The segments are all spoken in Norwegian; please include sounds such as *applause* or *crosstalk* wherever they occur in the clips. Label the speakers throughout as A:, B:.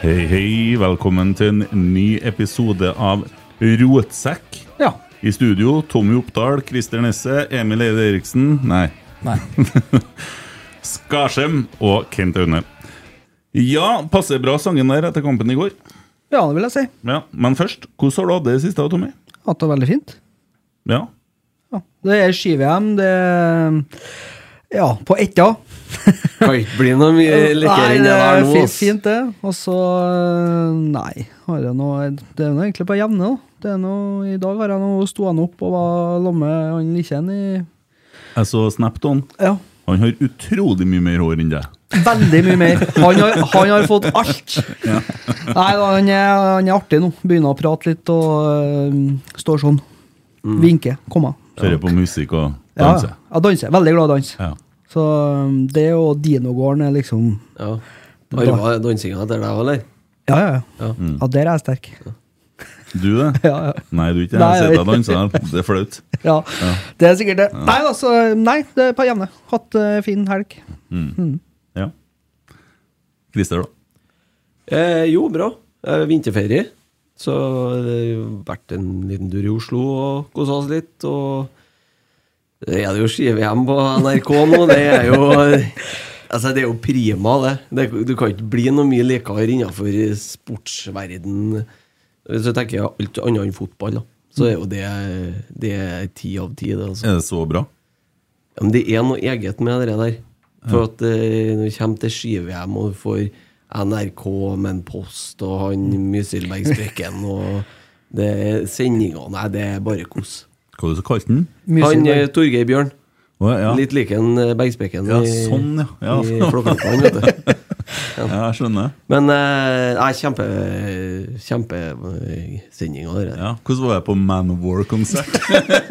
A: Hei, hei. Velkommen til en ny episode av Rotsekk.
B: Ja.
A: I studio Tommy Oppdal, Christer Nesse, Emil Eide Eriksen Nei,
B: Nei.
A: Skarsheim og Kent Aune. Ja, passer bra sangen der etter kampen i går.
B: *laughs* Ja, det vil jeg si.
A: Ja, Men først, hvordan har du hatt det i siste, Tommy?
B: Hatt det veldig fint.
A: Ja,
B: Ja. Det er ski-VM, det er Ja, på etta.
C: Kan ikke bli noe mye likere enn det der nå.
B: fint,
C: ass.
B: fint, det. Og så øh, Nei, har jeg noe Det er nå egentlig på jevne, da. Det er noe, I dag har jeg nå stående opp og var sammen med han Likjen i
A: jeg så Snapton.
B: Ja.
A: Han har utrolig mye mer hår enn deg.
B: Veldig mye mer. Han har, han har fått alt. Nei, da, han er, han er artig nå. Begynner å prate litt og øh, står sånn.
C: Mm.
B: Vinker. Kommer.
A: Hører på musikk og
B: Ja,
A: danser.
B: ja, danser. Veldig glad i dans.
A: Ja.
B: Så um, det og dinogården er liksom
C: Ja. Arva dansinga etter deg, eller?
B: Ja, ja, ja.
C: Ja.
B: Ja, der er jeg sterk.
A: Du det?
B: *laughs* Ja, ja.
A: Nei, du er ikke
B: Nei,
A: jeg sitter
B: jeg-
A: og danser her. Det er flaut.
B: ja. Det er sikkert det. Nei, altså, nei, det er på jevne. Hatt eh, fin helg.
A: Ja. Christer, da?
C: Eh, jo, bra. Eh, vinterferie. Så det har jo vært en liten tur i Oslo og kosa oss litt. Og det er det jo ski-VM på NRK nå. Det er jo Altså, det er jo prima, det. det du kan ikke bli noe mye likere innenfor sportsverden Hvis du tenker alt annet enn fotball, da. Så er jo det Det er ti av ti, det. Altså.
A: Er det så bra?
C: Ja, men det er noe eget med det der. For at eh, når det kommer til ski-VM og du får NRK med en post og han Mysilberg Sprekken og det er sendinga Nei, det er bare kos.
A: Hva var det du kalte den?
B: Mye
C: Han
B: siden.
C: eh, Torgeir Bjørn.
A: Å, ja.
C: Litt lik en eh, Bergspekken
A: Ja, sånn, ja. Ja.
C: i Flåklypa, han, vet du.
A: ja, jeg skjønner.
C: Men eh, nei, kjempe kjempesendinga, det der.
A: Ja. Hvordan var jeg på Man of War-konsert?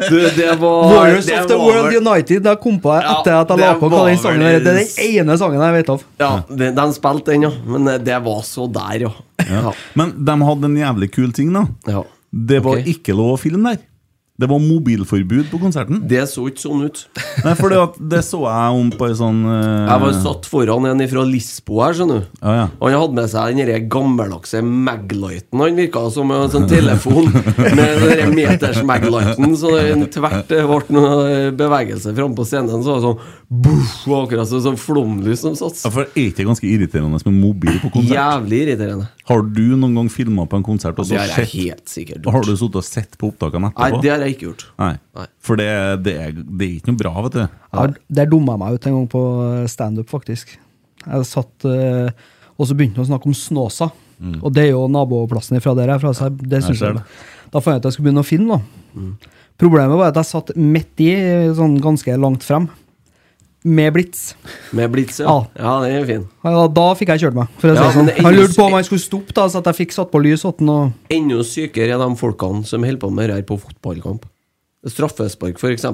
C: Du, det var
B: Warriors
C: det
B: of the
C: var
B: World
C: vel-
B: United. Da kom på jeg
C: Ja,
B: etter at jeg la
C: det
B: på hva den
C: var
B: sangen
C: vel-
B: er. Det er den ene sangen jeg vet av.
C: Ja, de, de spilte den, ja. Men eh, det var så der, ja.
A: Ja.
C: ja.
A: Men de hadde en jævlig kul ting, da.
C: ja.
A: Det var
C: Ok.
A: ikke lov å filme der. Det var mobilforbud på konserten.
C: Det så ikke sånn ut.
A: Nei, for det så jeg om på en sånn eh,
C: Jeg var satt foran en fra Lisboa her, skjønner du.
A: Ja, ja.
C: Han hadde med seg den der gammeldagse Maglighten. Han virka som en sånn telefon *laughs* med den der meters Maglighten, så den tvert det ble noe bevegelse framme på scenen. Så var det sånn buff, og akkurat som sånn flomlys som satt.
A: Ja, for er ikke det ganske irriterende med mobil på konsert?
C: Jævlig irriterende.
A: Har du noen gang filma på en konsert og så
C: Det har jeg
A: sett
C: helt sikkert
A: Har du
C: gjort.
A: sittet og sett på opptakene
C: Nei,
A: etterpå?
C: det har jeg ikke gjort.
A: Nei.
C: Nei.
A: For det, det, er, det er ikke noe bra, vet du.
B: Ja, der dumma jeg meg ut en gang på eh, standup, faktisk. Jeg satt eh, Og så begynte han å snakke om Snåsa. Og det er jo naboplassen ifra der jeg er fra. Så jeg, det synes
A: ser
B: jeg, da fant jeg ut at jeg skulle begynne å filme. da. Problemet var at jeg satt midt i, sånn ganske langt frem, med blits.
C: Med blits, ja.
B: Ja.
C: Ja, den er fin.
B: Ja, da fikk jeg kjørt meg. for å si
C: Ja,
B: det sånn.
C: men det er
B: Han
C: ingen-
B: lurte på om han skulle stoppe, da, så at jeg fikk satt på lys. åtten og...
C: Enda sykere er de folkene som holder på med det her på fotballkamp. Straffespark, f.eks.,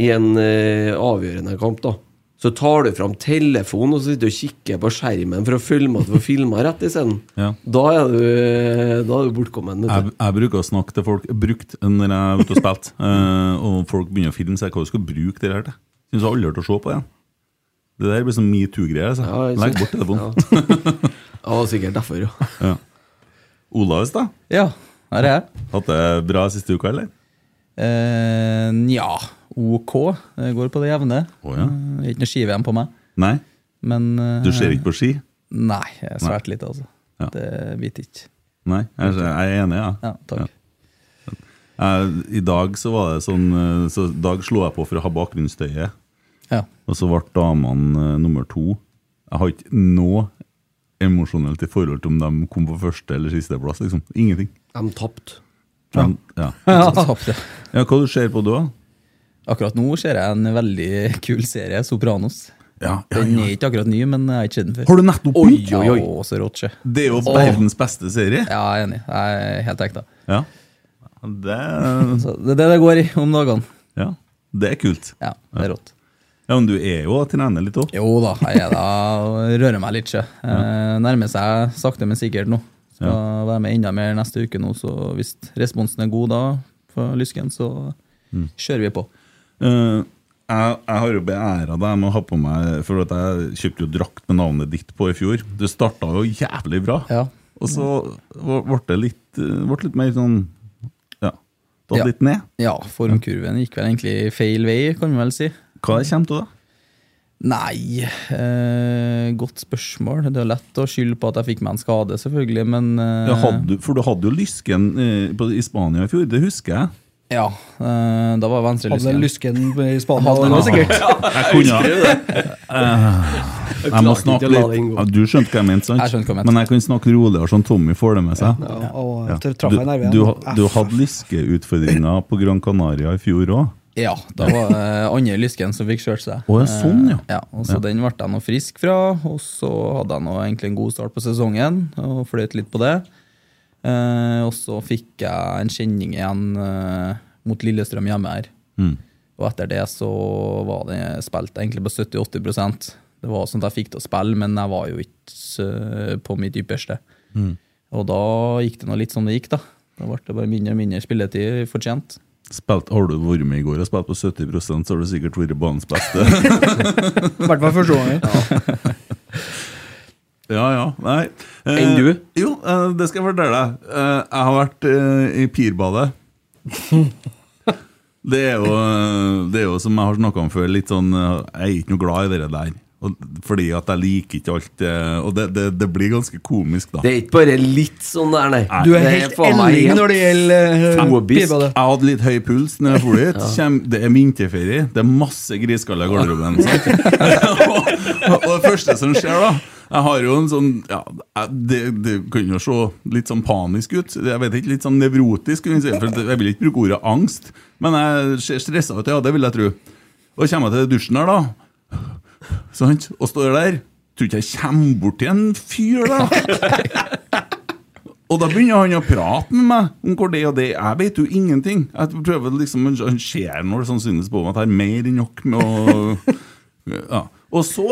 C: i en eh, avgjørende kamp. da Så tar du fram telefonen og så sitter du og kikker på skjermen for å følge med at du får filma rett isteden.
A: Ja.
C: Da er du, eh, da er du bortkommen. vet du.
A: Jeg, jeg bruker å snakke til folk brukt når jeg er ute og
C: *laughs*
A: spilt, eh, og folk begynner å filme, så jeg hva du skal bruke det her til. Syns aldri hørt å se på igjen. Det der blir sånn metoo-greier. altså.
C: Ja, jeg
A: Legg
C: synes-
A: bort telefonen.
C: Ja. ja, sikkert derfor, ja.
A: *laughs* Olaus, da?
D: Ja, her er jeg.
A: Hatt det bra siste uka, eller?
D: Eh, Nja, ok. Jeg går på det jevne.
A: Å, ja.
D: Eh, Ikke noe ski-VM på meg.
A: Nei?
D: Men eh,
A: Du ser ikke på ski?
D: Nei, jeg er svært lite, altså.
A: Ja.
D: Det biter ikke.
A: Nei? Jeg, jeg er enig, ja.
D: Ja, takk.
A: Jeg, I dag så var det sånn eh, så i dag slo jeg på for å ha bakgrunnsstøyet,
D: Ja.
A: og så ble damene eh, nummer to. Jeg har ikke noe emosjonelt i forhold til om de kom på første eller sisteplass, liksom. Ingenting.
C: De tapte.
A: Men, ja.
D: Så tapte jeg.
A: Ja, hva du ser på du da?
D: Akkurat nå ser jeg en veldig kul serie, Sopranos.
A: Ja,
D: Den er ikke akkurat ny, men jeg har ikke sett den før.
A: Har du nettopp
C: Oi,
A: begynt?
D: Ja,
C: oi, oi.
D: og så rått, sjø.
A: Det er jo verdens beste serie.
D: Ja, jeg er enig. Jeg er helt ekte.
A: Ja. Det, er-
D: Så det er det det går i om dagene.
A: ja. det er kult.
D: Ja, det er rått.
A: Ja, Men du er jo og trener litt òg.
D: Jo da, jeg er da og rører meg litt. sjø. Eh, Nærmer seg sakte, men sikkert nå. Skal være med enda mer neste uke nå, så hvis responsen er god da, for lysken, så kjører vi på.
A: Eh, jeg, jeg har jo beæra deg med å ha på meg For at jeg kjøpte jo drakt med navnet ditt på i fjor. Du starta jo jævlig bra.
D: Ja.
A: Og så ble det litt, ble litt mer sånn Ja, tatt
D: Ja.
A: litt ned.
D: Ja, formkurven gikk vel egentlig feil vei, kan vi vel si.
A: Hva kommer til da?
D: Nei, eh, godt spørsmål. Det er lett å skylde på at jeg fikk meg en skade, selvfølgelig, men eh,
A: Ja, hadde, du- for du hadde jo lysken eh, på, i Spania i fjor, det husker
D: *laughs*
A: jeg.
D: ja, eh, da var
B: Hadde
D: venstrelysken.
B: lysken i Spania det var sikkert.
A: Jeg kunne Eh, Jeg må
C: klarte ikke
A: snakke
C: å la
A: litt
C: den gå.
A: ja, Du skjønte hva jeg mente, sant?
D: Jeg skjønte hva jeg mente.
A: Men jeg kan snakke roligere, sånn Tommy får det med seg.
B: Ja, og
A: Ja.
B: traff jeg i nerven.
A: Du, du, ha- du hadde lyskeutfordringer på Gran Canaria i fjor òg.
D: Ja, da var det andre lysken som fikk kjørt seg.
A: Å, ja, sånn, ja.
D: Eh, ja og så Den ble jeg nå frisk fra, og så hadde jeg nå egentlig en god start på sesongen og fløyt litt på det. Eh, og så fikk jeg en kjenning igjen eh, mot Lillestrøm hjemme her.
A: Mm.
D: Og etter det så var det spilt egentlig på 70-80 Det var sånn at jeg fikk til å spille, men jeg var jo ikke eh, på mitt ypperste.
A: Mm.
D: Og da gikk det nå litt som det gikk, da. Da ble det bare mindre og mindre spilletid fortjent.
A: Spilt, har du vært med i går og spilt på 70 så har du sikkert vært banens beste.
B: I hvert fall første gangen.
A: ja, ja, nei. Eh,
C: Enn du?
A: Jo, eh, det skal jeg fortelle deg. Eh, jeg har vært eh, i
C: *laughs*
A: Pirbadet. det, er jo, eh, det er jo, som jeg har snakka om før, litt sånn eh, Jeg er ikke noe glad i det der. Og, fordi at jeg liker ikke alt eh, Og det, det, det blir ganske komisk, da.
C: Det er ikke bare litt sånn der, nei.
B: Du er helt elling når det gjelder eh,
C: Fobisk.
B: pipa, det.
A: Jeg hadde litt høy puls når jeg dro dit. Kjem, det er vinterferie, det er masse griskaller i garderoben. sant? og, og det første som skjer, da Jeg har jo en sånn ja, jeg- det, det kan jo se litt sånn panisk ut. Jeg vet ikke, Litt sånn nevrotisk. kan vi si, for Jeg vil ikke bruke ordet angst, men jeg ser stressa ut, ja, det vil jeg tro. Og kommer jeg til dusjen her, da, sant? og står der Tror ikke jeg kommer bort til en fyr,
C: *laughs*
A: da. Og da begynner han å prate med meg om hvor det og det Jeg vet jo ingenting. Jeg prøver liksom Han ser når det sannsynligvis på meg at jeg har mer enn nok med å ja. Og så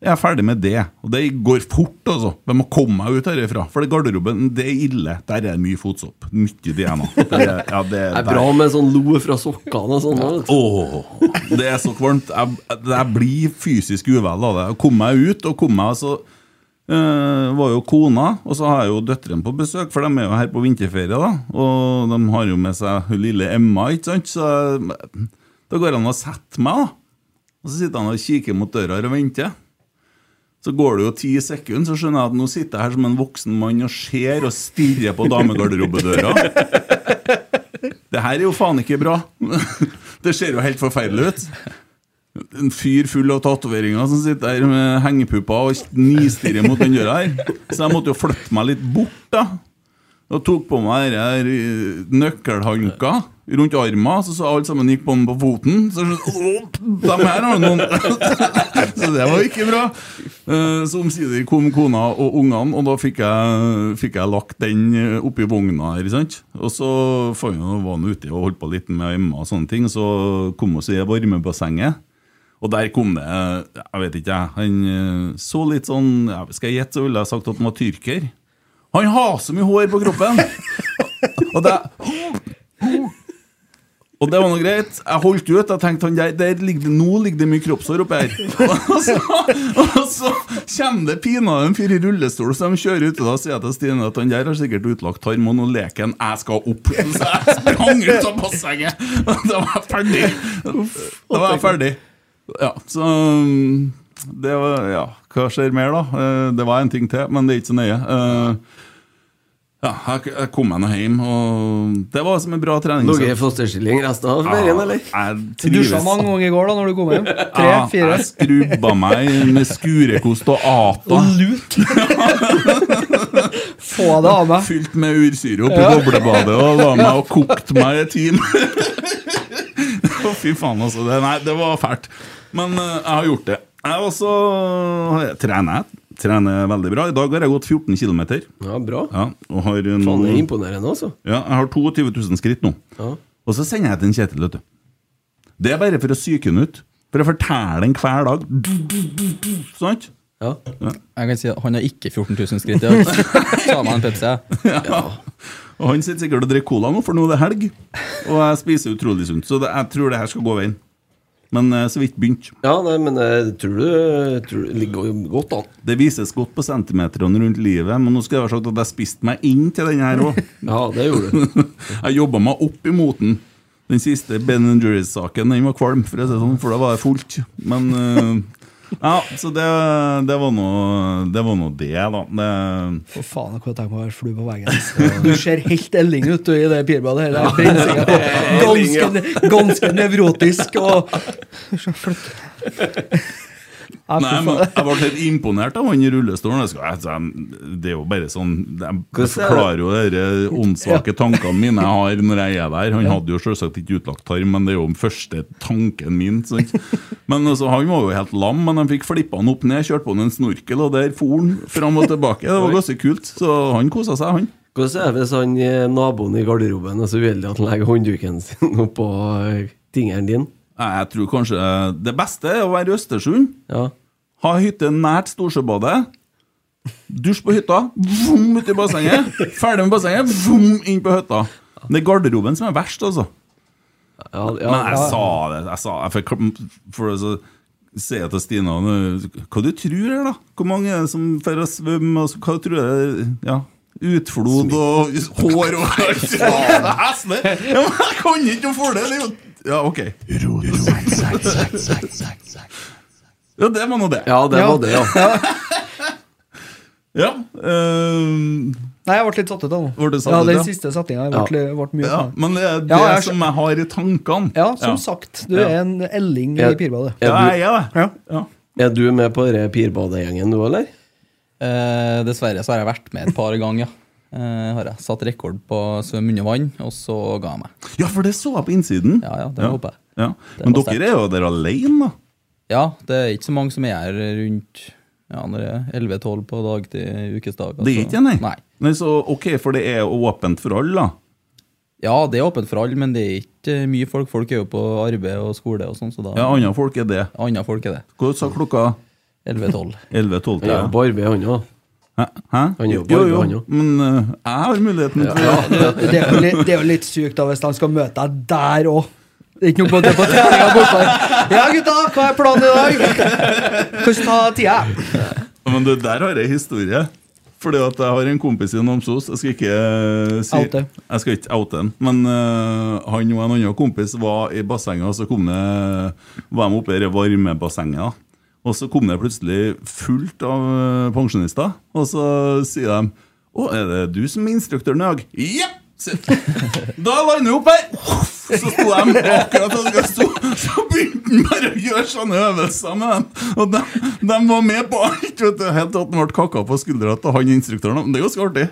A: er jeg ferdig med det. Og det går fort, altså. Jeg må komme meg ut herifra. For det garderoben, det er ille. Der er det mye fotsopp. Mye DNA. Det er, ja, det
C: Det
A: er
C: er bra med sånn lo fra sokkene og sånn. da.
A: Åh, det er så kvalmt. Jeg, jeg, jeg blir fysisk uvel av det. Jeg kom meg ut, og kom meg så eh, var jo kona, og så har jeg jo døtrene på besøk, for de er jo her på vinterferie. da Og de har jo med seg hun lille Emma, ikke sant? Så jeg- da går han og setter meg, da. Og så sitter han og kikker mot døra her og venter. Så går det jo ti sekunder, så skjønner jeg at nå sitter jeg her som en voksen mann og ser og stirrer på damegarderobedøra. Det her er jo faen ikke bra. *laughs* Det ser jo helt forferdelig ut. En fyr full av tatoveringer som sitter her med hengepupper og nistirrer mot den døra her. Så jeg måtte jo flytte meg litt bort, da. Og tok på meg denne her, eh, nøkkelhanka rundt armen, så, så alle sammen gikk på den på foten. Så *laughs* jeg skjønte Dem her har noen *laughs* Så det var ikke bra. Eh, Så omsider kom kona og ungene, og da fikk jeg, fikk jeg lagt den eh, oppi vogna her. sant? Og så fant jeg- var han ute og holdt på litt med Emma og sånne ting, så kom vi oss i det varmebassenget. Og der kom det Jeg vet ikke, jeg. Han eh, så litt sånn ja, Skal jeg gjette, så ville jeg sagt at han var tyrker. Han har så mye hår på kroppen! Og det Og det var noe greit. Jeg holdt ut. Jeg tenkte han der, der ligger det, Nå ligger det mye kroppshår oppi her. *laughs* Og så, og så kommer det pinadø en fyr i rullestol, så de kjører ut. Og da sier jeg til Stine at han der har sikkert utlagt tarm, og nå leker han 'jeg skal opp'. *laughs* Så jeg sprang ut av bassenget. Og Da var jeg ferdig. Da var jeg ferdig. Ja, så um, det var, ja, Hva skjer mer, da? Eh, Det var en ting til, men det er ikke så nøye. Eh, Ja, jeg jeg kom meg nå hjem, og det var som en bra trening.
C: Ligget i fosterstilling resten av ferien, eller?
A: Ah, Jeg
B: Dusja
A: trives.
B: mange ganger i går da når du kom hjem. Tre,
A: Ja,
B: fire.
A: Jeg skrubba meg med skurekost og ata.
B: Og lut! Få det av meg.
A: Fylt med ursyre oppi boblebadet og la meg og kokte meg i en time. Å, Fy faen, altså. Det, nei, det var fælt. Men eh, jeg har gjort det. Jeg også jeg trener. jeg. Trener veldig bra. I dag har jeg gått 14 km.
C: Ja, bra.
A: Ja, og har en-
C: Faen, det er imponerende, altså.
A: ja, jeg har 22 000 skritt nå.
C: Ja.
A: Og så sender jeg til en Kjetil, vet du. Det er bare for å psyke han ut. For å fortelle han hver dag. Sant?
C: Ja.
D: Jeg kan si at Han har ikke 14 000 skritt.
A: *laughs*
D: i dag. Ta meg en Pepsi. jeg.
A: Og han sitter sikkert og drikker cola nå, for nå er det helg. Og jeg spiser utrolig sunt. Så det, jeg tror det her skal gå veien. Men eh, så vidt begynt.
C: Ja, nei, men jeg tror du, tror du ligger jo godt an.
A: Det vises godt på centimeterne rundt livet, men nå skal jeg ha sagt at jeg spiste meg inn til den her òg.
C: Ja, det gjorde du.
A: *laughs* jeg jobba meg opp imot den. Den siste Ben Jerry's-saken den var kvalm, for, å si det sånn, for da var det fullt. Men eh, *laughs* Ja, så det, det var nå det, var nå det, da. Det,
B: For faen, jeg kunne tenkt meg å være flue på veggen. Du ser helt Elling ut du, i det pirbadet her. Det er
A: *laughs*
B: brensingen på.
C: Elling, ja.
B: Ganske, ganske nevrotisk og Så flott. Ja,
A: nei,
B: fy
A: men
B: faen.
A: jeg ble helt imponert av han i rullestolen. Jeg skal, altså, det er jo bare sånn Jeg forklarer jo de eh, åndssvake tankene mine jeg har når jeg er der. Han hadde jo selvsagt ikke utlagt tarm, men det er jo den første tanken min. sant? Men altså, Han var jo helt lam, men de fikk flippa han opp ned, kjørte på han en snorkel, og der for han fram og tilbake. Det var ganske kult. Så han kosa seg, han.
C: *laughs* Hvordan er det hvis han eh, naboen i garderoben er så uheldig at han legger håndduken sin oppå eh, tingeren din?
A: Nei, Jeg tror kanskje det beste er å være i Østersund.
C: Ja.
A: Ha hytte nært Storsjøbadet. Dusj på hytta, vom ut i bassenget. Ferdig med bassenget, vom inn på hytta. Det er garderoben som er verst, altså.
C: Ja, ja,
A: Men jeg
C: ja.
A: sa det. Jeg sa jeg fikk, For å si til Stina nå, Hva du tror her, da? Hvor mange er det som får å svømme? Og så- hva tror jeg Ja. Utflod og hår og alt. Faen, det er heslig! Ja, men Jeg kan ikke få det! det er jo, ja, OK. Ja, det var nå det.
C: ja, det
B: *laughs* Ja.
C: var det, ja.
A: Ja, eh,
B: Nei, jeg ble litt satt ut av nå.
A: Ble du satt
B: ja,
A: ut, ja?
B: den siste setninga ble, ble mye.
A: ja,
B: *laughs* for meg.
A: men det er det
B: Ja, jeg
A: som jeg har i tankene.
B: Ja, som sagt, du er en Elling i
C: Ja.
B: pirbadet.
A: Ja,
C: Er
A: jeg er det.
B: Ja.
A: Ja.
C: du, er du med på denne pirbadegjengen nå, eller?
D: Eh, dessverre så har jeg vært med et par ganger. ja. Eh, har jeg satt rekord på svømme under vann, og så ga jeg meg.
A: ja, for det så jeg på innsiden.
D: Ja, ja, det håper jeg.
A: Ja.
D: Det
A: Men
D: var
A: dere er jo der alene, da.
D: Ja, det er ikke så mange som er her rundt ja, når det er 11-12 på dag til ukesdag.
A: Det er
D: altså.
A: ikke det, nei.
D: nei.
A: nei. Så ok, for det er åpent for alle, da.
D: Ja, det er åpent for alle, men det er ikke mye folk. Folk er jo på arbeid og skole og sånn, så da
A: Ja, andre folk er det.
D: Andre folk er det.
A: Hva sa klokka
D: 11-12.
A: 11-12?
C: Ja.
A: Ja.
C: På arbeid, han òg.
A: Hæ? Hæ?
C: Han jobber,
A: jo, jo,
C: han jo.
A: men eh, jeg har muligheten til å
B: Det er, jo litt, det er jo litt sykt da hvis de skal møte deg der òg. Det er ikke noe på det på treninga borte. Ja, gutta, hva er planen i dag? Hvordan ta tida?
A: Men du, der har jeg historie. Fordi at jeg har en kompis i Namsos. Jeg skal ikke eh, si
B: Oute.
A: Jeg skal ikke oute han. Men eh, han og en annen kompis var i bassenget, og så kom det, var de oppe i det varmebassenget. da. Og så kom det plutselig fullt av eh, pensjonister, og så sier de Å, er det du som er instruktøren i dag? Jepp! sier jeg. Da lander vi opp her! Uff, Så sto de akkurat og jeg sto, så begynte han bare å gjøre sånne øvelser med dem. Og de, de var med på alt, vet du. Helt til at han ble kakka på skuldra til han instruktøren. Men Det er ganske artig.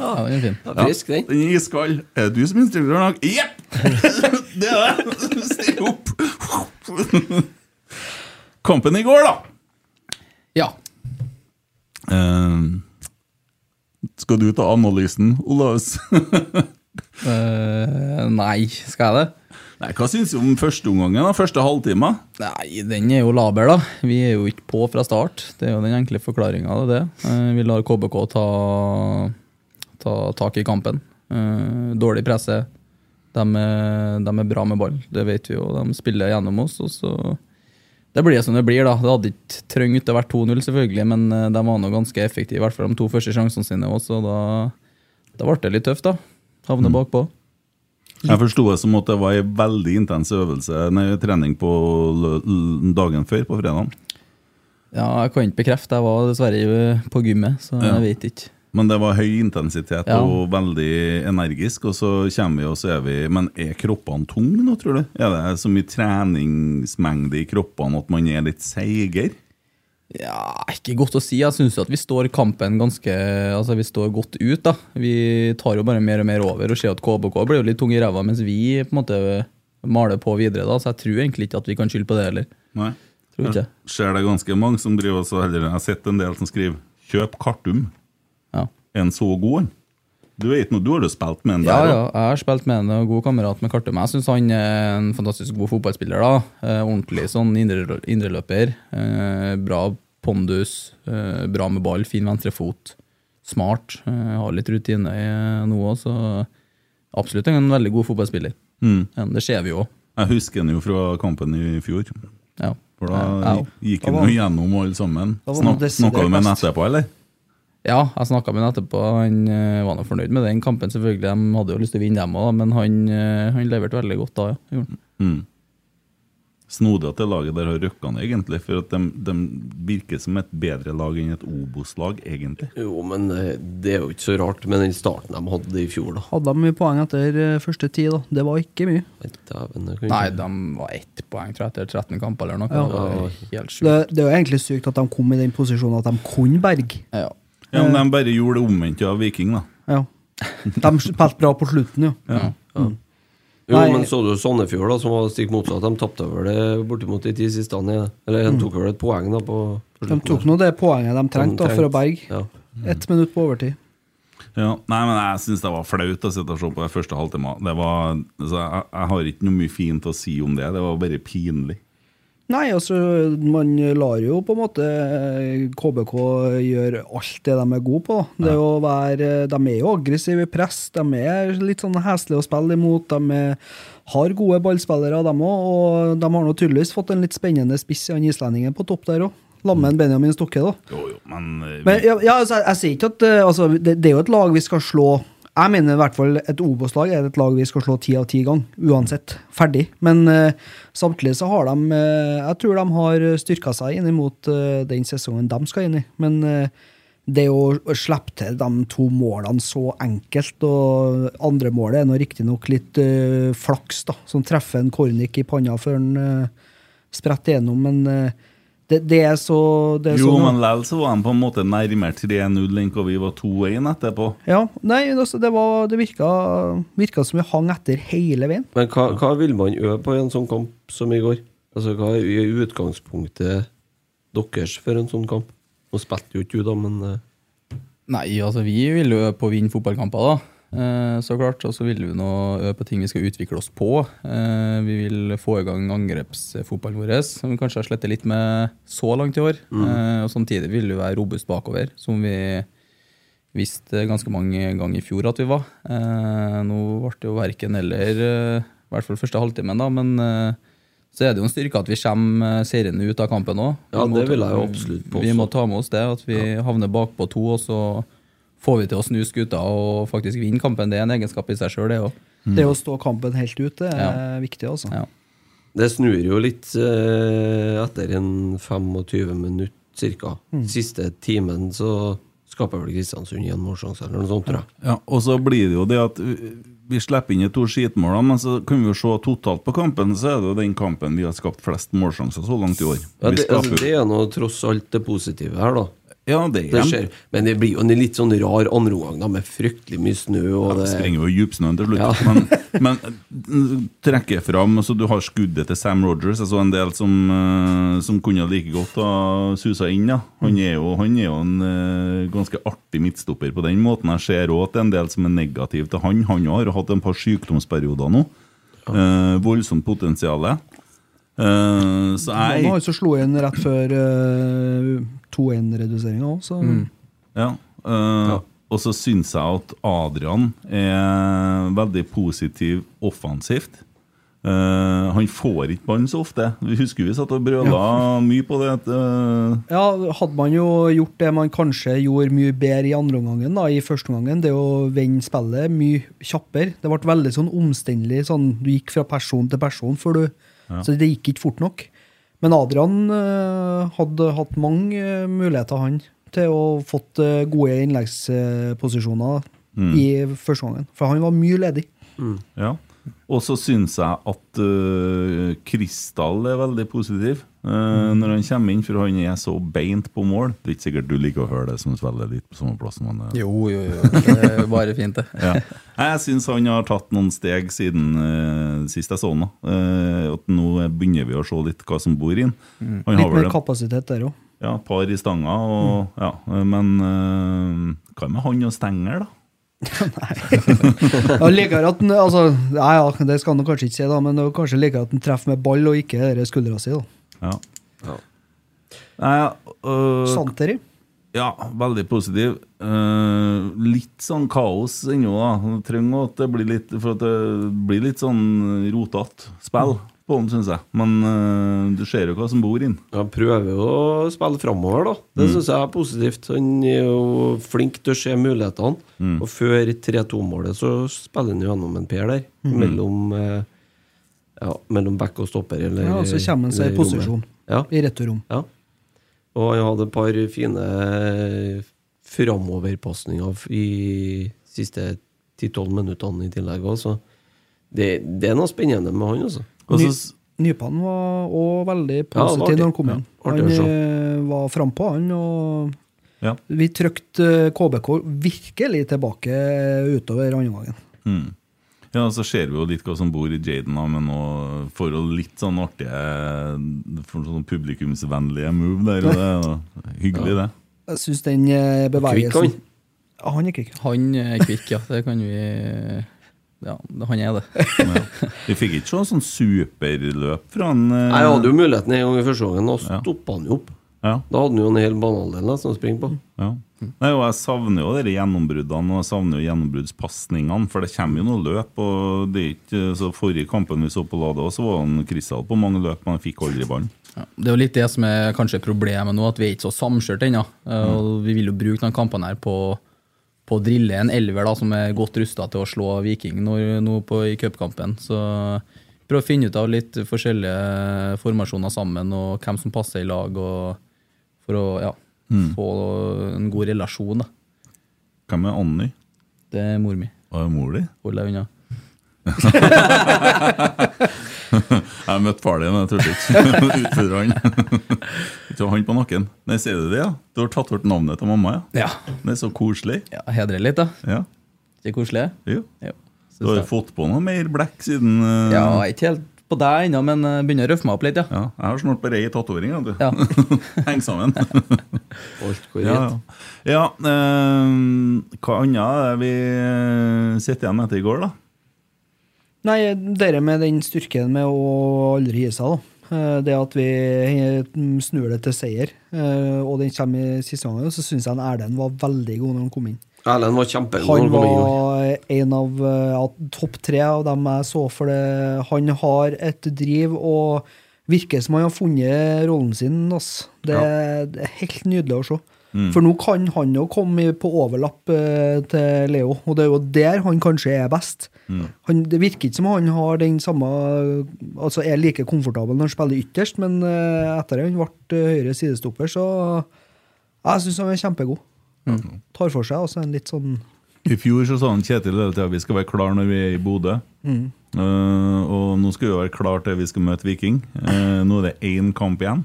A: Ah.
D: Ja, den er fin.
C: Frisk, den.
A: Den er iskald. Er det du som er instruktør i dag? Jepp! *laughs* Det er det. Still opp. Kampen i går, da.
D: Ja.
A: Eh, skal du ta analysen, Olaus?
D: Eh, nei, skal jeg det?
A: Nei, Hva syns du om førsteomgangen? da? Første halvtime?
D: Nei, den er jo laber, da. Vi er jo ikke på fra start. Det er jo den enkle forklaringa av det. Eh, Vi lar KBK ta, ta tak i kampen. Eh, Dårlig presse. De er, de er bra med ball, det vet vi jo. De spiller gjennom oss, og så Det blir som det blir, da. Det hadde ikke trengt å være 2-0, selvfølgelig, men eh, de var nå ganske effektive, i hvert fall de to første sjansene sine òg, så da, da ble det litt tøft, da. Havne bakpå.
A: Jeg forsto det som at det var ei veldig intens øvelse, nei, trening på lø- l- dagen før, på fredag.
D: Ja, jeg kan ikke bekrefte. Jeg var dessverre på gymmet, så
A: Ja.
D: jeg vet ikke.
A: Men det var høy intensitet
D: Ja.
A: og veldig energisk, og så kommer vi og så er vi Men er kroppene tunge nå, tror du? Er det så mye treningsmengde i kroppene at man er litt seigere?
D: Ja, ikke godt å si. Jeg syns at vi står kampen ganske Altså, vi står godt ut, da. Vi tar jo bare mer og mer over og ser at KBK blir jo litt tung i ræva, mens vi på en måte maler på videre, da. Så jeg tror egentlig ikke at vi kan skylde på det heller.
A: Nei.
D: Tror ikke.
A: Ser det ganske mange som driver og så heller Jeg har sett en del som skriver 'Kjøp Kartum'.
D: Ja.
A: Er han så god, han? Du vet nå, du har jo spilt med en
D: Ja,
A: der
D: ja.
A: også.
D: Jeg har spilt med en god kamerat med Kartum. Jeg syns han er en fantastisk god fotballspiller. da. Eh, Ordentlig sånn indre- indreløper. Eh, Bra pondus, eh, bra med ball, fin venstrefot. Smart. eh, Har litt eh, rutine i- nå òg, så absolutt en veldig god fotballspiller.
A: Mm.
D: Men Det ser vi jo.
A: Jeg husker den jo fra kampen i fjor.
D: Ja. Eh,
A: For da
D: Ja.
A: gikk
B: Da
A: han
B: var-
A: jo gjennom alle sammen.
B: Da var
A: Snak-
B: han desidert
A: Snakka du med ham
B: best.
A: etterpå, eller?
D: Ja, jeg snakka med han etterpå. Han eh, var nå fornøyd med den kampen, selvfølgelig. De hadde jo lyst til å vinne, dem òg, men han, eh, han leverte veldig godt da, ja. Gjorde han.
A: Mm. Snodig at det laget der har røkka ned, egentlig. For at de, de virker som et bedre lag enn et Obos-lag, egentlig.
C: Jo, men eh, det er jo ikke så rart med den starten de hadde i fjor, da.
B: Hadde de mye poeng etter eh, første ti, da? Det var ikke mye.
C: Nei, dæven, det kan
D: Nei,
C: ikke-
D: de var ett poeng tror jeg, etter 13 kamper eller noe.
B: Ja.
D: Det var helt
B: Det,
D: sjukt.
B: det er jo egentlig sykt at de kom i den posisjonen at de kunne berge.
D: Ja.
A: Ja,
B: Eh.
A: men De bare gjorde det omvendte av Viking, da.
B: Ja. De spilte bra på slutten, ja.
D: Ja.
C: Jo,
B: Nei.
C: men så du Sandefjord, da, som var stikk motsatt. De tapte vel det bortimot de ti siste. han, ja. Eller de tok vel et poeng, da, på på
B: Mm. De
C: slutten
B: tok
C: der.
B: nå det poenget de trengte da, for å berge.
C: Ja.
B: Ett minutt på overtid.
A: Ja. Nei, men jeg syns det var flaut å sitte og se på de første halvtimene. Det var- Altså, jeg, jeg har ikke noe mye fint å si om det. Det var bare pinlig.
B: Nei, altså, man lar jo på en måte eh, KBK gjøre alt det de er gode på. da. Det er jo å være, de er jo aggressive i press, de er litt sånn heslige å spille imot. De er, har gode ballspillere, de òg, og de har nå tydeligvis fått en litt spennende spiss i han islendingen på topp der òg. Lammen Benjamin Stokke, da.
A: Jo, jo, men, eh,
B: Men ja, ja, altså, jeg, jeg sier ikke at eh, altså, det, det er jo et lag vi skal slå Jeg mener i hvert fall et Obos-lag er et lag vi skal slå ti av ti gang, uansett. Ferdig. Men eh, samtidig så har de eh, Jeg tror de har styrka seg inn mot eh, den sesongen de skal inn i. Men eh, det å slippe til de to målene så enkelt, og andre målet er nå riktignok litt eh, flaks, da, som treffer en Kornik i panna før han eh, spretter gjennom, men eh, det, det er så det er sånn,
A: jo,
B: så
A: men likevel så var de på en måte nærmere 3-0 enn hva vi var 2-1 etterpå.
B: Ja, nei, altså, det, var, det virka, virka som vi hang etter hele veien.
C: Men hva, hva vil man øve på i en sånn kamp som i går? Altså, Hva er i utgangspunktet deres for en sånn kamp? Nå spilte jo ikke du, da, men eh,
D: Nei, altså, vi vil jo øve på å vinne fotballkamper, da. Eh, så klart. Og så vil vi nå øve på ting vi skal utvikle oss på. Eh, vi vil få i gang angrepsfotballen vår, som vi kanskje har slettet litt med så langt i år. Eh, og samtidig vil vi være robust bakover, som vi visste eh, ganske mange ganger i fjor at vi var. Eh, nå ble det jo verken eller, eh, i hvert fall første halvtimen, da, men eh, så er det jo en styrke at vi kommer eh, seirende ut av kampen òg.
C: Ja, det vil jeg jo absolutt påstå.
D: Vi må ta med oss det, at vi havner bakpå to, og så får vi til å snu skuta og faktisk vinne kampen. Det er en egenskap i seg sjøl, det òg.
B: Det å stå kampen helt ut, det er viktig, altså.
D: Mm. Ja.
C: det snur jo litt eh, etter en 25 minutt, ca. Siste timen så skaper vel Kristiansund igjen målsjanse, eller noe sånt, tror jeg.
A: Ja, og så blir det jo det at vi- vi slipper inn de to skitmålene, men så kan vi jo se totalt på kampen, så er det jo den kampen vi har skapt flest målsjanser så langt i år.
C: Ja,
A: Vi
C: det, altså,
A: skaper-
C: det er nå tross alt det positive her, da.
A: ja, det
C: Det
A: er
C: skjer. Men det blir jo en litt sånn rar andreomgang, da, med fryktelig mye snø og
A: det
C: det
A: sprenger jo i djupsnøen til slutt.
C: Ja.
A: *laughs* men, men mm, trekker jeg fram altså, Du har skuddet til Sam Rogers. Jeg så en del som, eh, som kunne like godt ha susa inn. Ja. Han, er jo, han er jo en eh, ganske artig midtstopper på den måten. Jeg ser òg at det er en del som er negativ til han. Han har hatt en par sykdomsperioder nå. Eh, voldsomt potensial. Eh, så
B: Han har
A: jeg
B: jo så slo inn rett før eh, 2-1-reduseringa òg, så
D: Mm.
A: Ja. eh, Og så syns jeg at Adrian er veldig positiv offensivt. Eh, han får ikke ballen så ofte. Vi husker vi satt og brøla *laughs* mye på det. At, eh,
B: Ja, hadde man jo gjort det man kanskje gjorde mye bedre i andre omgangen, da, i første omgangen, det å vende spillet mye kjappere. Det ble veldig sånn omstendelig, sånn du gikk fra person til person, for du, så det gikk ikke fort nok. Men Adrian eh, hadde hatt mange eh, muligheter, han, til å fått eh, gode innleggsposisjoner i første omgangen. For han var mye ledig.
A: ja. Og så syns jeg at eh, Kristall er veldig positiv eh, når han kommer inn, for han er så beint på mål. Det er ikke sikkert du liker å høre det som spiller litt på samme plass. Men, eh,
D: Jo, jo, jo. *laughs* Det er bare fint, det.
A: *laughs* ja. Jeg syns han har tatt noen steg siden eh, sist jeg så han. da. Eh, at nå begynner vi å se litt hva som bor i han. Han har
B: Mm. Litt
A: vel
B: mer Mm.
A: en
B: kapasitet der òg.
A: ja, par i stanga, og, ja, eh, men eh, hva med han og Stenger, da?
B: Ja, liker at den, altså, nei, ja, det skal han nok kanskje ikke si, da, men det er kanskje liker at han treffer med ball og ikke dere skuldra si. da.
A: Ja.
C: Ja.
A: Nei, øh,
B: Sånn. Santeri.
A: Ja, veldig positiv. Eh, litt sånn kaos ennå, da. Trenger at det blir litt For at det blir litt sånn rotete
B: Mm.
A: spill på den, syns jeg. Men eh, du ser jo hva som bor inn.
C: Han prøver jo å spille framover, da. Det
A: Mm.
C: synes syns jeg er positivt. Han er jo flink til å se mulighetene.
A: Mm.
C: Og før 3-2-målet så spiller han jo gjennom en per der.
A: Mm.
C: Mellom eh, Ja, mellom back og stopper, eller
B: Ja, og så kommer han seg i
C: eller rommet.
B: posisjon
C: Ja.
B: i returrom.
C: Ja. Og han hadde et par fine eh, framoverpasninger i siste 10-12 minuttene i tillegg òg, så det, det er noe spennende med han, altså.
A: Og
B: Ny,
A: så s-
B: Nypan var òg veldig
C: Ja, det var
B: positiv
C: artig.
B: når han kom inn.
C: Ja, artig å
B: han
C: se.
B: eh, var frampå, han. Og
A: ja.
B: vi trykte eh, KBK virkelig tilbake eh, utover andre gangen.
A: Mm. Ja, så ser vi jo litt hva som bor i Jaden, da, men nå får hun litt sånn artige for sånn publikumsvennlige move der. Og det, er jo hyggelig, det.
B: Jeg syns den eh,
C: Kvikk
B: bevegelsen
C: han.
B: Ja, han er kvikk.
D: Han er kvikk, ja. Det kan vi Ja, han er det.
A: Ja. Vi fikk ikke se sånn superløp fra han. eh,
C: Jeg hadde jo muligheten en gang i første gangen, og
A: Ja.
C: stoppa han jo opp.
A: Ja,
C: Da hadde han jo en hel banehalvdel nesten å springe på.
A: ja. Nei, og jeg savner jo de gjennombruddene og jeg savner jo gjennombruddspasningene, for det kommer jo noen løp. og det er ikke, eh, så Forrige kampen vi så på Lade, også, så var han Kristal på mange løp, men han fikk aldri ballen.
D: Ja, det er jo litt det som er kanskje problemet nå, at vi er ikke så samkjørt ennå. Eh,
A: Mm.
D: og Vi vil jo bruke denne kampene her på, på å drille en elver da, som er godt rusta til å slå Viking nå, nå på, i cupkampen. Så prøv å finne ut av litt forskjellige formasjoner sammen, og hvem som passer i lag, og for å ja,
A: Mm.
D: få en god relasjon. Da.
A: Hvem er Anny?
D: Det er mor mi.
A: Og mor di?
D: Hold deg unna.
A: Jeg møtte far din, jeg turte ikke utfordre
D: *laughs*
A: han. Ikke ha han på nakken. Nei, sier du det, ja? Du har tatt bort navnet til mamma, ja?
D: Ja,
A: Det er så koselig.
D: ja Hedre litt, da.
A: Ja,
D: Ikke koselig?
A: jo.
D: Jo.
A: Du har jo
D: Synes jeg.
A: fått på noe mer blekk siden eh,
D: Ja, jeg er ikke helt på deg ennå, men eh, begynner å røffe meg opp litt, ja.
A: ja, Jeg har snart bare ei tatovering, vet du.
D: Ja.
A: *laughs* Heng
D: *laughs*
A: sammen.
C: Alt går
A: Ja,
C: rett.
A: ja. ja eh, hva annet er det vi sitter igjen med etter i går, da?
B: Nei, dere med den styrken med å aldri gi seg, da. Eh, Det at vi eh, snur det til seier, eh, og den kommer i siste gangen, så syns jeg en Erlend var veldig god når han kom inn.
C: Erlend var kjempegod når
B: Han
C: han kom inn.
B: var en av eh, ja, topp tre av dem jeg så for det. Han har et driv og virker som han har funnet rollen sin. Ass. Det, det er helt nydelig å se. For nå kan han jo komme i- på overlapp eh, til Leo, og det er jo der han kanskje er best. Han, det virker ikke som han har den samme Altså er like komfortabel når han spiller ytterst, men eh, etter at han ble eh, høyre sidestopper, så Jeg syns han er kjempegod. Tar for seg altså en litt sånn
A: I fjor så sa han Kjetil hele tida vi skal være klar når vi er i Bodø.
D: Mm.
A: Eh, og nå skal vi være klar til vi skal møte Viking. Eh, nå er det én kamp igjen.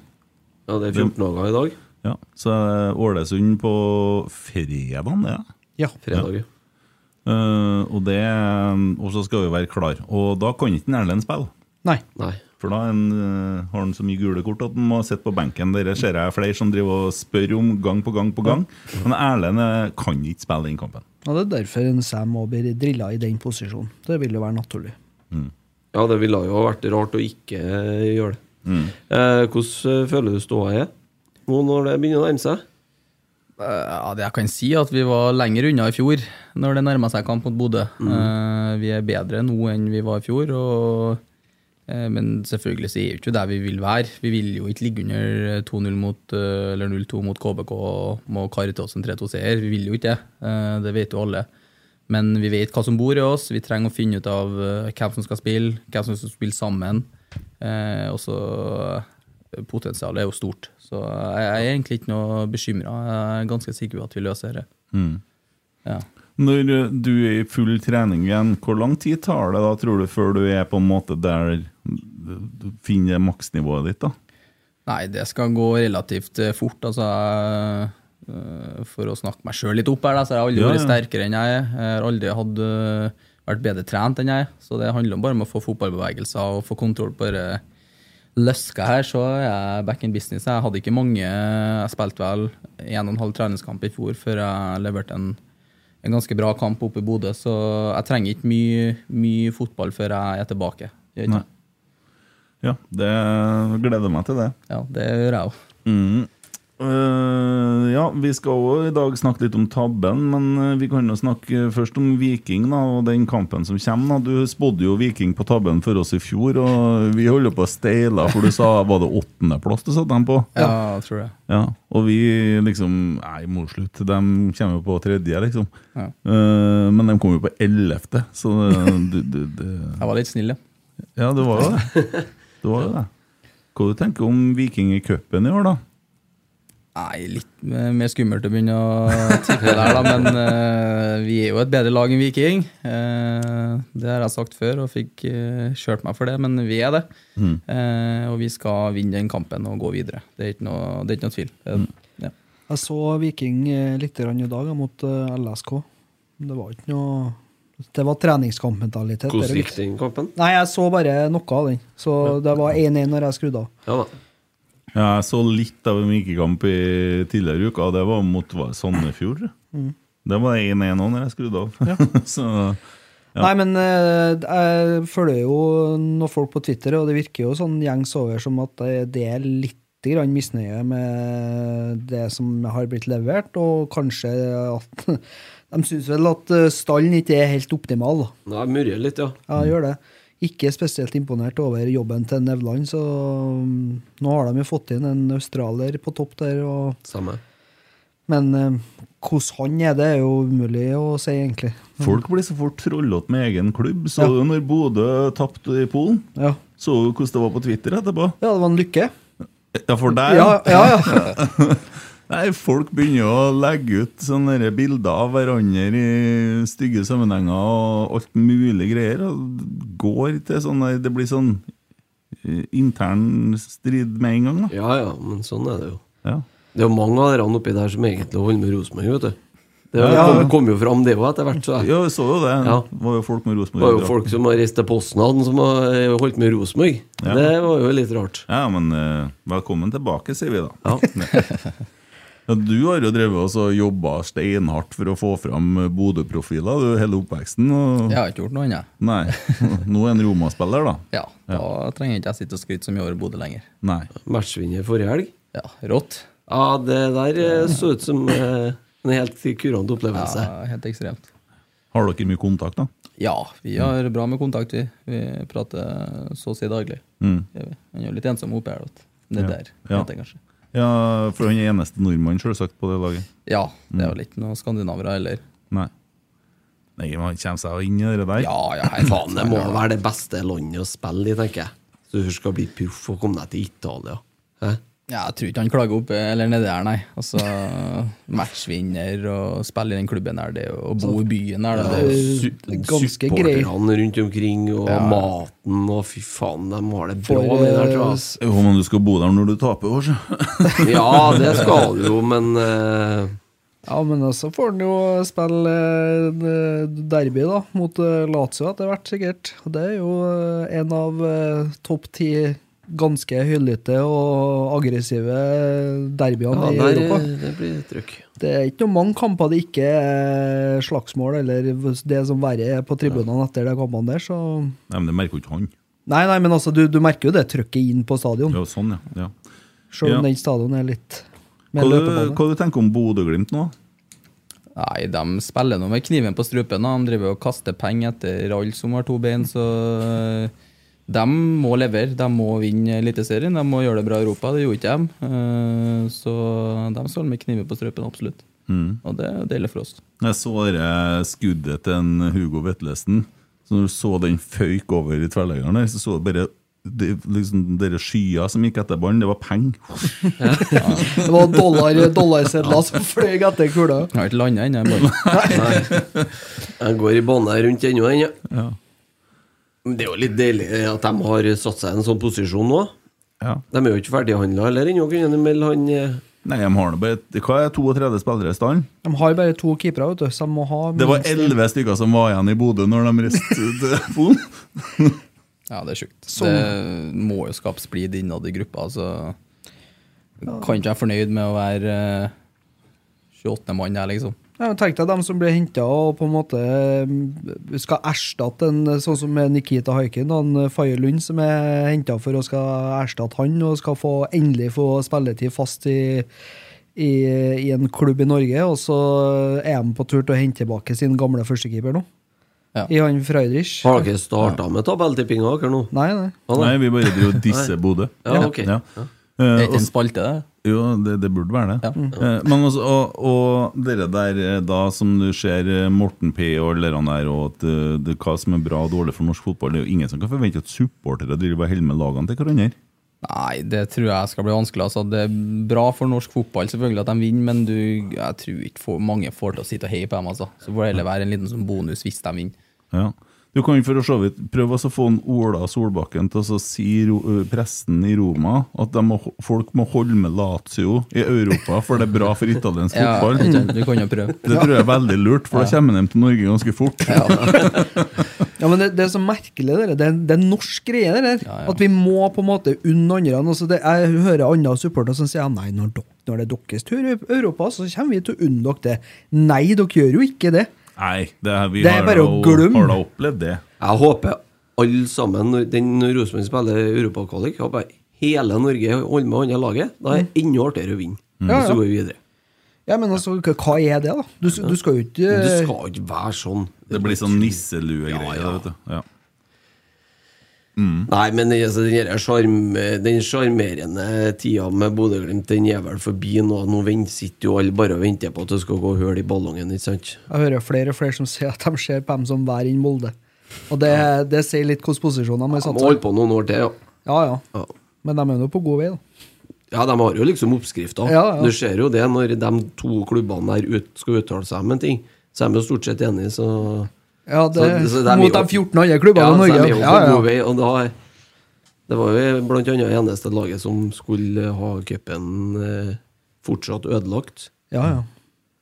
C: Ja, det er 14 dager i dag.
A: Ja, Så er Ålesund på fredagen, det. Ja.
B: Ja.
C: Fredag. Ja.
A: Eh, og, det og så skal vi være klar. Og da kan ikke en Erlend spille.
B: Nei.
C: Nei.
A: For da er han, eh, har han så mye gule kort at han må sitte på benken. Dere ser jeg flere som driver og spør om gang på gang på gang. Men Erlend eh, kan ikke spille den kampen.
B: Og det er derfor en Sam må bli drilla i den posisjonen. Det vil jo være naturlig.
C: Ja, det ville jo vært rart å ikke gjøre det. Eh, hvordan eh, føler du ståa er nå når det begynner å nærme seg?
D: Eh, Ja, det jeg kan si er at vi var lenger unna i fjor når det nærma seg kamp mot Bodø. Eh, vi er bedre nå enn vi var i fjor, og, eh, men selvfølgelig så er vi ikke der vi vil være. Vi vil jo ikke ligge under 2-0 mot, eh, eller 0-2 mot KBK og må karre til oss en 3-2-seier. Vi vil jo ikke det. Eh, det vet jo alle. Men vi vet hva som bor i oss. Vi trenger å finne ut av eh, hvem som skal spille, hvem som skal spille sammen. Eh, og så eh, potensialet er jo stort. Så jeg jeg er egentlig ikke noe bekymra. Jeg er ganske sikker på at vi løser det. Ja.
A: Når eh, du er i full trening igjen, hvor lang tid tar det da, tror du, før du er på en måte der du finner maksnivået ditt? da?
D: Nei, det skal gå relativt eh, fort. Altså, jeg, eh, for å snakke meg sjøl litt opp her, da, så har jeg aldri
A: Ja,
D: vært
A: ja.
D: sterkere enn jeg er. Jeg har aldri hatt, eh, vært bedre trent enn jeg er. Så det handler bare om å få fotballbevegelser og få kontroll på det løska her, så er jeg back in business. Jeg hadde ikke mange eh, Jeg spilte vel en og en halv treningskamp i fjor før jeg leverte en, en ganske bra kamp oppe i Bodø, så jeg trenger ikke mye, mye fotball før jeg er tilbake. Gjør ikke
A: Nei.
D: jeg?
A: Ja, det gleder jeg meg til det.
D: Ja, det gjør jeg òg.
A: Mm. Eh, ja, vi skal òg i dag snakke litt om tabben, men eh, vi kan jo snakke først om Viking da, og den kampen som kommer. Da. Du spådde jo Viking på tabben for oss i fjor, og vi holder på å steile, for du sa var det åttendeplass du satte dem på?
D: Ja, tror jeg.
A: Ja, og vi liksom Nei, morslutt. De kommer jo på tredje, liksom.
D: Ja.
A: Eh, men de kom jo på ellevte, så det- det, det, det
D: Jeg var litt snill, ja.
A: ja, det var jo det. det, var jo det. Hva du tenker du om Viking i cupen i år, da?
D: Nei, litt eh, mer skummelt å begynne å *laughs* tippe der, da, men eh, vi er jo et bedre lag enn Viking. Eh, det har jeg sagt før og fikk eh, kjørt meg for det, men vi er det.
A: Mm.
D: Eh, og vi skal vinne den kampen og gå videre. Det er ikke noe, det er ikke noe tvil. Eh,
A: Mm.
D: ja.
B: Jeg så Viking eh, litt grann i dag ja, mot eh, LSK. Det var ikke noe Det var treningskampmentalitet. det er
C: Hvordan
B: det
C: gikk den kampen?
B: Nei, jeg så bare noe av den. Så det var 1-1 når jeg skrudde av.
C: Ja da.
A: Ja, jeg så litt av en Viking-kamp i tidligere uka, og det var mot var det Sandefjord.
B: Mm.
A: Det var 1-1 nå når jeg skrudde av. *laughs* Så
B: Nei, men eh, jeg følger jo noen folk på Twitter, og det virker jo sånn gjengs over som at det- det er litt grann misnøye med det som har blitt levert, og kanskje at *laughs* De syns vel at eh, stallen ikke er helt optimal. da.
C: Nå har jeg murret litt, ja.
B: Ja, gjør det. Ikke spesielt imponert over jobben til Nevland, så mm, nå har de jo fått inn en australier på topp der. Og,
C: Samme.
B: men eh, hvordan han er, det er jo umulig å si, egentlig.
A: folk blir så fort trollete med egen klubb. Så du når Bodø tapte i Polen?
B: Ja,
A: Så du hvordan det var på Twitter etterpå?
B: ja det var en lykke.
A: Ja, for deg?
B: Ja, ja, ja.
A: Nei, folk begynner jo å legge ut sånne der bilder av hverandre i stygge sammenhenger og alt mulig greier. Og går til sånn der Det blir sånn eh, intern strid med en gang, da.
C: Ja ja, men sånn er det jo.
A: Ja.
C: Det er jo mange av dere oppi der som egentlig holder med Rosenborg, vet du. Det
A: Ja, ja.
C: kom, kom jo fram, det òg, etter hvert. Så jeg.
A: Ja, vi så jo det.
C: Ja.
A: Det var jo folk med
C: Det var jo
A: Rosenborg.
C: folk som har reist til Poznan, som har eh, holdt med Rosenborg.
A: Ja.
C: Det var jo litt rart.
A: Ja, men eh, velkommen tilbake, sier vi da. *laughs*
C: Ja.
A: Ja, du har jo drevet oss og jobba steinhardt for å få fram eh, Bodø-profiler du, hele oppveksten. Og...
D: Jeg har ikke gjort noe ennå.
A: Nei. *laughs* Nå er en Roma-spiller, da.
D: Ja, da trenger ikke jeg sitte og skryte så mye over Bodø lenger.
A: Nei.
C: Matchvinner forrige helg.
D: Ja, rått.
C: Ja, det der eh, så ut som eh, en helt kurant opplevelse.
D: Ja, helt ekstremt.
A: Har dere mye kontakt, da?
D: Ja, vi har bra med kontakt, vi. Vi prater så å si daglig.
A: Mm.
D: Det gjør vi. Han er jo litt ensom oppe her, vet du. Det
A: Ja.
D: der,
A: Ja.
D: heter det kanskje.
A: Ja, for han er eneste nordmann selvsagt på det laget.
D: Ja, det er vel ikke noen skandinavere heller.
A: Nei. Nei, man kommer seg jo inn i det der.
D: Ja, ja, helt
C: Faen, det må være det beste landet å spille i, tenker jeg. Så du skal bli proff og komme deg til Italia. Hæ?
D: Ja, jeg tror ikke han klager oppe eller nede her, nei. Altså, *laughs* matchvinner og spille i den klubben her, det er jo å bo i byen her, det er jo
C: Su-
B: Ganske grei.
C: Supporterne rundt omkring, og maten, og fy faen, de har det bra
B: For,
C: med det der,
B: eh,
C: tror jeg. *laughs* ass.
A: Jo, men du skal bo der når du taper, år, så.
C: Ja, det skal du jo, men eh,
B: Ja, men så får han jo spille eh, derby, da, mot eh, Lazio etter hvert, sikkert. Og Det er jo eh, en av eh, topp ti ganske hyllete og aggressive derbyene
C: ja,
B: i
C: der,
B: Europa.
C: det blir trøkk.
B: Det er ikke noe mange kamper det ikke er slagsmål eller det som verre er på tribunene etter de kampene der, så
A: *laughs* Nei, men det merker jo ikke han.
B: Nei, nei, men altså, du, du merker jo det trøkket inn på stadion,
A: Ja, sånn, ja. ja.
B: selv om
A: Ja.
B: den stadion er litt
A: Hva,
B: mer
A: du,
B: løpebane.
A: hva du tenker om Bodø-Glimt nå?
D: Nei, de spiller nå med kniven på strupen. da. De driver og kaster penger etter alle som har to bein, så eh, de må levere. De må vinne Eliteserien, de må gjøre det bra i Europa. Det gjorde ikke de. Eh, Så de står med kniven på strupen, absolutt.
A: Mm.
D: Og det er deilig for oss.
A: Jeg så det eh, skuddet til en Hugo Vetlesen. Så når du så den føyk over i tverrleggeren der, så så du bare det, liksom, dere skyer som gikk etter ballen. Det var penger.
B: Det var dollar, dollarsedler som fløy etter kula.
D: Jeg har ikke landa ennå. jeg bare-
C: Jeg går i bane rundt ennå, den, ja.
A: *laughs* Ja.
C: Men Det er jo litt deilig eh, at de har satt seg i en sånn posisjon nå.
A: Ja.
C: De er jo ikke ferdighandla heller ennå, kunne de melde han eh,
A: Nei, de har nå bare Hva er 32 spillere i stallen?
B: De har bare to keepere, vet du, så de må ha
A: Det var
B: minst-
A: elleve stykker som var igjen i Bodø når de reiste til Polen.
D: Ja, det er sjukt.
B: Som-
D: Det må jo skape splid innad i gruppa. Altså. Kan ikke være fornøyd med å være eh, 28. mann her, liksom.
B: Ja, men Tenk deg dem som blir henta og på en måte eh, skal erstatte en eh, sånn som med Nikita Haikin, da, en eh, Faye Lund som er henta for å skal erstatte han, og skal få, endelig få spilletid fast i, i, i en klubb i Norge. Og så er han på tur til å hente tilbake sin gamle førstekeeper nå,
D: Ja.
B: i han Freidrich.
C: Har dere starta med tabelltippinga dere nå?
B: Nei, nei.
C: Ja,
A: Nei, vi bare driver og disser Bodø.
C: Ja, ok.
D: Det
A: Eh,
D: er ikke
A: og-
D: en spalte, det.
A: Jo, det, det burde være det. Eh, Men også, og, og dere der eh, da som du ser eh, Morten P og alle de der, og at eh, det, hva som er bra og dårlig for norsk fotball Det er jo ingen som kan forvente at supportere driver og holder med lagene til hverandre.
D: Nei, det tror jeg skal bli vanskelig. Altså, det er bra for norsk fotball selvfølgelig at de vinner, men du, jeg tror ikke for mange får til å sitte og heie på dem. Altså. Så får det heller være en liten sånn bonus hvis de vinner.
A: Ja. Du kan jo for så vidt prøve også å få en Ola Solbakken til å så si ro, ø, presten i Roma at de må, folk må holde med Lazio i Europa, for det er bra for italiensk
B: *laughs*
D: Ja,
A: fotball.
D: ikke sant? du kan jo prøve.
A: Det tror jeg er veldig lurt, for da kommer de til Norge ganske fort.
B: Ja, men det, det er så merkelig, det der. Det, er- det er en norsk greie, det der.
D: Ja, ja.
B: At vi må på en måte unne andre. Altså det, jeg hører andre supportere som sier ja, nei, når, dok, når det er deres tur i Europa, så kommer vi til å unne dere det. Nei, dere gjør jo ikke det.
A: *laughs* Nei, det er, vi
B: Det er
A: har
B: bare
A: da-
B: å glemme.
A: Har da opplevd det.
C: Jeg håper alle sammen, når den når Rosenborg spiller europakvalik, håper jeg hele Norge holder med andre laget. Da er
A: Mm.
C: det enda artigere å vinne.
B: Ja,
C: Og
B: ja.
C: Så går vi videre.
B: Ja, men altså, hva hva er det, da? Du, s- du skal jo ikke
C: Men det skal ikke være sånn.
A: Eh. Det blir sånn nisseluegreier.
C: Ja, ja.
A: vet du. Ja.
C: Nei, men altså, den her sjarm- den sjarmerende tida med Bodø-Glimt, den er vel forbi nå. Nå vent- sitter jo alle bare og venter på at det skal gå hull i ballongen, ikke sant?
B: Jeg hører flere og flere som sier at de ser på dem som hver inn Molde. Og det, det sier litt hvilke posisjoner de har
C: De
B: satt
C: må
B: seg
C: holde på noen år til, ja.
B: Ja, ja.
C: Sånn, ja.
B: Men de er nå på god vei, da.
C: Ja, de har jo liksom oppskrifta.
B: Ja, ja.
C: Du ser jo det når de to klubbene der ut, skal uttale seg om en ting. Så de er jo stort sett enige, så
B: Ja, det,
C: Så- så de er
B: mot
C: jo-
B: de 14 andre klubbene
C: Ja,
B: i
C: så
B: Norge.
C: de er jo på
B: Ja, ja.
C: god vei, og da Det var jo blant annet eneste laget som skulle ha cupen eh, fortsatt ødelagt.
B: ja, ja.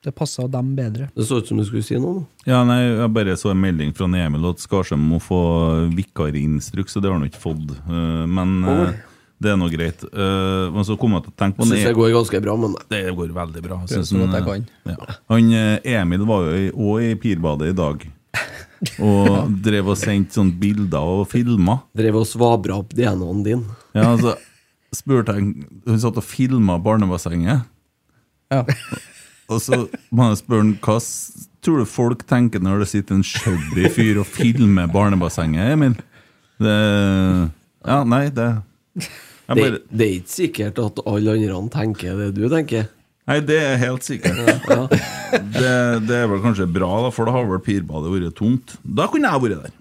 B: Det passer dem bedre.
C: Det så ut som du skulle si noe nå.
A: Ja, nei, Jeg bare så en melding fra Emil at Skarsheim må få vikarinstruks, og det har han ikke fått. Eh, Men eh, det er nå greit. Eh, Men så kom jeg til å tenke på
C: Syns det
A: det.
C: går ganske bra, men
A: Det går veldig bra.
D: Prøver
A: synes
D: så godt
A: han,
D: jeg kan.
A: eh, ja. Han, eh, Emil var jo i- også i Pirbadet i dag. Og drev og sendte sånne bilder og filma.
C: drev og svabra opp DNA-en din.
A: Ja, altså, spurte jeg, Hun satt og filma barnebassenget.
D: Ja.
A: Og så må jeg spørre han, hva s- tror du folk tenker når det sitter en shabby fyr og filmer barnebassenget, Emil? Det, ja, nei, det jeg
C: Det,
A: bare,
C: det er ikke sikkert at alle andre tenker det du tenker.
A: Nei, det er helt sikkert.
C: Ja.
A: Det, det er vel kanskje bra, da, for da har vel pirbadet vært tomt. Da kunne jeg vært der.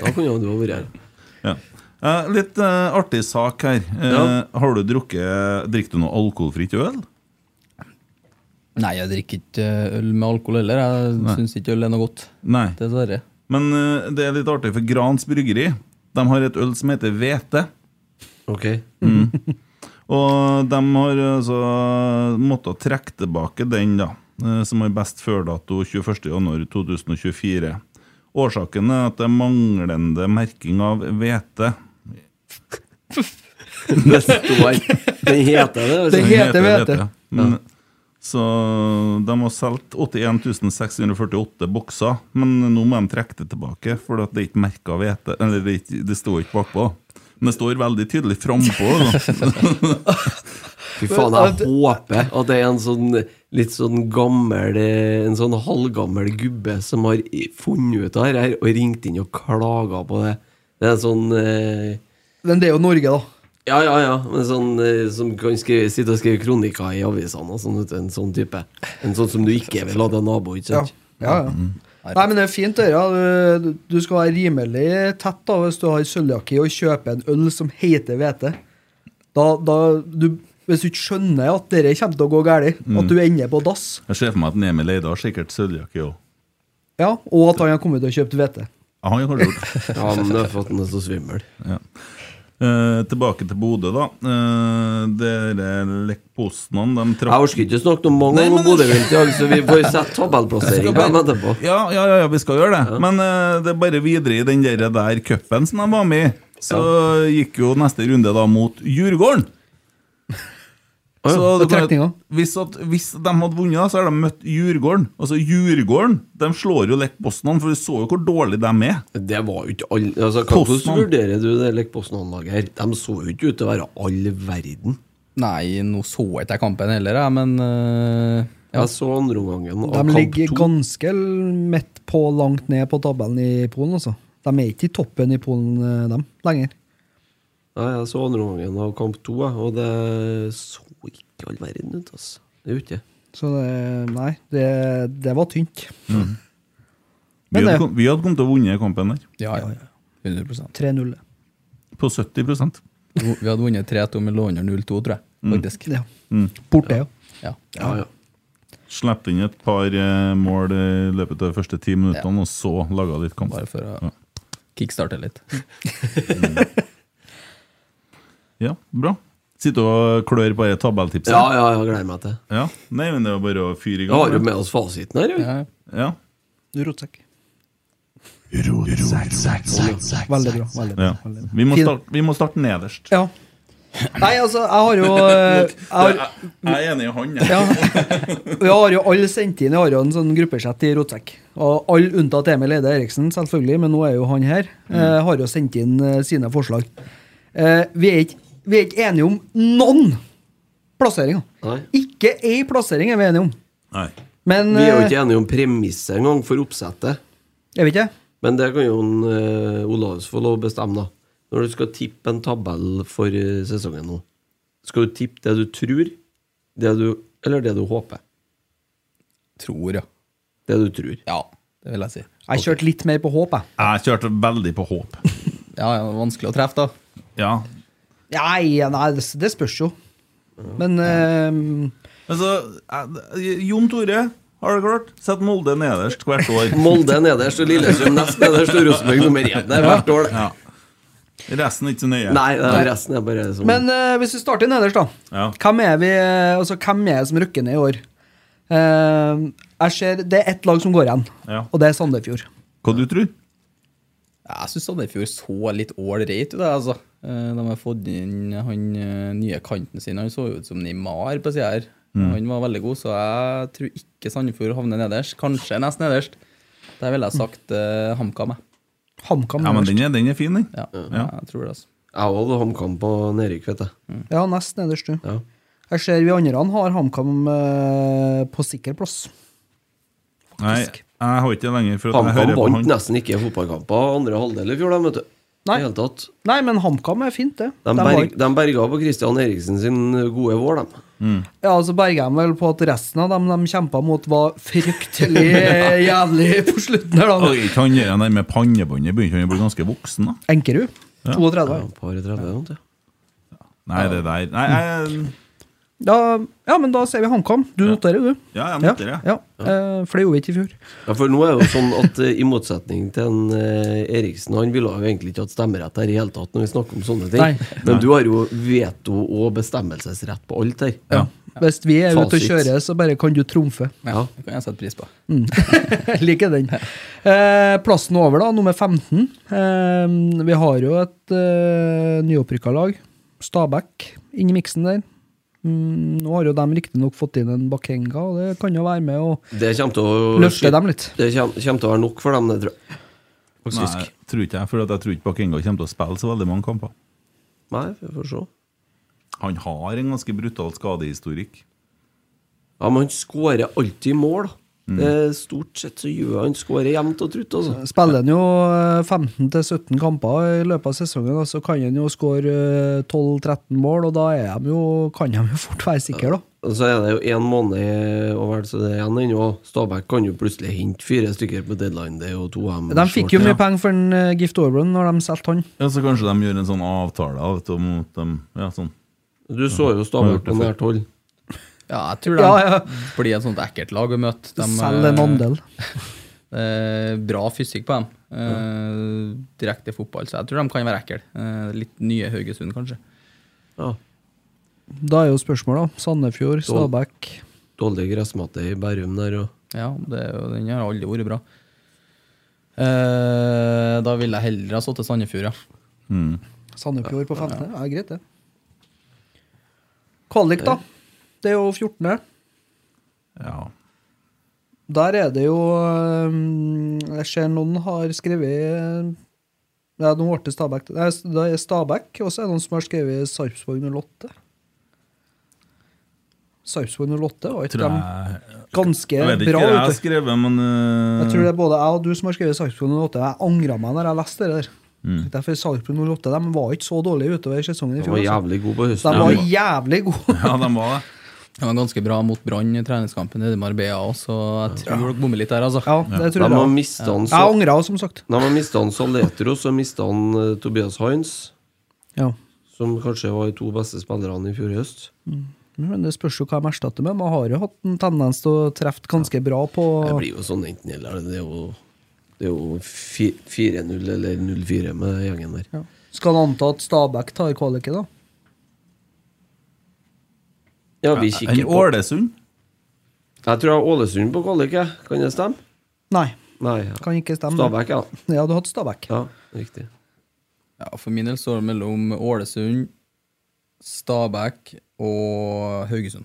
C: Da kunne jo du ha vært her.
A: Ja. Eh, litt eh, artig sak her. Eh,
C: Ja.
A: Har du drukket Drikker du noe alkoholfritt øl?
D: *laughs* Nei, jeg drikker ikke eh, øl med alkohol heller. Jeg syns ikke øl er noe godt.
A: Nei.
D: Dessverre.
A: Men eh, det er litt artig, for Grans Bryggeri De har et øl som heter Hvete.
C: Ok.
A: Og de har altså måttet trekke tilbake den, da, eh, som har best før-dato 21.1.2024. Årsaken er at det er manglende merking av hvete.
C: Det står Den heter det.
B: Det
C: Altså.
A: Den
B: heter hvete.
A: Men, Så de har solgt 81 648 bokser, men nå må de trekke det tilbake, for at det er ikke merka hvete. Eller det, er ikke, det står ikke bakpå. Men det står veldig tydelig frampå. da.
C: Fy faen, jeg håper at det er en sånn litt sånn gammel eh, En sånn halvgammel gubbe som har i- funnet ut av det her og ringt inn og klaga på det. Det er en sånn eh,
B: Men det er jo Norge, da.
C: Ja, ja, ja. Men sånn eh, som kan skrive, sitte og skrive kronikker i avisene og sånn. vet du, En sånn type. En sånn som du ikke vil ha til nabo, ikke
B: Ja.
C: sant?
B: Ja, ja. Nei, men det er fint, det. Ja. Du- Du skal være rimelig tett da hvis du har sølvjakke i og kjøper en øl som heter hvete. Da, da, du, hvis du ikke skjønner at dette kommer til å gå galt, at du ender på dass,
A: Jeg ser for meg at en Emil Eide har sikkert sølvjakke òg.
B: ja, og at han har kommet til å kjøpe hvete.
A: Han har kanskje gjort det.
C: *laughs* Ja, men det er for at den er så svimmel.
A: Eh, tilbake til Bodø, da. Eh, Dere Lekposnan, de traff
C: Jeg orker ikke snakke noe mange ganger om Bodø-Glimt i dag, så vi får sette tabellplassering på dem etterpå.
A: Ja, ja, ja, ja, vi skal gjøre det. Men eh, det er bare videre i den der, der cupen som de var med i. Så gikk jo neste runde da mot Djurgården. Så
B: På
A: det kan-
B: trekninga.
A: hvis, at, hvis de hadde vunnet, da, så hadde de møtt Djurgården. Altså Djurgården de slår jo Lech Poznan, for vi så jo hvor dårlig de er.
C: Det var jo ikke alle altså, Hvordan
A: Poznan.
C: vurderer du det Lech Poznan-laget her? De så jo ikke ut til å være all verden.
D: Nei, nå så jeg ikke kampen heller, jeg, men eh, ja,
C: Jeg så andreomgangen av
B: De
C: kamp
B: ligger
C: to.
B: ganske midt på, langt ned på tabellen i Polen, altså. De er ikke i toppen i Polen, eh, dem, lenger.
C: Nei, jeg så andreomgangen av kamp to, jeg, og det så ikke all verden ut, altså. Det er jo ikke
B: Så det, nei, det, det var tynt.
A: Vi
B: Men
A: hadde,
B: det-
A: kom- vi hadde kommet til å vunne kampen der,
D: ja, ja, ja. 100
B: 3-0.
A: på 70
D: *laughs* Vi hadde vunnet 3-2 med lå under 0-2, tror jeg. Faktisk.
B: Ja. Borte, ja.
D: Ja.
C: Ja, ja.
A: Slapp inn et par eh, mål eh, i løpet av de første ti minuttene, og så laga litt kamp.
D: Bare for å kickstarte litt.
A: Ja, bra. Sitter og klør på det tabelltipset?
C: ja, ja, jeg gleder meg til det.
A: Ja. Nei, men det var bare å fyre i
C: Vi har jo
A: gang.
C: med oss fasiten her, jo.
D: Ja, ja.
A: Ja.
B: Rotsekk. Veldig bra. veldig bra.
A: Ja. Vi, må
B: Fin.
A: starte, vi må starte nederst.
B: Ja. Nei, altså, jeg har jo
C: *laughs*
B: eh, jeg har,
A: Jeg, jeg er enig i han, jeg.
B: ja. Vi har jo alle sendt inn Jeg har jo en sånn gruppesett i Rotsekk. Og alle unntatt Emil Eide Eriksen, selvfølgelig, men nå er jo han her. eh,
C: Mm.
B: Har jo sendt inn eh, sine forslag. Eh, Vi er ikke, vi er ikke enige om noen plasseringer.
C: Nei.
B: Ikke ei plassering er vi enige om.
A: Nei.
B: Men
C: Vi er jo
B: eh,
C: ikke enige om premisset engang for oppsettet.
B: Jeg vet ikke.
C: Men det kan jo en, eh, Olaus få lov å bestemme, da. Når du skal tippe en tabell for eh, sesongen nå, skal du tippe det du tror, det du, eller det du håper?
D: Tror, ja.
C: Det du tror.
D: Ja, det vil jeg si.
B: Jeg kjørte litt mer på håp, jeg.
A: Jeg kjørte veldig på håp.
D: Ja, ja, Vanskelig å treffe, da.
A: Ja.
B: Nei, nei det, det spørs jo. Men eh,
A: Altså, jeg, Jon Tore, har det klart? Sett Molde nederst hvert år.
C: Molde nederst og Lillestrøm nest nederst og Rosenborg nummer én. Det er hvert år, det.
A: Ja. Resten er ikke så nøye.
C: Nei, det er resten er bare sånn. som
B: Men eh, hvis vi starter nederst, da.
A: Ja.
B: Hvem er vi altså, hvem er det som rykker ned i år? Eh, jeg ser Det er ett lag som går igjen,
A: Ja.
B: og det er Sandefjord.
A: Hva du tror
D: Jeg syns Sandefjord så litt ålreit ut, jeg, altså. Eh, De har fått inn han eh, nye kanten sin. Han så jo ut som Nimar på sida her. Han var veldig god, så jeg tror ikke Sandefjord havner nederst. Kanskje nest nederst. Der ville jeg sagt eh, HamKam, jeg.
B: HamKam
A: Ja, men
B: nederst.
A: den er, den er fin, den.
D: Ja,
A: Ja.
D: jeg tror det, altså.
C: Jeg hadde HamKam på nedrykk, vet jeg.
B: Ja, nest nederst, du.
C: Ja.
B: Jeg ser vi andre har HamKam eh, på sikker plass.
A: Nei, jeg har ikke det lenger, for at jeg
C: HamKam
A: hører på
C: vant
A: han.
C: nesten ikke fotballkamper andre halvdel i fjor, de, vet du.
B: Nei.
C: I hele tatt.
B: Nei, men HamKam er fint, det.
C: De,
B: De
C: berg,
B: har-
C: de berga på Christian Eriksen sin gode vår, de.
B: Ja, altså berger de vel på at resten av dem de kjempa mot, var fryktelig
A: *laughs*
B: jævlig på slutten her, da.
A: Oi, ikke han der nei, med pannebåndet begynte han å bli ganske voksen, da.
B: Enkerud. 32.
C: Ja, par i 30, sånt, ja.
A: Nei, det der Nei, jeg,
B: Da, ja, men da ser vi HamKam. Du noterer, du.
A: ja, jeg måtte det.
B: Ja, eh, For det gjorde vi ikke i fjor.
C: Ja, for nå er det jo sånn at eh, i motsetning til en eh, Eriksen, han ville jo egentlig ikke hatt stemmerett her i hele tatt når vi snakker om sånne ting.
B: Nei.
C: Men du har jo veto og bestemmelsesrett på alt her.
A: Ja.
B: Hvis vi er ute og
C: Fasit.
B: kjører, så bare kan du trumfe. *laughs*
C: Ja.
D: Det kan jeg sette pris på.
B: Liker den. Eh, plassen over, da, nummer 15. Eh, vi har jo et eh, nyopprykka lag. Stabæk inn i miksen der. Mm, nå har jo de riktignok fått inn en Bakenga, og det kan jo være med å
C: Det kommer til å
B: løfte dem litt.
C: Det kommer, kommer til å være nok for dem, det tror jeg. Faktisk.
A: Nei, tror ikke jeg, for at jeg tror ikke Bakenga kommer til å spille så veldig mange kamper.
C: Nei, vi får se.
A: Han har en ganske brutal skadehistorikk.
C: Ja, men han skårer alltid mål, da. Eh, Stort sett så gjør han skårer jevnt og trutt, altså.
B: Spiller han jo eh, 15-17 kamper i løpet av sesongen, og så kan han jo skåre eh, 12-13 mål, og da er de jo, kan de jo fort være sikre, da.
C: Og så er det jo én måned og vel så det er igjen ennå. Stabæk kan jo plutselig hente fire stykker på deadline day og to M.
B: De fikk jo mye penger for en eh, Gift Orbrun når de solgte han.
A: Ja, Så kanskje de gjør en sånn avtale da, vet du, mot dem. Ja, sånn.
C: Du så jo Stabæk på nært hold.
D: Ja, jeg tror de
B: Ja, ja.
D: blir et sånt ekkelt lag å møte. De,
B: Selg en
D: eh,
B: andel.
D: eh, bra fysikk på dem. Eh, direkte fotball, så jeg tror de kan være ekle. Eh, litt nye Haugesund, kanskje.
C: Ja.
B: Da er jo spørsmålet, da. Sandefjord, Stabæk
C: Dårlig gressmatte i Bærum der og
D: Ja, det, er jo- den har aldri vært bra. Eh, da ville jeg heller ha satt til Sandefjord, ja.
A: Hmm.
B: Sandefjord på 15. Ja, greit, det. Kvalik, da. det er jo 14.
A: Ja.
B: Der er det jo øhm, Jeg ser noen har skrevet ja, nå ble det Stabæk. Nei, Det er Stabæk, og så er det noen som har skrevet Sarpsborg 08. Sarpsborg 08 var ikke
A: Tror
B: dem
A: jeg,
B: ganske
A: jeg vet ikke
B: bra.
A: hva jeg altså.
B: vet
A: har
B: du.
A: skrevet, men eh,
B: *laughs* Jeg tror det er både jeg og du som har skrevet Sarpsborg 08. Jeg angra meg når jeg leste det der.
A: Mm.
B: Derfor Sarpsborg 08 de var ikke så dårlige utover sesongen i
C: De
B: fjor.
C: var
B: altså.
C: jævlig gode på høsten.
B: De var jævlig gode. *laughs*
A: Ja, de var det.
D: Det var ganske bra mot Brann i treningskampen nede i Marbella òg, så jeg tror dere bommer litt der, altså.
B: Ja, det
C: De
B: tror
C: har
B: jeg.
C: mista han
B: Jeg
C: så-
B: angra, som sagt.
C: de har mistet han Saletros og mista han eh, Tobias Hines,
B: Ja.
C: som kanskje var de to beste spillerne i fjor høst.
B: Men det spørs jo hva de erstatter med. Man har jo hatt en tendens til å treffe ganske bra på
C: Det blir jo sånn enten eller. Det er jo, det er jo fi- 4-0 eller 0-4 med den gjengen der.
B: ja. Skal han anta at Stabæk tar kvaliken, da?
C: Ja, vi
A: En
C: kikker på
A: Ålesund?
C: Jeg tror jeg har Ålesund på kvalik, jeg. Kan det stemme?
B: Nei,
C: Nei. ja.
B: kan ikke stemme.
C: Stabæk, ja.
B: Ja, du hadde Stabæk.
C: ja. Riktig.
D: Ja, for min del står det mellom Ålesund, Stabæk og Haugesund.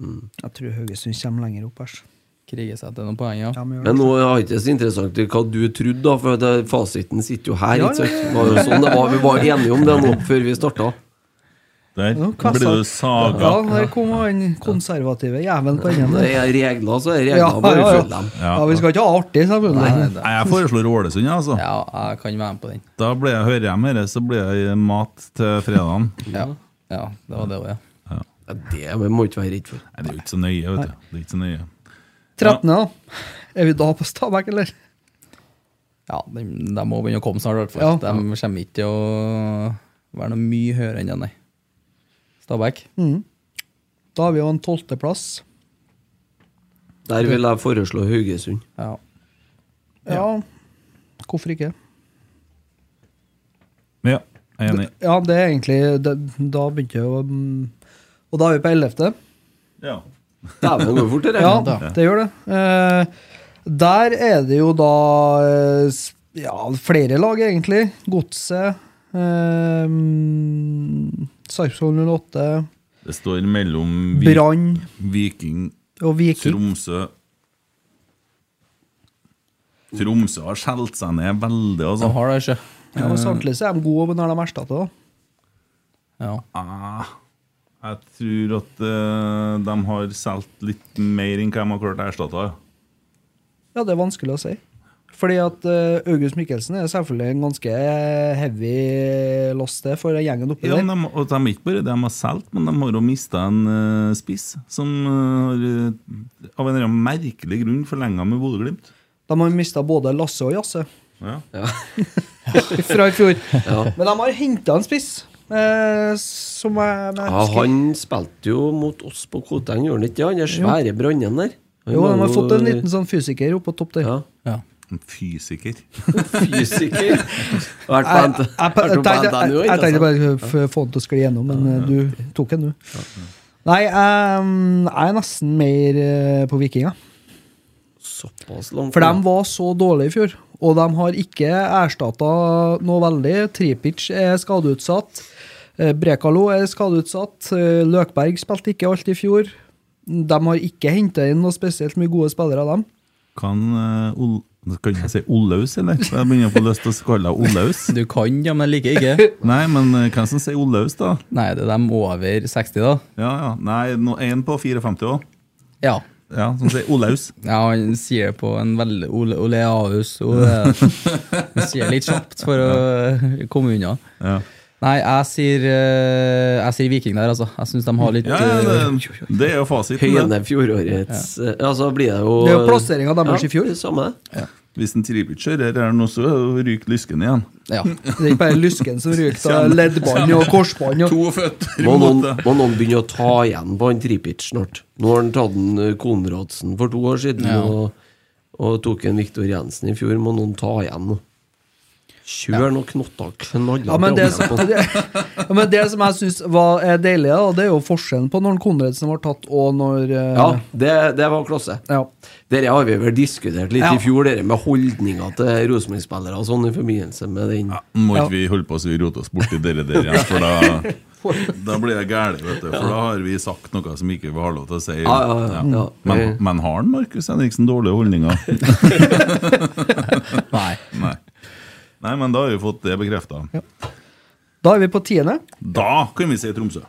B: Jeg tror Haugesund kommer lenger opp, æsj.
D: Kriger seg til noen poeng, ja.
B: Ja, men gjør det.
C: Men nå er det ikke så interessant hva du trodde, da, for det, fasiten sitter jo her.
B: Ja,
C: ikke sant?
B: ja, ja,
C: Det var jo sånn det var. Vi var enige om det nå før vi starta.
A: Der
B: Ja, hva
A: blir
B: sa-
A: du saga.
B: ja, der kom han konservative jævelen på enden.
C: Når det er regler, så er det regler. Bare følg dem.
B: ja. ja, vi skal ikke ha artig, selvfølgelig.
A: Nei, jeg foreslår Ålesund, jeg, altså.
D: Ja, jeg kan være med på den.
A: Da blir jeg, hører jeg med dere, så blir jeg mat til fredagen.
D: Ja, ja det var det òg, ja.
C: Ja, det må vi ikke være redd for.
A: Nei, det er jo ikke så nøye, vet du. Det er ikke så nøye.
B: 13., da. Er vi da på Stabæk, eller?
D: Ja, de, de må begynne å komme snart, i hvert fall.
B: Ja.
D: De kommer ikke til å være noe mye høyere enn den, nei. Stabæk?
B: Mhm. Da har vi jo en tolvteplass.
C: Der vil jeg foreslå Haugesund.
D: Ja.
B: Ja, hvorfor ikke?
A: Men ja, jeg er enig.
B: Ja, det er egentlig det, Da begynte jeg å mm, Og da er vi på 11.
A: Ja.
C: Dæven, går fort, det.
B: Ja,
C: regnet.
B: det gjør det. Eh, der er det jo da eh, s- ja, flere lag, egentlig. Godset. eh, mm, Sarpsborg 08.
A: Det står mellom Vi-
B: Brann
A: Viking,
B: og Viking.
A: Tromsø Tromsø har skjelt seg ned veldig,
D: De
A: altså.
D: har det ikke.
B: Ja, og Samtidig så er de gode når de erstatter, da.
D: Ja.
A: Ah, jeg tror at eh, de har solgt litt mer enn hva de har klart å erstatte. ja.
B: Ja, det er vanskelig å si. Fordi at eh, August Mikkelsen er selvfølgelig en ganske heavy loss det for gjengen oppi
A: Ja, men
B: der.
A: de, og de, er ikke bare det de har solgt, men de har jo mista en eh, spiss som eh, har, eh, av en eller annen merkelig grunn forlenga med Bodø-Glimt.
B: De har mista både Lasse og Jasse
A: Ja.
B: fra i
A: *laughs*
B: fjor.
C: Ja.
B: Men de har henta en spiss, eh, som jeg, jeg
C: Ja,
B: husker-
C: han spilte jo mot oss på Koteng, gjorde han ikke det? Han er svære brannen der. Han
B: Jo,
C: var
B: de har
C: jo-
B: fått en liten sånn fysiker opp på topp der.
C: ja.
D: ja.
A: En fysiker.
C: Fysiker. Vært på
B: Jeg,
C: NT-
B: jeg, jeg,
C: vært
B: jeg,
C: på
B: tenkte- jeg,
C: NTNU, ikke
B: jeg tenkte
C: sant?
B: bare f- få den til å skli gjennom, men eh, du tok den, du. Nei, em, jeg er nesten mer eh, på Vikinga.
C: Såpass langt.
B: For de var så dårlige i fjor, og de har ikke erstatta noe veldig. Tripic er skadeutsatt. eh, Brekalo er skadeutsatt. eh, Løkberg spilte ikke alt i fjor. De har ikke henta inn noe spesielt mye gode spillere, dem.
A: Kan, eh, Ol kan jeg si Olaus, eller? Jeg begynner å få lyst til å kalle deg Olaus.
D: Du kan, ja, men jeg liker *laughs* ikke.
A: Nei, men eh, hvem som sier Olaus, da?
D: Nei, det er dem over 60, da.
A: Ja, ja. Nei, no, en på 54 òg.
D: Ja.
A: Ja, som sier Olaus.
D: Ja, han sier det på en veldig Ole, Oleaus Ole, Han sier det litt kjapt for å komme unna.
A: Ja,
D: Nei, jeg sier, eh, jeg sier Viking der, altså. Jeg syns de har litt
A: ja, ja det, det er jo fasiten. Det.
C: Høyene fjorårets Ja, så blir det jo
B: Det er jo plasseringa deres i fjor.
C: Ja, det samme.
A: Hvis en Tripic kjører her nå, så ryker lysken igjen.
D: eh, ja.
B: Det er ikke bare Lysken som ryker
C: *laughs*
B: av leddbånd og korsbånd. Og.
A: To føtter
C: Må noen,
A: mot det.
C: må noen begynne å ta igjen på han Tripic snart? Nå har han tatt en eh, Konradsen for to år siden
D: Ja.
C: og, og tok en Viktor Jensen i fjor. Må noen ta igjen nå? Kjør noen knotter knaller
B: Ja, men det,
C: fram
B: som, *laughs*
C: igjen på
B: det, ja, men det som jeg syns er deilig, da, det er jo forskjellen på når Konradsen var tatt, og når eh,
C: Ja, det, det var klasse.
B: ja.
C: Dere har vi vel diskutert litt
B: Ja.
C: i fjor, dere med holdninger til Rosenborg-spillere og sånn i forbindelse med den.
A: Ja, må ikke vi holde på så vi roter oss borti dere der igjen, for da Da blir det gærent, vet du. For da har vi sagt noe som ikke vi har lov til å si.
C: Ja, ja, ja, ja.
A: Men, men har han Markus Henriksen dårlige holdninger?
D: Nei.
A: Nei. Nei, men da har vi fått det bekrefta.
B: Da er vi på tiende.
A: Da kan vi si Tromsø.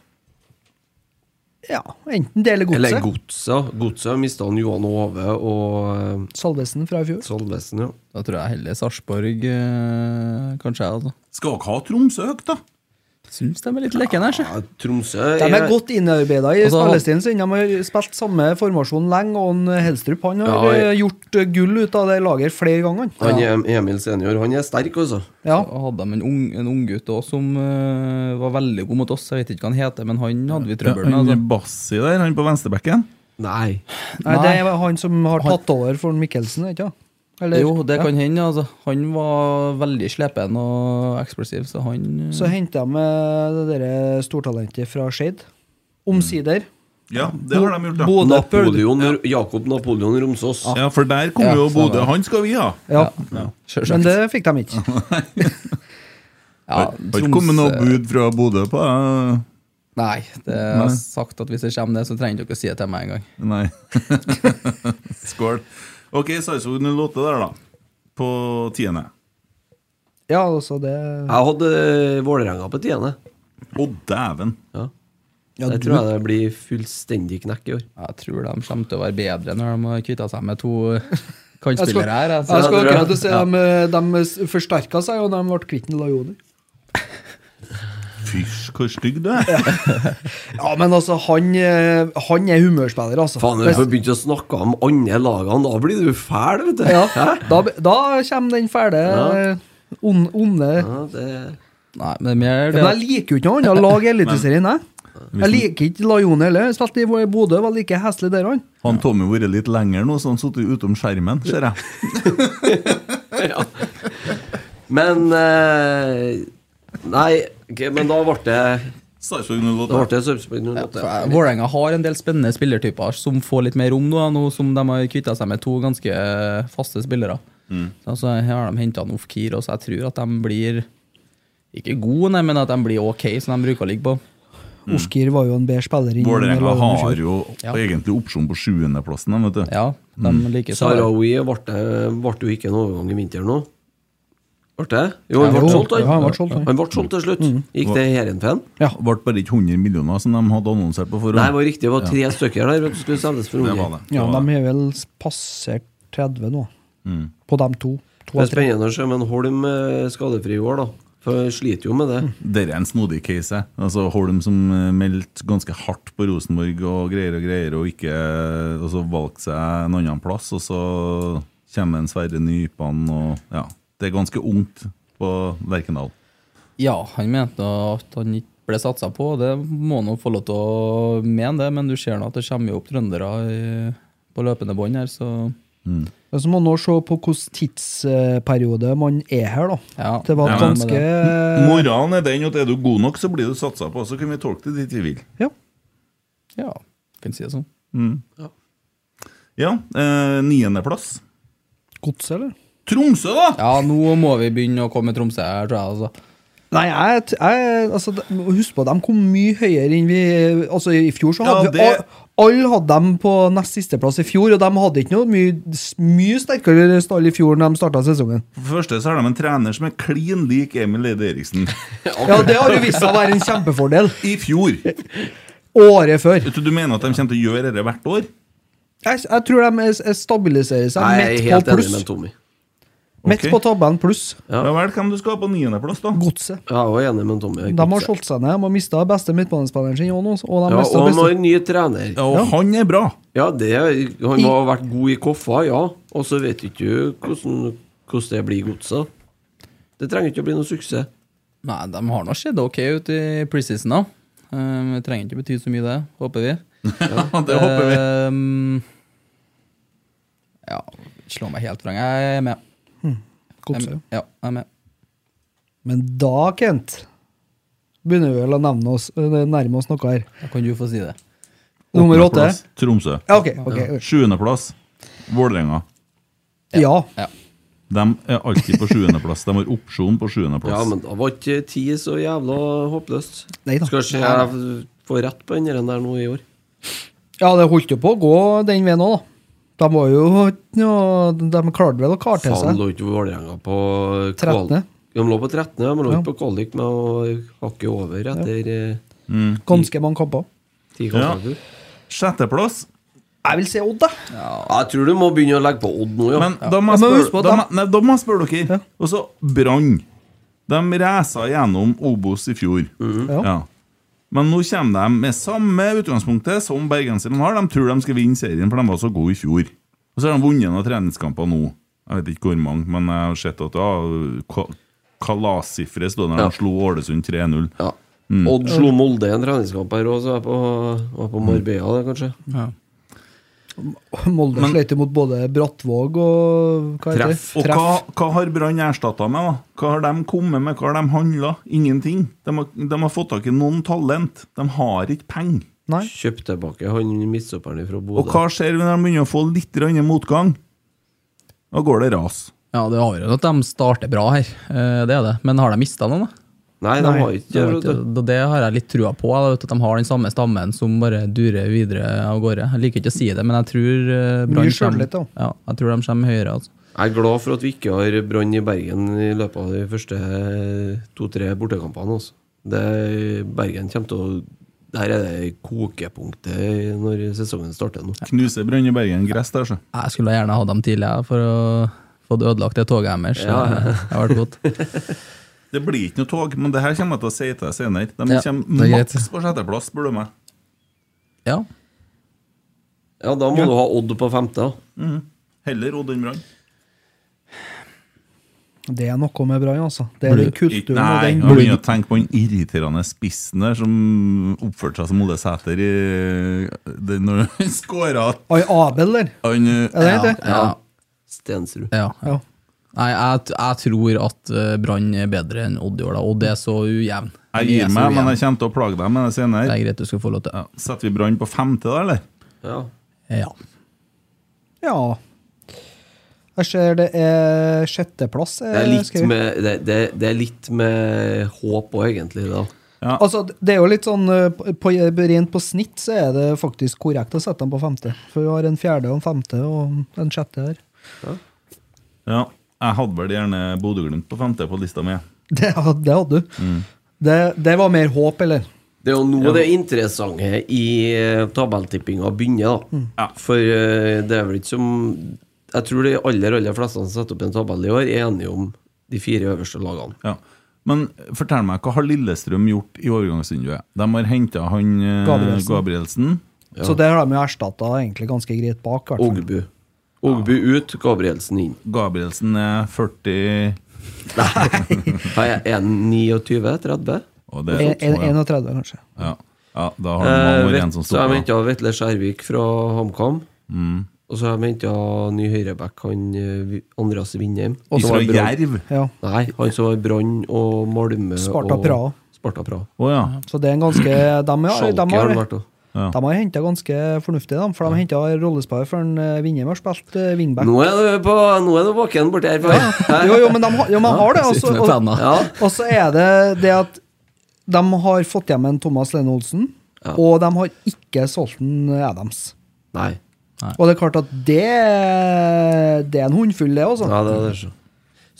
B: Ja, enten det eller
C: Eller
B: Godset.
C: Godset. Godset mista han Johan Ove og eh,
B: Salvesen fra i fjor.
C: Salvesen, ja.
D: Da tror jeg heller Sarpsborg, eh, kanskje. jeg, altså.
A: Skal dere ha Tromsø høyt, da?
D: Syns de er litt lekne her, sjø.
C: ja Tromsø
B: De er godt innarbeida i
D: Og så har-
B: spillestilen sin. De har spilt samme formasjon lenge, og han, eh, Helstrup han har
C: Ja, jeg-
B: eh, gjort eh, gull ut av det laget flere ganger. han.
C: han er Emil senior. Han er sterk, altså.
B: Ja.
D: Så hadde de en, ung, en unggutt òg som eh, var veldig god mot oss. Jeg vet ikke hva han heter, men han hadde vi trøbbel med.
A: Han
D: Altså.
A: Bassi der, han på venstrebekken.
C: Nei.
B: Nei, det er han som har tatt over for Mikkelsen, ikke sant? Eller-
D: Jo, det
B: ja.
D: kan hende. Altså. Han var veldig slepen og eksplosiv, så han eh,
B: Så henta jeg med det der stortalentet fra Skeid. Omsider.
A: Ja, det har de gjort, ja.
B: Bodø Pøl-
C: Napoleon, Jakob Napoleon Romsås.
A: Ja, for der kom
D: Ja,
A: jo
D: stemmer
A: Bodø.
D: det.
A: Han skal vi ha!
B: Ja,
D: Sjølsagt.
B: men det fikk de ikke.
D: ja,
A: har ikke kommet noe bud fra Bodø på eh,
D: Nei, det er sagt at hvis det kommer det, så trenger dere å si det til meg en gang.
A: Nei. *laughs* Skål. Ok, Sarpsborg 08 der, da. På tiende.
B: Ja, altså det
C: Jeg hadde Vålerenga på tiende.
A: Å, dæven!
C: Ja.
B: Ja,
C: det
B: du-
C: tror jeg det blir fullstendig knekk i år.
D: Jeg tror de kommer til å være bedre når de har kvitta seg med to *laughs*
B: Jeg skal,
D: kantspillere her.
B: jeg skal
C: Ja,
D: altså.
C: det tror jeg.
B: akkurat si de, de forsterka seg, og de ble kvitt en Lajoni.
A: Fysj, hvor stygg du er!
B: Ja, men altså, han, eh, han er humørspiller, altså.
C: Faen, når du får begynt å snakke om andre lagene, da blir du fæl, vet du.
B: ja,
C: Hæ?
B: da, da kommer den fæle
C: Ja.
B: on- onde
C: Ja, det,
D: Nei, men det er mer det
B: Men jeg liker jo ikke noe annet lag i Eliteserien, jeg. Jeg liker ikke Lajone heller. Jeg Spilte i Bodø, var like heslig der, han.
A: Han Tommy har vært litt lenger nå, så han sitter utom skjermen, ser jeg.
C: ja. Men eh, Nei, ok, men da ble det
A: Sarpsborg
C: Da ble
A: 08.
C: det Sarpsborg 08.
D: Ja, Vålerenga har en del spennende spillertyper som får litt mer rom nå, nå som de har kvitta seg med to ganske eh, faste spillere. Så altså, her har de henta Ofkir, så jeg tror at de blir ikke gode, nei, men at de blir ok, som de bruker å ligge på.
B: Ofkir var jo en bedre spiller enn
A: Vålerenga
B: Lajone
A: har
B: selv.
A: jo
D: Ja.
A: egentlig opsjon på sjuendeplassen, vet du.
D: Ja, de liker seg.
C: Sarawi ble, ble eh, jo ikke en overgang i vinter nå. Ble det? Jo, han
B: Ja,
C: ble
B: jo,
C: solgt, han.
B: ja, Mm. han ble solgt, han.
C: han ble solgt til slutt. Gikk det i Heerenveen?
A: Ble bare ikke 100 millioner som de hadde annonsert på forhånd.
C: Nei, det var riktig. Det var tre stykker der. vet du, Skulle selges for
A: det var
C: unge.
A: det.
B: Ja,
A: det var
B: de har vel passert 30 nå, på de to. to
C: Det
B: av
C: er
B: tre.
C: spennende å se, men Holm er skadefri i år, da. For jeg sliter jo med det.
B: Mm.
A: Dette er en snodig case. jeg. Altså Holm som eh, meldte ganske hardt på Rosenborg og greier og greier, og ikke eh, Og så valgte seg en annen plass, og så kommer en Sverre Nypan og Ja. Det er ganske ungt på Lerkendal.
D: Ja, han mente at han ikke ble satsa på, det må han jo få lov til å mene, det, men du ser nå at det kommer jo opp trøndere i, på løpende bånd her, så
B: Men Så må man nå se på hvilken tidsperiode man er her, da.
D: Ja.
B: det var
D: Ja, men-
B: ganske
C: Eh.
A: Moralen er den at er du god nok, så blir du satsa på. Så kan vi tolke det dit vi vil.
B: ja.
D: ja, kan si det sånn.
A: Ja. Eh, Niendeplass.
B: Godset, eller?
A: Tromsø, da!
D: Ja, nå må vi begynne å komme med Tromsø her, tror jeg, altså.
B: Nei, jeg, t- jeg altså, de- Husk på, de kom mye høyere enn vi Altså, i fjor så hadde
A: Ja,
B: vi
A: det-
B: al- Alle hadde dem på nest sisteplass i fjor, og de hadde ikke noe mye, s- mye sterkere stall i fjor når de starta sesongen.
A: For det første så har de en trener som er klin lik Emil Eide Eriksen.
B: Ja, det har jo vist seg å være en kjempefordel.
A: I fjor!
B: Året før.
A: Vet du, du mener at de kommer til å gjøre dette hvert år?
B: Jeg, jeg tror de s- s- stabiliserer seg
C: Nei, jeg
B: midt
C: er
B: på
C: helt enig
B: pluss.
C: med Tommy.
B: Midt
A: Ok.
B: på tabellen pluss.
A: Ja. vel, hvem du skal ha på niendeplass, da?
B: Godset.
C: Jeg er også enig med Tommy.
B: De har solgt seg ned. De har mista beste midtbanespilleren sin òg nå. Og de
C: Ja,
B: mistet
C: og han
B: beste.
C: har ny trener.
A: Ja, og han er bra.
C: Ja, det, han må ha vært god i Koffa, ja. Og så vet du ikke hvordan, hvordan det blir i godset. Det trenger ikke å bli noe suksess.
D: Nei, de har nå sett ok ut i preseason, da. Um, det trenger ikke bety så mye, det. Håper vi.
A: det håper vi.
D: Um, ja, slå meg helt vrang. Jeg er med. Jeg,
B: Godset.
D: ja, jeg er med.
B: Men da, Kent, begynner vi vel å nevne oss, eh, nærme oss noe her.
D: Da kan du få si det.
B: Nummer åtte.
A: Åttendeplass, Tromsø.
B: Ja, ok. ok.
A: Sjuendeplass. Vålerenga.
B: Ja.
D: Ja.
A: De er alltid på sjuendeplass. De har opsjon på sjuendeplass.
C: Ja, men da var ikke ti så jævla håpløst.
B: Nei da.
C: Skal se jeg får rett på den der nå i år.
B: Ja, det holdt jo på å gå den veien òg, da. De var jo ja, De klarte vel å karte
C: Faen,
B: seg.
C: lå ikke Vålerenga på kval-
B: 13.?
C: De lå på 13., ja, men lå
B: Ja.
C: ikke på kvalik med å hakke over etter eh,
B: Ganske mange kamper.
C: ti
A: Ja.
C: kamper.
A: Sjetteplass.
B: Jeg vil se Odd, da.
C: Jeg tror du må begynne å legge på Odd nå, ja.
A: Men da må
B: Ja, men
A: jeg
B: husk
A: spørre
B: på at
A: da,
B: de-
A: må- nei, da må jeg spørre dere.
B: Ja.
A: Og så Brann. De reisa gjennom Obos i fjor.
C: Mhm.
B: Ja.
A: Ja. Men nå kommer de med samme utgangspunktet som bergenserne har. De tror de skal vinne serien, for de var så gode i fjor. Og så har de vunnet noen treningskamper nå. Jeg vet ikke hvor mange, men jeg har sett at ja, ka- kalassifre stod der
C: Ja.
A: de slo Ålesund 3-0.
C: ja.
A: Mm.
C: Odd slo Molde i en treningskamp her òg, så jeg er på, var på Marbella, det, kanskje.
B: Molde sløyte mot både Brattvåg og hva heter det?
C: Treff.
A: Og hva, hva har Brann erstatta med? da? Hva har de kommet med? Hva har de handla? Ingenting. De har, de har fått tak i noen talent. De har ikke penger.
B: Nei.
C: Kjøpt tilbake han midtstopperen fra
A: Og
C: Bodø.
A: hva skjer når de begynner å få litt grann motgang? Da går det ras.
D: Ja, det har jo at de starter bra her, eh, det er det. Men har de mista noen, da?
C: Nei, de
B: Nei,
C: har ikke
D: Det,
C: det.
D: har
C: vet du.
D: ikke- det- det har jeg litt trua på, jeg vet at de har den samme stammen som bare durer videre av gårde. Jeg liker ikke å si det, men jeg tror eh, Brann
B: Mye selvtillit,
D: kommer-
B: da.
D: ja, jeg tror de kommer høyere. altså.
C: Jeg er glad for at vi ikke har brann i Bergen i løpet av de første to-tre bortekampene. Altså. Det, Bergen kommer til å Der er det kokepunktet når sesongen starter nå.
A: Knuser Brann i Bergen gress altså. der, så.
D: Jeg skulle gjerne ha dem tidligere for å få ødelagt det toget deres.
C: Ja.
D: eh, Det har vært godt.
A: Det blir ikke noe tog, men det her kommer jeg til å si til deg senere. De
D: Ja, det
A: kommer
D: er greit.
A: maks på sjetteplass, spør du meg.
D: Ja.
C: Ja, da må du ha Odd på femte. da.
A: Heller Odd enn Brann.
B: Det er noe med Brann, altså. Det er den
A: Ikke-
B: kulturen
A: Nei,
B: og
A: jeg
B: den
A: begynner å tenke på den irriterende spissen der som oppførte seg som Ole Sæter i det, Når *laughs* han skåra
B: Oi, Abel, der.
A: Han
B: Er det
A: ja.
B: det?
D: Ja.
C: Stensrud.
D: ja.
B: Ja.
D: Nei, jeg, t- jeg tror at eh, Brann er bedre enn Odd i år, da. Odd er så ujevn.
A: Jeg
D: De
A: gir
D: er så
A: meg, men
D: ujevn.
A: jeg kommer til å plage deg med det
D: Det
A: senere.
D: er greit du skal få lov til.
A: Ja. Setter vi Brann på femte, da, eller?
C: Ja.
D: Ja.
B: Ja. Jeg ser det er sjetteplass. eh,
C: Det, er litt
B: skrevet.
C: med, det, det, det er litt med håp òg, egentlig. da.
A: Ja.
B: Altså, det er jo litt sånn eh, på, på- Rent på snitt så er det faktisk korrekt å sette dem på femte. For vi har en fjerde og en femte og en sjette her.
A: Ja. Jeg hadde vel gjerne Bodø-Glimt på femte på lista mi.
B: Det, had- det hadde du.
C: Mm.
B: Det, det var mer håp, eller?
C: Det er jo nå det interessante i eh, tabelltippinga begynner,
B: Mm.
C: da.
A: Ja.
C: For eh, det er vel ikke som Jeg tror de aller, aller fleste som setter opp en tabell i år, er enige om de fire øverste lagene.
A: Ja. Men fortell meg, hva har Lillestrøm gjort i overgangsvinduet? De har henta han eh,
B: Gabrielsen.
A: Gabrielsen.
B: Så det har de jo erstatta egentlig ganske greit bak. i hvert fall.
C: Ogbu. Ogbu ut, Gabrielsen
A: *laughs*
C: inn.
A: Gabrielsen er 40
C: Hva Er er han 29? 30?
A: og det
B: En-
A: er
B: en-
A: sånn,
B: 31, kanskje.
A: ja. Ja. ja, da har
C: Eh,
A: man vært
C: vet-
A: en som
C: så jeg
A: står på.
C: venta Vetle Skjærvik fra HamKam.
A: Mm.
C: Og så har jeg venta ny høyreback, han eh, Vi- Andreas Vindheim.
A: Og
C: som
A: fra
C: var i Brann.
A: Jerv.
B: Ja.
C: Nei, han som var i Brann og Malmö
B: Sparta
C: og
B: Praha.
C: Sparta Praha.
A: Å ja.
B: Så det er en ganske
C: *clears throat*
B: De, har-
C: Schalke
B: de
C: har
B: har,
C: han vært òg.
A: Ja.
B: de har henta ganske fornuftig, de, for de har henta rollespiller før en, eh, Vindheim har spilt eh, wingback.
C: Nå er du på Nå er du våken borti *laughs* her. Far.
B: Jo, jo, men de, har- jo, men har det. altså. og så-
D: Sitter med
B: og-
D: penna.
C: Ja.
B: Og så er det det at de har fått hjem en Thomas Lene Olsen,
C: Ja.
B: og de har ikke solgt en Adams.
C: Nei.
B: Og det er klart at det, det er en hundfull, det, altså.
C: Ja, det er det. Så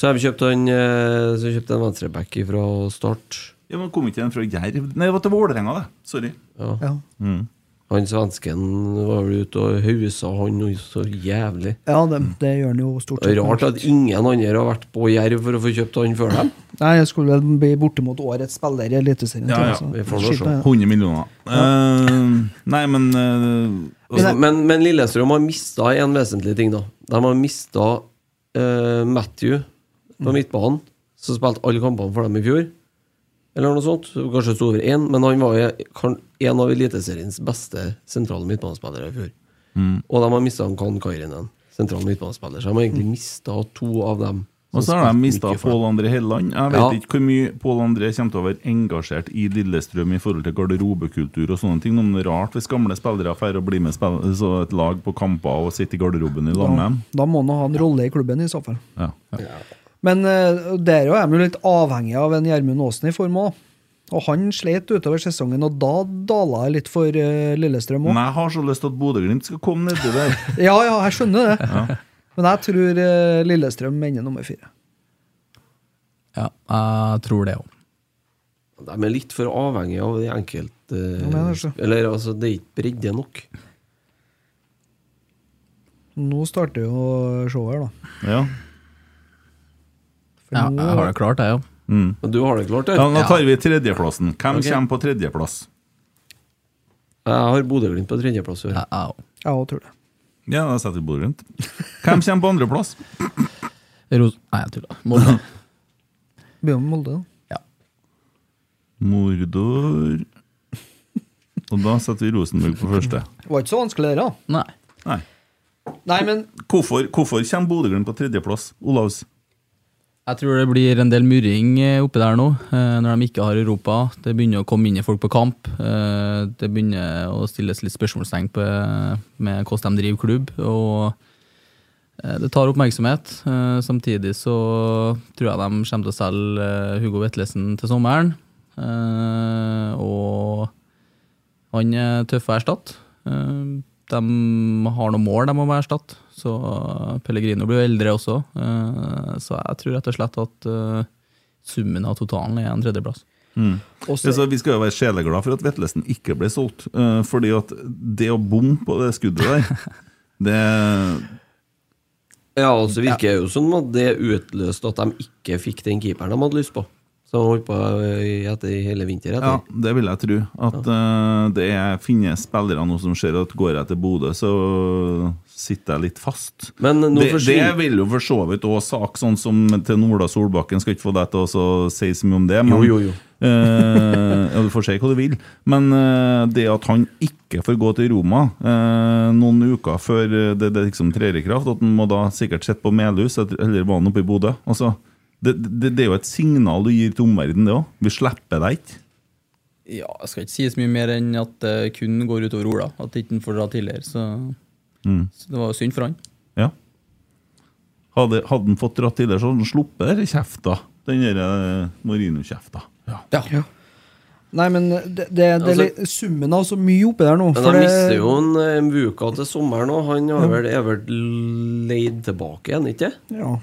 C: Så har vi kjøpt han eh, Så har vi kjøpt en venstreback fra Start.
A: ja, men Kom ikke en fra Jerv? Nei, det var til Vålerenga, det. Sorry. Mm.
C: Ja.
B: Ja.
C: Han svensken var vel ute og hausa han og så jævlig.
B: Ja, det, det gjør han jo stort sett.
C: Rart at ingen andre har vært på Jerv for å få kjøpt han før dem.
B: Nei, jeg skulle vel bli bortimot årets spiller i Eliteserien.
A: Ja,
B: tror jeg,
A: ja,
B: så
C: vi får nå
B: skit
C: se.
B: med det.
A: 100 millioner. Eh, nei, men eh,
C: Altså, men, men Lillestrøm har mista en vesentlig ting, da. De har mista Matthew
A: Mm.
C: på midtbanen, som spilte alle kampene for dem i fjor. Eller noe sånt. Kanskje sto over én, men han var jo kan- en av Eliteseriens beste sentrale midtbanespillere i fjor.
A: Mm.
C: Og de har mista Kan Kairinen, sentral midtbanespiller. Så de har egentlig mista to av dem
A: Mm. Og så har de mista Pål André Helland. Jeg vet
C: Ja.
A: ikke hvor mye Pål André kommer til å være engasjert i Lillestrøm i forhold til garderobekultur og sånne ting. Om det er rart hvis gamle spillere drar og blir med spill, så et lag på kamper og sitter i garderoben i lag med dem.
B: Da må han ha en rolle i klubben, i så fall.
A: Ja.
B: Men eh, der er de jo litt avhengig av en Gjermund Aasen i form òg. Og han slet utover sesongen, og da dala jeg litt for eh, Lillestrøm òg.
A: Men jeg har så lyst til at Bodø-Glimt skal komme nedi der.
C: *laughs*
B: Ja, ja, jeg skjønner det. Men jeg tror eh, Lillestrøm ender nummer fire.
D: Ja, jeg tror det òg.
C: De er litt for avhengige av de enkelte eh,
B: mener det.
C: Eller altså, det er ikke bredde nok.
A: Mm.
B: Nå starter jo showet her, da.
A: Ja.
B: For
D: Ja,
B: nå-
D: jeg har det klart, jeg òg.
A: Mm.
C: Men du har det klart,
A: ja,
C: der.
A: Nå tar vi tredjeplassen. Hvem
C: Ok.
A: kommer på tredjeplass?
C: Jeg har Bodø-Glimt på tredjeplass. i år.
D: Jeg, jeg òg.
B: Jeg òg tror det.
A: Ja, da setter vi Bodø-Glimt. Hvem kommer på andreplass?
D: Ros... Nei, jeg tuller.
A: *laughs*
D: Molde.
B: Begynner med Molde, da.
A: Mordor Og da setter vi Rosenborg på første.
B: Det var ikke så vanskelig, det, da.
D: Nei.
A: Nei.
B: Nei, men
A: Hvorfor, hvorfor kommer Bodø-Glimt på tredjeplass, Olavs?
D: Jeg tror det blir en del murring eh, oppi der nå, eh, når de ikke har Europa. Det begynner å komme inn folk på kamp. eh, Det begynner å stilles litt spørsmålstegn på, eh, med hvordan de driver klubb. Og eh, det tar oppmerksomhet. Eh, Samtidig så tror jeg de kommer til å selge eh, Hugo Vetlesen til sommeren. Eh, Og han er tøff å erstatte. Eh, De har noen mål de må erstatte. Så Pellegrino blir jo eldre også. Eh, Så jeg tror rett og slett at eh, summen av totalen er en tredjeplass.
B: også,
A: Altså, vi skal jo være sjeleglade for at Vetlesen ikke ble solgt. eh, fordi at det å bomme på det skuddet der det,
C: Ja, og så virker det jo som at det utløste at de ikke fikk den keeperen de hadde lyst på. Som holdt på eh, etter hele vinter.
A: ja,
C: Etter.
A: det vil jeg tro. At eh, det er- finnes spillere nå som ser at går jeg til Bodø, så sitter jeg litt fast.
C: Men nå
A: det, det
C: forsvinner
A: vil jo for så vidt òg sak, sånn som til Nola Solbakken. Skal ikke få deg til å så si så mye om det.
C: Jo, jo, jo.
A: *laughs* Eh, ja, du får si hva du vil, men eh, det at han ikke får gå til Roma eh, noen uker før eh, det, det liksom trer i kraft, at han må da sikkert sitte på Melhus et- eller var han oppe i Bodø altså, det, det, det er jo et signal du gir til omverdenen, det òg. Vi slipper deg ikke.
D: Ja, jeg skal ikke si så mye mer enn at det kun går utover Ola. At ikke han får dra tidligere. Så,
A: Mm.
D: så det var jo synd for han.
A: Ja. Hadde, hadde han fått dratt tidligere, så hadde han sluppet den kjefta. Den der eh, Marino-kjefta. Ja.
B: ja. Nei, men det, det, det er
C: Altså-
B: litt summen av så mye oppi der nå.
C: Men
B: for
C: de
B: det-
C: mister jo en eh, Mvuka til sommeren òg. Han har vel, er vel leid tilbake igjen, ikke
B: Ja.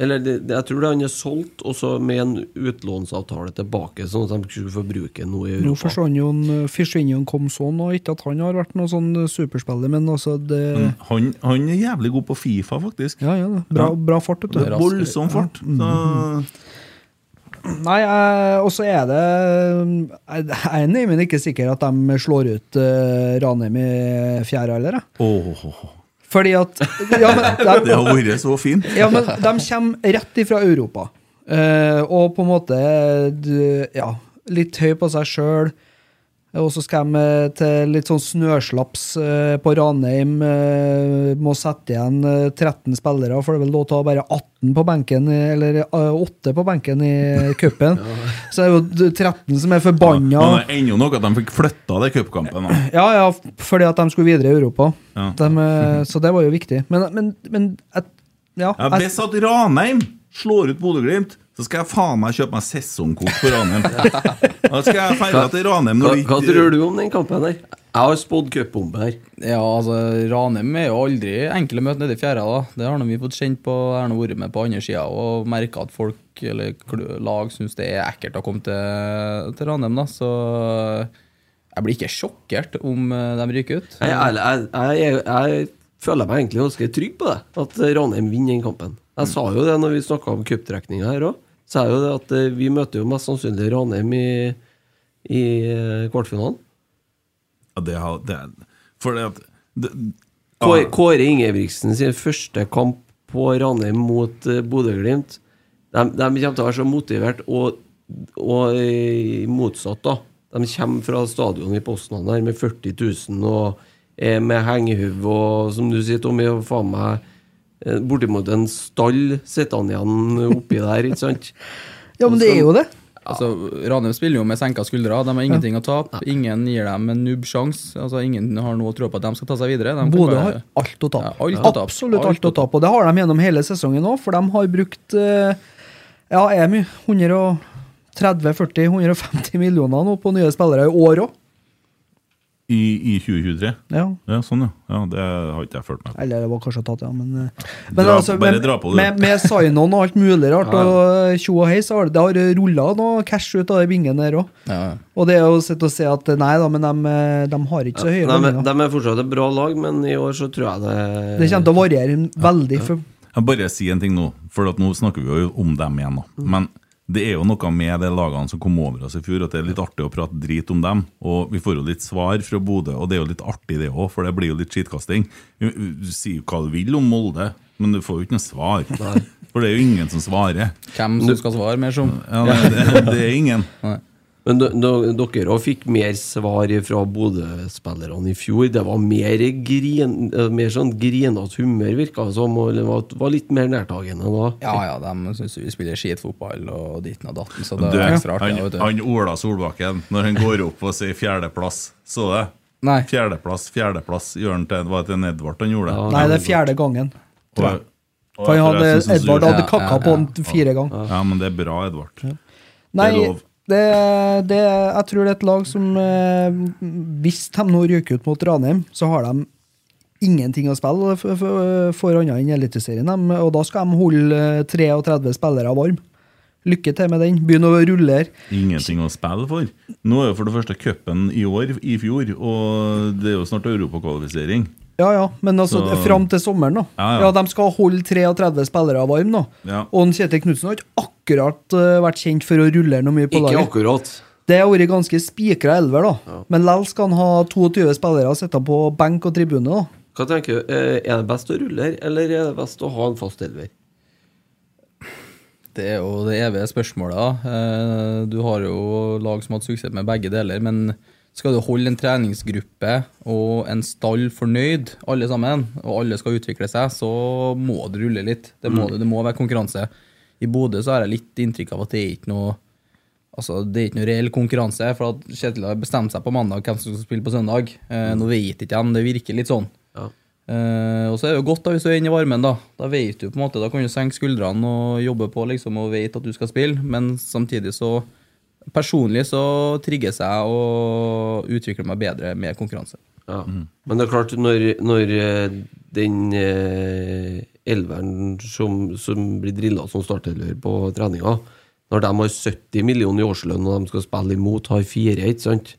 C: Eller det, det, jeg tror det han er solgt, og så med en utlånsavtale tilbake, sånn at de skulle få bruke noe
B: Nå
C: i Europa.
B: forsvinner jo en- eh, forsvinner jo en Komson, og ikke at han har vært noen sånn superspiller, men altså det,
A: Men Han, han er jævlig god på Fifa, faktisk.
B: Ja, ja, det. Bra,
A: Ja.
B: bra fart, vet du.
A: Det er Voldsom fart. Så
B: Nei, jeg- og så er det eh, Jeg jeg er nemlig ikke sikker at de slår ut eh, Ranheim i fjerde heller, jeg.
A: Åh,
B: Fordi at
A: *laughs*
B: Ja, men,
A: det har vært så fint.
B: ja, men de kommer rett ifra Europa. Eh, og på en måte du, Ja, litt høy på seg sjøl. Og så skal de eh, til litt sånn snøslaps eh, på Ranheim. eh, Må sette igjen eh, 13 spillere, for det er vel lov til å ha bare 18 på benken, i- eller eh, 8 på benken i cupen. Så er det jo 13 som er forbanna.
A: Men det er ennå noe at de fikk flytta det cupkampen. da.
B: Ja, ja, f- fordi at de skulle videre i Europa.
A: Ja.
B: De, eh, så det var jo viktig. Men, men, men et, ja,
A: Ja,
B: et,
A: hvis at Ranheim slår ut Bodø-Glimt, så skal jeg faen meg kjøpe meg sesongkort på Ranheim. Da skal jeg feire til Ranheim
C: Hva,
A: når
C: hva tror du om den kampen her? Jeg har spådd cupbombe her.
D: Ja, altså, Ranheim er jo aldri enkel å møte nede i fjæra. da. Det har nå vi fått kjent på. Jeg har nå vært med på andre sida og merka at folk eller kl- lag syns det er ekkelt å komme til, til Ranheim. da. Så jeg blir ikke sjokkert om eh, de ryker ut.
C: Jeg, er ærlig, jeg, jeg, jeg, jeg føler meg egentlig ganske trygg på det, at Ranheim vinner den kampen. Jeg sa jo det når vi snakka om cuptrekninga her òg. Sa jeg jo det at eh, vi møter jo mest sannsynlig Ranheim i, i eh, kvartfinalen.
A: Ja, det har, det, er- for det at det,
C: Kåre,
A: ja,
C: Kåre Ingebrigtsen sin første kamp på Ranheim mot eh, Bodø-Glimt. De, de kommer til å være så motivert og, og eh, motsatt, da. De kommer fra stadionet i Poznan der med 40 000 og eh, med hengehuv og som du sier, Tommy, og faen meg eh, bortimot en stall sittende igjen oppi der, ikke *laughs* sant?
B: Ja, men det er jo det.
D: Altså, Ranheim spiller jo med senka skuldre. De har ingenting å tape. Ingen gir dem en nubbsjanse. Altså, ingen har noe å tro på at de skal ta seg videre. De kan
B: Bodø
D: bare-
B: har alt å tape.
D: Ja, alt å tape.
B: Absolutt
D: Alt
B: alt å tape. Og det har de gjennom hele sesongen òg, for de har brukt eh, Ja, er mye. 130-40-150 millioner nå på nye spillere i år òg.
A: I, i 2023?
B: Ja.
A: Ja, sånn, ja. ja. Det har ikke jeg fulgt med på.
B: Eller det var kanskje tatt, ja, men, eh, men
A: Dra-
B: altså,
A: bare
B: med,
A: dra på, du.
B: med, med sign-on og alt mulig rart, og eh, tjo og hei, så har det, det har rulla noe cash ut av de bingene der òg.
D: Ja, ja.
B: Og det er jo sett å se at nei da, men de, eh, de har ikke så høye
C: De, er-
B: lønninger.
C: de er fortsatt et bra lag, men i år så tror jeg det
B: Det kommer til å variere veldig. For,
A: Jeg bare si en ting nå, for at nå snakker vi jo om dem igjen. Da.
D: Mm.
A: Men det er jo noe med de lagene som kom over oss i fjor, at det er litt artig å prate drit om dem. Og vi får jo litt svar fra Bodø, og det er jo litt artig det òg, for det blir jo litt skittkasting. Du du sier jo hva du vil om Molde, men du får jo ikke noe svar. For det er jo ingen som svarer.
D: Hvem som skal svare, mer som.
A: Ja, nei, det, det er ingen.
C: Men d- d- dere òg fikk mer svar fra Bodø-spillerne i fjor. Det var mer, grin, eh, mer sånn grinete humør, virka det som. og Det var, var litt mer nærtagende da.
D: Ja ja, de syns vi spiller skitfotball og ditten og datten, så det
A: Du,
D: er ekstra artig.
A: han,
D: vet du.
A: han Ola Solbakken, når han går opp og sier fjerdeplass, så det?
D: Nei.
A: Fjerdeplass, fjerdeplass. Gjør han til, var det til en Edvard han gjorde?
B: nei, det er fjerde gangen.
A: Og- og
B: For han
A: etter
B: hadde,
A: det så synes
B: Edvard
A: jeg-
B: hadde
D: Ja, ja,
B: kakka på han fire ganger.
A: Ja, men det er bra, Edvard.
B: Nei,
A: Det er lov.
B: det, det, jeg tror det er et lag som eh, Hvis de nå ryker ut mot Ranheim, så har de ingenting å spille for, for, for annet enn Eliteserien. dem, Og da skal de holde eh, 33 spillere varm. Lykke til med den. Begynn å rulle her.
A: Ingenting å spille for. Nå er jo for det første cupen i år, i fjor, og det er jo snart europakvalifisering.
B: Ja, ja, men altså
A: Så-
B: fram til sommeren, da. Ja,
A: Ja, ja.
B: De skal holde 33 spillere varm nå.
A: Ja.
B: Og en Kjetil Knutsen har ikke akkurat eh, vært kjent for å rulle noe mye på
C: Ikke
B: laget.
C: akkurat.
B: Det har vært ganske spikra elver, da. Men likevel skal han ha 22 spillere sittende på benk og tribune. da.
C: Hva tenker du? Eh, Er det best å rulle her, eller er det best å ha en fast elver?
D: Det er jo det evige spørsmålet. da. Eh, Du har jo lag som har hatt suksess med begge deler, men skal du holde en treningsgruppe og en stall fornøyd, alle sammen, og alle skal utvikle seg, så må det rulle litt. Det må, det må være konkurranse. I Bodø så har jeg litt inntrykk av at det er ikke noe Altså, Det er ikke noe reell konkurranse, for at Kjetil har bestemt seg på mandag hvem som skal spille på søndag. Eh, Nå vet ikke de, det virker litt sånn.
C: Ja.
D: Eh, og så er det jo godt da hvis du er inne i varmen, da. Da vet du på en måte, da kan du senke skuldrene og jobbe på liksom, og vet at du skal spille, men samtidig så Personlig så trigger jeg og utvikler meg bedre med konkurranse.
C: Ja.
A: Mm.
C: Men det er klart, når, når eh, den eh, elveren som, som blir drilla som startelver på treninga, når de har 70 millioner i årslønn og de skal spille imot, har fire, ikke sant?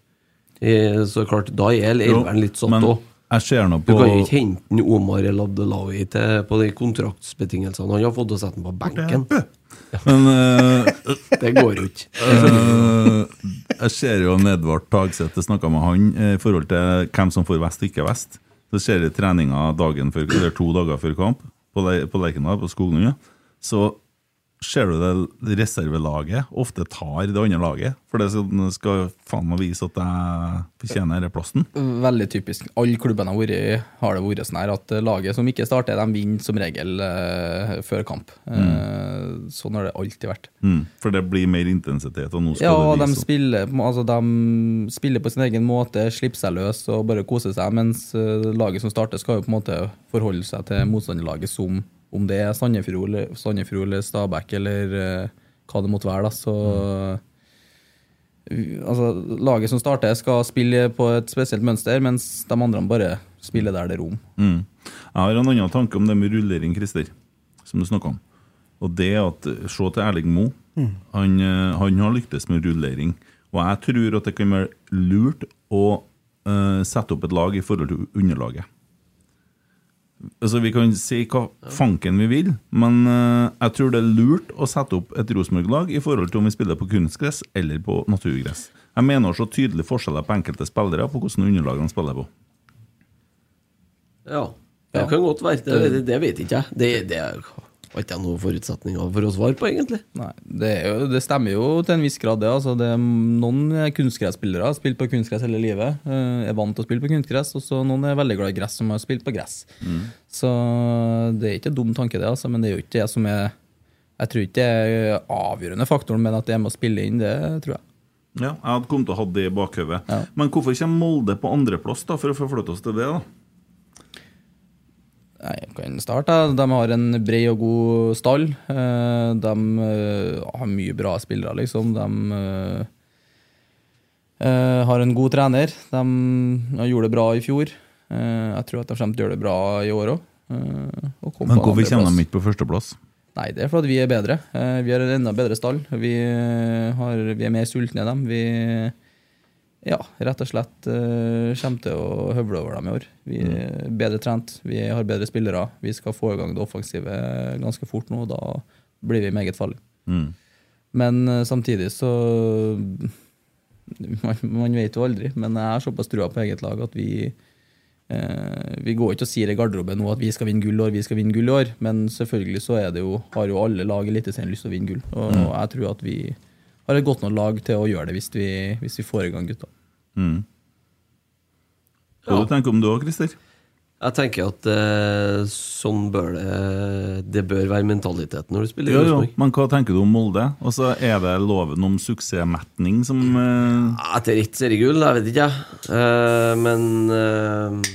C: Eh, Så er det klart, da er
A: Jo,
C: elveren litt satt
A: men
C: òg.
A: Jeg ser nå
C: Du kan jo
A: på
C: ikke hente en Omar El Abdelawi til på de kontraktsbetingelsene han har fått, og sette han på benken.
A: Men eh,
C: Det går jo ikke.
A: eh, jeg ser jo en Edvard Tagseth, jeg snakka med han eh, i forhold til hvem som får vest og ikke vest. Så ser jeg treninga dagen før, eller to dager før kamp på, Le på Lerkendal, på Skognøya. Så ser du det reservelaget ofte tar det andre laget. For det skal, skal faen meg vise at jeg fortjener denne plassen.
D: Veldig typisk. Alle klubbene har vært i, har det vært sånn her at laget som ikke starter, de vinner som regel eh, før kamp. Eh, sånn har det alltid vært.
A: Mm, for det blir mer intensitet, og nå skal
D: Ja,
A: det
D: de
A: vise.
D: spiller, på- altså, de spiller på sin egen måte, slipper seg løs og bare koser seg, mens eh, laget som starter, skal jo på en måte forholde seg til motstanderlaget som om det er Sandefjord eller, Sandefjord eller Stabæk eller eh, hva det måtte være. Da. Så vi- altså, laget som starter, skal spille på et spesielt mønster, mens de andre bare spiller der det er rom.
A: Mm. Jeg har en annen tanke om det med rullering, Christer, som du snakka om. Og det at, eh, Se til Erling Moe. Han, eh, han har lyktes med rullering. Og jeg tror at det kan være lurt å eh, sette opp et lag i forhold til underlaget. Altså, Vi kan si hva fanken vi vil, men eh, jeg tror det er lurt å sette opp et Rosenborg-lag i forhold til om vi spiller på kunstgress eller på naturgress. Jeg mener å se tydelige forskjeller på enkelte spillere på hvordan underlag de spiller på.
C: Ja, det kan godt være. Det, det, det vet ikke jeg. Det, det, Var ikke jeg noen forutsetninger for å svare på, egentlig.
D: Nei, det, er jo, det stemmer jo til en viss grad, det. Altså, det er noen er kunstgresspillere har spilt på kunstgress hele livet. eh, Er vant til å spille på kunstgress. Og så noen er veldig glad i gress, som har spilt på gress. Så det er ikke en dum tanke, det, altså, men det er jo ikke det som er Jeg tror ikke det er avgjørende faktoren, men at det er med å spille inn, det tror jeg.
A: Ja, jeg hadde kommet til å ha det i bakhodet.
D: Ja.
A: Men hvorfor kommer Molde på andreplass, da, for å forflytte oss til det? da?
D: Nei, Jeg kan starte. jeg. De har en bred og god stall. Eh, De eh, har mye bra spillere, liksom. De eh, eh, har en god trener. De gjorde det bra i fjor. Eh, Jeg tror at de kommer til å gjøre det bra i år Eh, òg.
A: Men hvorfor kommer de ikke på førsteplass?
D: Nei, det er fordi vi er bedre. Eh, Vi har en enda bedre stall. Vi, eh, har, vi er mer sultne enn dem. Vi ja, rett og slett eh, kommer til å høvle over dem i år. Vi er bedre trent, vi har bedre spillere. Vi skal få i gang det offensive eh, ganske fort nå, og da blir vi meget farlige.
A: Mm.
D: Men eh, samtidig så man, man vet jo aldri, men jeg har såpass trua på eget lag at vi eh, Vi går ikke og sier i garderoben nå at vi skal vinne gull i år, vi skal vinne gull i år, men selvfølgelig så er det jo, har jo alle lag i Eliteserien lyst til å vinne gull. Og
C: Mm.
D: jeg tror at vi har et godt nok lag til å gjøre det hvis vi, hvis vi får i gang gutta.
A: Mm. Hva
C: Ja.
A: du tenker om det òg, Christer?
C: Jeg tenker at eh, sånn bør det Det bør være mentaliteten når du spiller i
A: Jo, jo,
C: Rosenborg.
A: men hva tenker du om Molde? Og så er det loven om suksessmetning som eh,
C: Etter ett seriegull, jeg vet ikke, jeg. Eh, men eh,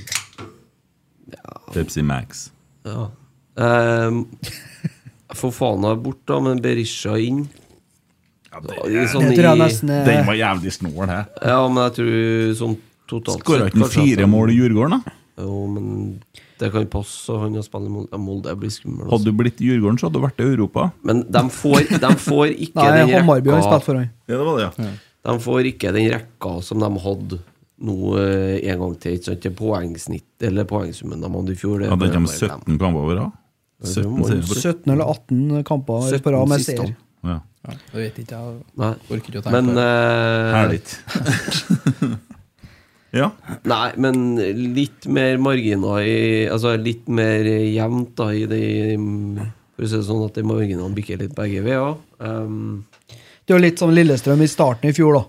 A: Pepsi Max.
C: ja. Eh, Få Fana bort, da, men Berisha inn.
B: Det
C: sånn
B: tror jeg nesten er
A: Den var jævlig snål, hæ?
C: Ja, men jeg tror sånn totalt
A: Skåra ikke han
C: kanskje at
A: fire
C: han-
A: mål i Djurgården, da?
C: Jo, men det kan passe, og han har spilt i Molde. Ja, Molde blir skummel.
A: Hadde
C: Også.
A: du blitt i Djurgården, så hadde du vært i Europa.
C: altså. Men de får, de får ikke
B: Nei,
C: den
B: Hammarby har
C: rekka
B: spilt for han.
A: Ja, det var det, ja.
C: De får ikke den rekka som de hadde nå eh, en gang til. Ikke sant? Det poengsnitt eller poengsummen de hadde i fjor. det
A: Hadde
C: bør
A: ikke de
C: være
A: 17 kamper over, da? 17
C: må jo
A: serier på-
B: 17 eller 18 kamper på
C: 17
B: rad med
C: siste
B: seier.
A: Ja.
D: Det vet ikke jeg.
C: dem. Nei.
D: Orker ikke å tenke
C: Men,
D: på det.
C: eh,
A: Herlig. *laughs* ja.
C: nei, men litt mer marginer i Altså litt mer jevnt da i de For å si det sånn at de marginene bikker litt begge veier. Um,
B: Det var litt sånn Lillestrøm i starten i fjor, da.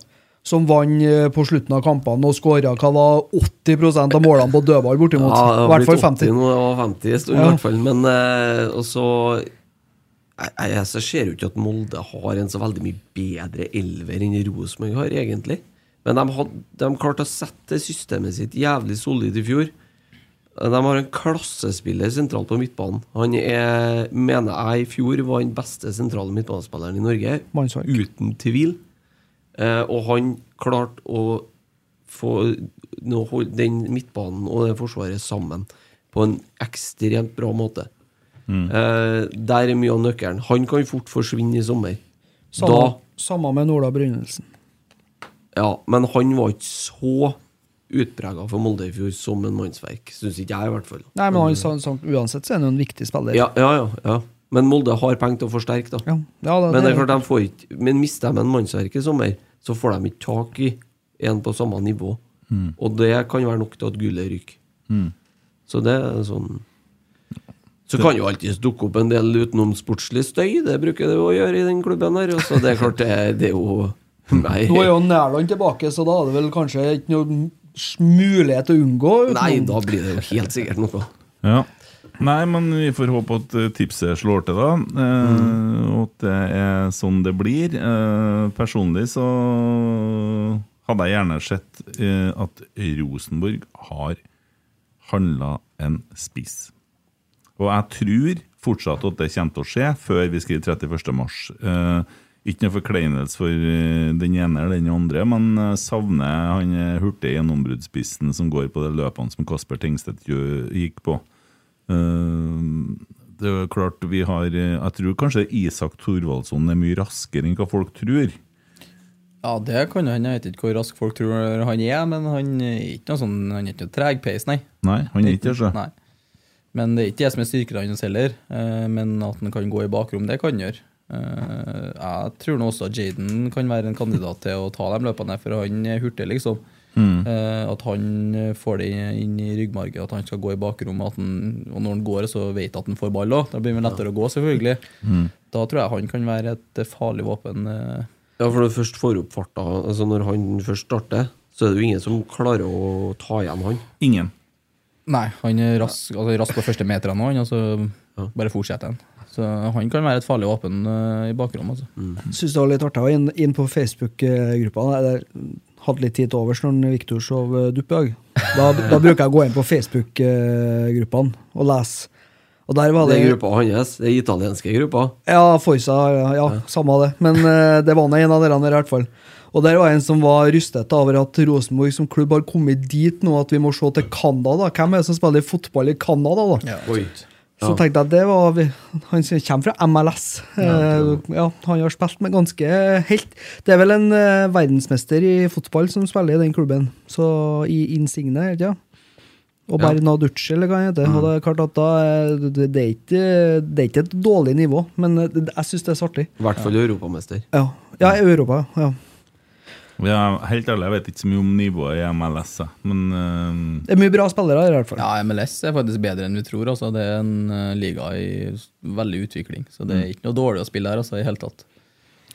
B: Som vant eh, på slutten av kampene og skåra hva da 80 av målene på dødball, bortimot.
C: Ja, det
B: I
C: har
B: hvert fall
C: blitt 80
B: 50.
C: Nå, det var 50 i stund, i
B: Ja.
C: hvert fall. Men eh, og så jeg, jeg, jeg ser jo ikke at Molde har en så veldig mye bedre elver enn Rosenborg har, egentlig. Men de, had, de klarte å sette systemet sitt jævlig solid i fjor. Eh, De har en klassespiller sentralt på midtbanen. Han er, mener jeg, i fjor var den beste sentrale midtbanespilleren i Norge.
B: Mannsverk.
C: Uten tvil. Eh, og han klarte å få nå hold- den midtbanen og det forsvaret sammen på en ekstremt bra måte. Eh, der er mye av nøkkelen. Han kan fort forsvinne i sommer.
B: Samme, samme med Nola Brynildsen.
C: Da, ja, men han var ikke så utprega for Molde i fjor som en mannsverk. Syns ikke jeg, i hvert fall.
B: Nei, men han, sa- sa- uansett så er han jo en viktig spiller.
C: Ja, ja, ja, ja. Men Molde har penger til å forsterke, da.
B: Ja, ja, det,
C: Men det
B: det-
C: er klart de får ikke Men mister de en mannsverk i sommer, så får de ikke tak i en på samme nivå. Og det kan være nok til at gullet ryker. Så det er sånn Så kan jo alltids dukke opp en del utenom sportslig støy, det bruker det jo å gjøre i den klubben her. og Så det er klart, det, det er jo Nei.
B: Nå er jo Nærland tilbake, så da er det vel kanskje ikke noe s- mulighet til å unngå. utenom-
C: Nei, da blir det jo helt sikkert noe.
A: ja. Nei, men vi får håpe at eh, tipset slår til, da. Eh, Og at det er sånn det blir. Eh, personlig så hadde jeg gjerne sett eh, at Rosenborg har handla en spiss. Og jeg tror fortsatt at det kommer til å skje før vi skriver 31. mars. Eh, ikke noe forkleinelse for eh, den ene eller den andre, men eh, savner han eh, hurtige gjennombruddsspissen som går på de løpene som Kasper Tingstedt gjø- gikk på. Eh, det er jo klart vi har eh, Jeg tror kanskje Isak Thorvaldsson er mye raskere enn hva folk tror.
D: Ja, det kan jo hende. Jeg vet ikke hvor rask folk tror han er, men han er ikke noe sånn, han er ikke noe tregpeis, nei.
A: Nei, han er ikke altså. det. så.
D: Nei. Men det er ikke jeg som er styrken hans heller. eh, Men at han kan gå i bakrom, det kan han gjøre. Eh, Jeg tror nå også at Jaden kan være en kandidat til å ta de løpene, for han er hurtig, liksom.
A: Mm.
D: Eh, at han eh, får det inn i ryggmargen, at han skal gå i bakrommet. At han, og når han går, så vet at han får ball òg. Da blir det lettere å gå, selvfølgelig.
A: Mm.
D: Da tror jeg han kan være et eh, farlig våpen. eh.
C: Ja, for når du først får opp farta altså Når han først starter, så er det jo ingen som klarer å ta igjen han.
A: Ingen.
D: Nei, han er rask, altså, rask på første meterne òg, og så altså, bare fortsetter han. Så han kan være et farlig våpen eh, i bakrommet. Altså.
C: Mm.
B: Syns det var litt artig. Jeg var inn, inn på Facebook-gruppa. Jeg hadde litt tid til overs når Viktor sov eh, dupp i dag. Da, da bruker jeg å gå inn på Facebook-gruppene og lese. Og der var
C: Det
B: det
C: er gruppa hans, det er italienske gruppa.
B: Ja, Forsa, ja, ja, samme det. Men eh, det var nå en av dere der, i hvert fall. Og der var en som var rystet over at Rosenborg som klubb har kommet dit nå at vi må se til Canada. Hvem er det som spiller fotball i Canada, da?
C: Oi.
B: Så tenkte jeg at det var vi- Han som kommer fra MLS. Eh, ja, han har spilt med ganske helt Det er vel en eh, verdensmester i fotball som spiller i den klubben. Så i Insigne, ikke ja. Og
C: Ja.
B: Bernaducci, eller hva han heter. Og det er klart at da er- det, det, er ikke, det er ikke et dårlig nivå, men eh, det, jeg syns det er så artig.
C: I hvert fall europamester.
B: Ja, ja i Europa, ja.
A: Ja, helt ærlig, jeg vet ikke så mye om nivået i MLS, jeg. men eh,
B: Det er mye bra spillere her, i hvert fall.
D: Ja, MLS er faktisk bedre enn vi tror. Altså. Det er en eh, liga i s- veldig utvikling, så det
C: Mm.
D: er ikke noe dårlig å spille her altså, i hele tatt.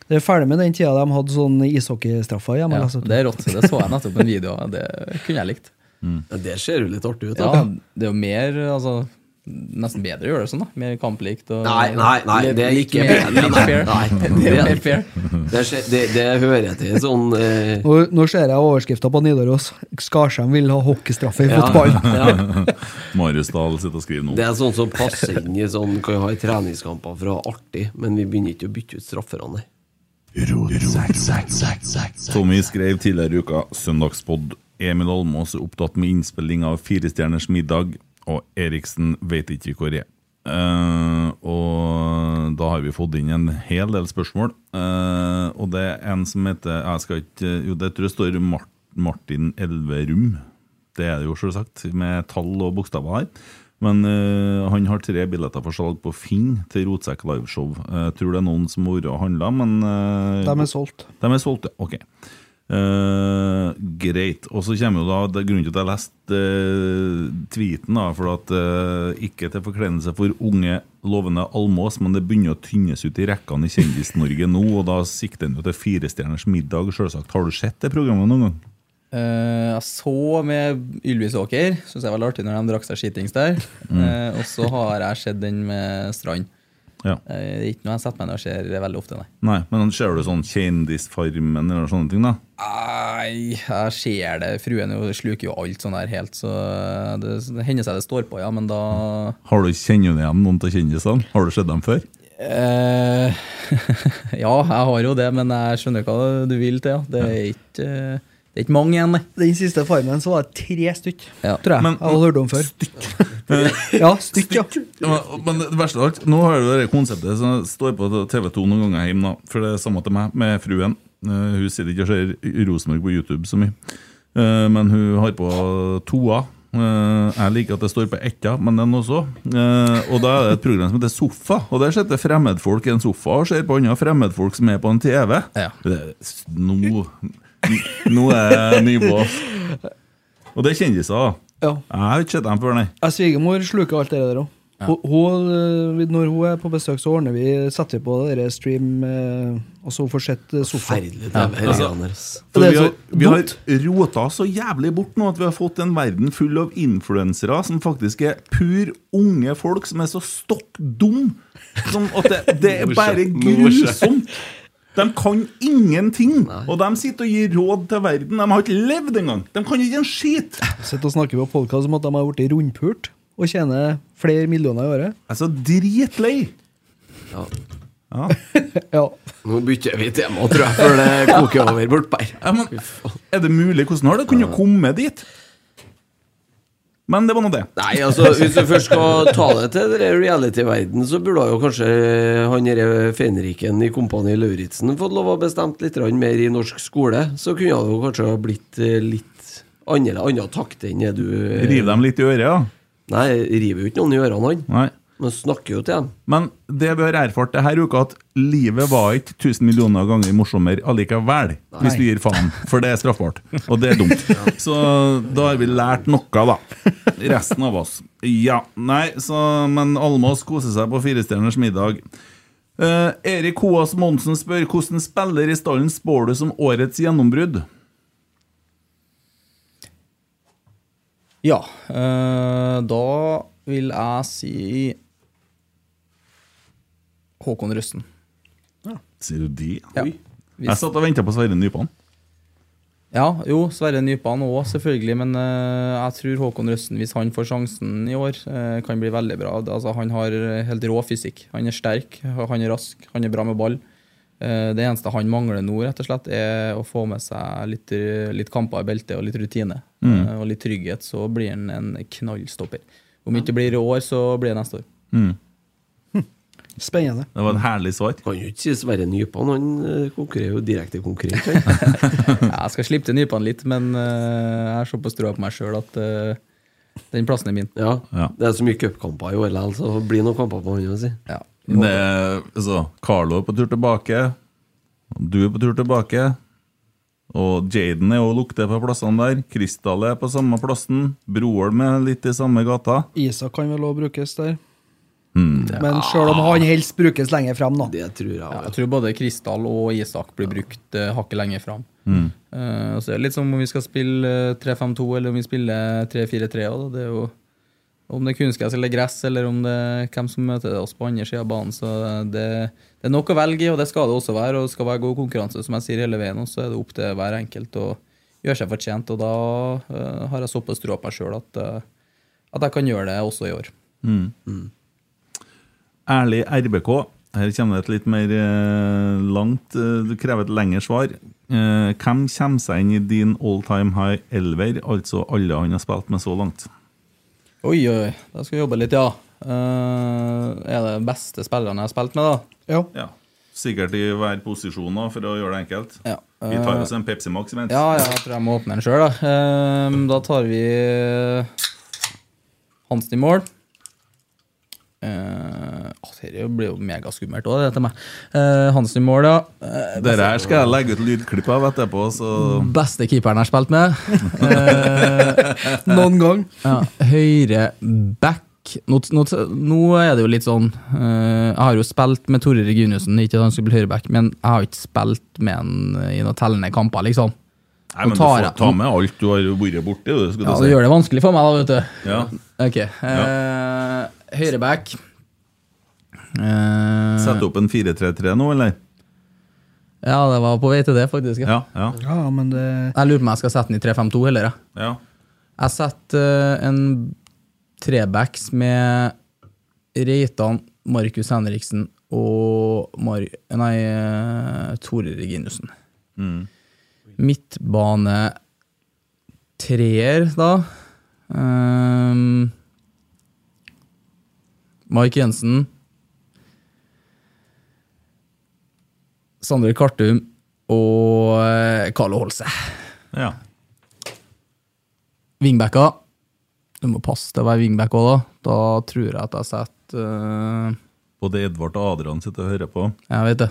B: Det er ferdig med den tida de hadde sånn ishockeystraffer i
D: Ja,
B: MLS. vet du.
D: det er rått, så det så jeg nettopp på en video. av. Det kunne jeg likt.
C: Ja, det ser jo litt artig ut.
D: Mm. Ja,
C: da.
D: det er jo mer altså, Nesten bedre å gjøre det sånn, da. Mer kamplikt. Og,
C: Nei, nei, nei, det er
D: Litt
C: ikke
D: mer-
C: bedre.
D: litt
C: Nei,
D: fair.
C: nei,
D: *laughs* Det
C: det
D: er
C: er
D: mer fair.
C: *laughs* Det, ser, det, det hører til sånn eh,
B: Nå, nå ser jeg overskrifta på Nidaros. Skarsheim vil ha hockeystraffe i
C: ja,
B: fotball.
C: *laughs* ja.
A: Marius Dahl sitter og skriver nå.
C: Det er sånn
D: *laughs*
C: som passer inn i sånn Kan ha i treningskamper for å ha artig, men vi begynner ikke å bytte ut strafferne. nei.
A: Tommy skrev tidligere i uka Søndagspod Emil Almås er opptatt med innspilling av Firestjerners middag Og Eriksen vet ikke hvor jeg er Eh, Og da har vi fått inn en hel del spørsmål Eh, Og det er en som heter Jeg skal ikke Jo, det tror jeg står Mar Martin Elverum Det er det jo selvsagt Med tall og bokstaver her men eh, han har tre billetter for salg på Finn til Rotsekk liveshow. Eh, tror det er noen som har vært og handla, men eh,
B: De er solgt.
A: de er solgt, ja. Ok. Eh, greit. Og så kommer jo da det er grunnen til at jeg leste eh, tweeten, da, for at eh, ikke til forkleinelse for unge, lovende Almås, men det begynner å tynnes ut i rekkene i Kjendis-Norge nå, og da sikter en jo til Firestjerners middag, sjølsagt. Har du sett det programmet noen gang?
D: Eh, jeg så med Ylvis Åker, syns jeg var artig når de drakk seg skitings der. Eh, og så har jeg sett den med Strand.
A: Ja.
D: Eh, det er ikke noe jeg setter meg ned og ser veldig ofte, nei.
A: Nei, men ser du sånn Kjendisfarmen eller sånne ting, da?
D: Nei, jeg ser det. Fruen jo sluker jo alt sånn der helt, så eh, det, det hender seg det står på, ja, men da
A: Har du Kjenner du igjen noen av kjendisene? Har du sett dem før?
D: eh, *laughs* Ja, jeg har jo det, men jeg skjønner hva du vil til. Ja. Det, er ikke, eh, det er ikke mange igjen, nei.
B: Den siste farmen så var det tre stykk,
D: Ja.
B: tror jeg.
A: Men-
B: jeg hadde hørt om før. *laughs* ja, stykk, ja.
A: Ja, men- men det verste av alt, nå har du det der konseptet som står på TV 2 noen ganger hjemme, da. For det er samme til meg med fruen. Eh, hun sitter ikke og ser Rosenborg på YouTube så mye. Eh, men hun har på toa. Eh, jeg liker at det står på etta, men den også. Eh, og da er det et program som heter Sofa. Og der sitter fremmedfolk i en sofa og ser på andre fremmedfolk som er på en TV.
D: Ja.
A: Det, s- nå, nå er nivået Og det er kjendiser. da.
B: ja.
A: Jeg har ikke sett dem før, nei.
B: Jeg Svigermor sluker alt det der òg. Når hun er på besøk, så ordner vi, setter vi på det der stream, eh, og så hun får sett eh, sofaen.
C: Forferdelig TV. Ja,
A: For
B: Det er
A: vi har,
B: så
A: vi har
B: dumt.
A: rota så jævlig bort nå at vi har fått en verden full av influensere som faktisk er pur unge folk som er så stokk dum som at
B: *laughs*
A: det, det er bare grusomt. De kan ingenting, og de sitter og gir råd til verden. De har ikke levd engang! De kan ikke en skit!
B: Sitter og snakker på podkast om at de har blitt rundpult og
D: Eh,
B: tjener flere millioner i året.
A: Jeg er så dritlei!
C: ja.
A: Ja.
B: Ja.
C: Nå bytter vi tema, tror jeg, før det koker over bortpå her.
A: Ja, men, er det mulig? Hvordan har det kunnet komme dit? Men det var nå det.
C: Nei, altså, hvis du først skal ta det til den der reality-verden, så burde jo kanskje han derre fenriken i Kompani Lauritzen fått lov å bestemme litt grann mer i norsk skole. Så kunne det jo kanskje ha blitt eh, litt annerledes annen takt enn det du eh,
A: Riv dem litt i øret, ja.
C: Nei, river jo ikke noen i ørene, han.
A: Nei.
C: Man snakker jo til dem.
A: Men det vi har erfart det her uka, at livet var ikke 1000 millioner ganger morsommere allikevel. Hvis du gir faen. For det er straffbart. Og det er dumt. Så da har vi lært noe, da. Resten av oss. Ja. Nei, så Men Almås koser seg på Firestjerners middag. Eh, Erik Hoas Monsen spør hvordan spiller i stallen spår du som årets gjennombrudd?
D: Ja, eh, da vil jeg si Håkon Røsten.
A: Sier du de?
D: Ja.
A: Jeg satt og venta på Sverre Nypan.
D: Ja, jo, Sverre Nypan òg, selvfølgelig. Men eh, jeg tror Håkon Røsten, hvis han får sjansen i år, eh, kan bli veldig bra. Altså, han har helt rå fysikk. Han er sterk, han er rask, han er bra med ball. Eh, det eneste han mangler nå, rett og slett, er å få med seg litt, litt kamper i beltet og litt rutine. Eh, og litt trygghet, så blir han en knallstopper. Om ikke det blir i år, så blir det neste år.
B: Spennende.
A: Det var et herlig svar.
C: Kan jo ikke si Sverre Nypan, han eh, konkurrerer jo direkte konkurrent. han.
D: Ja, Jeg skal slippe til nypene litt, men eh, jeg har såpass trua på meg sjøl at eh, den plassen er min.
C: Ja.
A: Ja.
C: Det er så mye cupkamper i år likevel, så det blir noen kamper på hånda si.
D: Ja.
A: Det, er- altså, Carlo er på tur tilbake. Du er på tur tilbake. Og Jaden er og lukter på plassene der. Krystal er på samme plassen. Broholm er litt i samme gata.
B: Isak kan vel òg brukes der. Men sjøl om han helst brukes lenger frem, da.
C: Det tror jeg.
D: Ja, jeg
C: Ja.
D: tror både Kristall og Isak blir brukt eh, hakket lenger fram. Eh, og så er det litt som om vi skal spille eh, 3-5-2 eller om vi spiller 3-4-3. også, da. Det er jo om det er kunstgress eller gress, eller om det er hvem som møter oss på andre sida av banen. Så det, det er nok å velge i, og det skal det også være. Og det skal være god konkurranse, som jeg sier hele veien. Og så er det opp til hver enkelt å gjøre seg fortjent. Og da eh, har jeg såpass tro på meg sjøl at, eh, at jeg kan gjøre det også i år.
A: Ærlig RBK. Her kommer det et litt mer eh, langt eh, Det krever et lengre svar. Eh, hvem kommer seg inn i din all time high elver, altså alle han har spilt med så langt?
D: Oi, oi, da skal vi jobbe litt, ja. Eh, er det beste spillerne jeg har spilt med, da?
B: Ja.
A: Ja. Sikkert i hver posisjon, da, for å gjøre det enkelt.
D: Ja. eh,
A: Vi tar oss en Pepsi Max imens.
D: Ja, ja, jeg tror jeg må åpne den sjøl, da. Eh, da tar vi Hansen i mål. Uh, det blir jo megaskummelt òg, det til meg. Eh, Hansen i mål, ja. Eh,
A: Dette her skal jeg legge ut lydklipp av etterpå, så
E: Beste keeperen jeg har spilt med.
B: Noen gang.
E: Ja, høyre back. Nå, nå, nå er det jo litt sånn eh, Jeg har jo spilt med Tore Reginiussen, ikke at han skulle bli høyreback, men jeg har jo ikke spilt med han eh, i noen tellende kamper, liksom.
A: Nei,
E: Nå
A: men du
E: tar
A: får
E: jeg-
A: ta med alt du har vært borti, du, skulle
E: Ja, det
A: du si.
E: gjør det vanskelig for meg, da, vet du.
A: Ja.
E: Ok. eh, høyreback. Eh,
A: Sette opp en 4-3-3 nå, eller?
E: ja, det var på vei til det, faktisk. Ja.
A: Ja, ja,
B: Ja, men det
E: Jeg lurer på om jeg skal sette den i 3-5-2 heller. jeg.
A: ja.
E: Jeg setter eh, en trebacks med Reitan, Markus Henriksen og Mar nei, eh, Tore Reginussen. Midtbane treer, da. Ehm, Mike Jensen. Sander Kartum og eh, Carlo Holse.
A: ja.
E: Vingbacka. Du må passe til å være wingback òg, da. Da tror jeg at jeg setter eh,
A: Både Edvard og Adrian sitter og hører på.
E: Jeg vet det.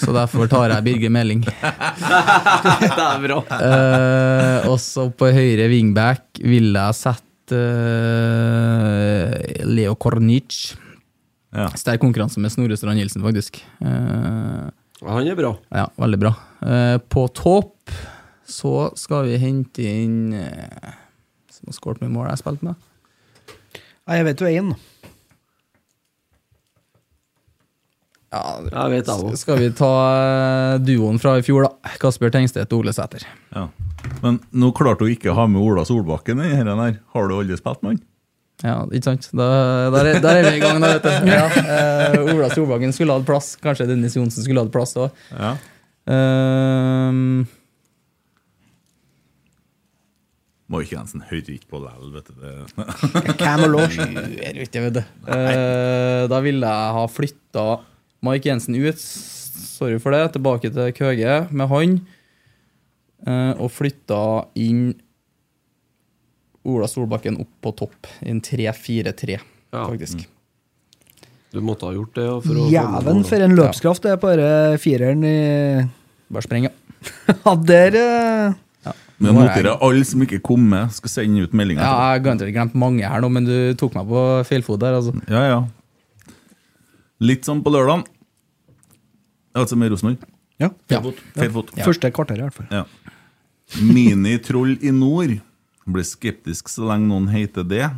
E: Så derfor tar jeg Birger Meling.
C: Det er bra.
E: Eh, og så på høyre wingback vil jeg sette eh, Leo Kornic.
A: Ja.
E: Sterk konkurranse med Snorre Strand Nilsen, faktisk. Eh,
C: Ja, Han er bra.
E: ja, veldig bra. Eh, på topp så skal vi hente inn eh, Som har skåret med mål jeg har spilt med.
B: Nei, jeg vet jo én.
E: Ja,
C: Jeg vet jeg òg.
E: Skal vi ta eh, duoen fra i fjor, da. Kasper Tengstedt og Ole Sæter.
A: Ja. Men nå klarte hun ikke å ha med Ola Solbakken i denne her. Har du aldri spilt med han?
E: Ja, ikke sant? Da, der, er, der er vi i gang, da, vet du. Ja, eh, Ola Solbakken skulle hatt plass. Kanskje Dennis Johnsen skulle hatt plass Ehm, òg.
A: Ja. Mark Jensen hører ikke på lell, vet du. Det.
B: Camel Lodge.
E: Eh, da ville jeg ha flytta Mike Jensen ut, sorry for det, tilbake til Køge med han. eh, og flytta inn Ola Solbakken opp på topp, i en 3-4-3,
C: Ja.
E: faktisk.
C: Du måtte ha gjort det. ja, For å
B: Jæven, for en løpskraft det er på denne fireren i *laughs*
D: Bare sprenge.
B: Ja, der eh,
A: *laughs* Men jeg noterer alle som ikke kom med, skal sende ut meldinger.
D: Ja, jeg har garantert glemt mange her nå, men du tok meg på feilfot der, altså.
A: Ja, ja. Litt sånn på lørdagen. Altså med Rosenborg.
B: ja.
D: Ja.
A: Feil fot.
B: Første kvarter, i hvert fall.
A: Ja. Minitroll i nord. Ble skeptisk så lenge noen heter det.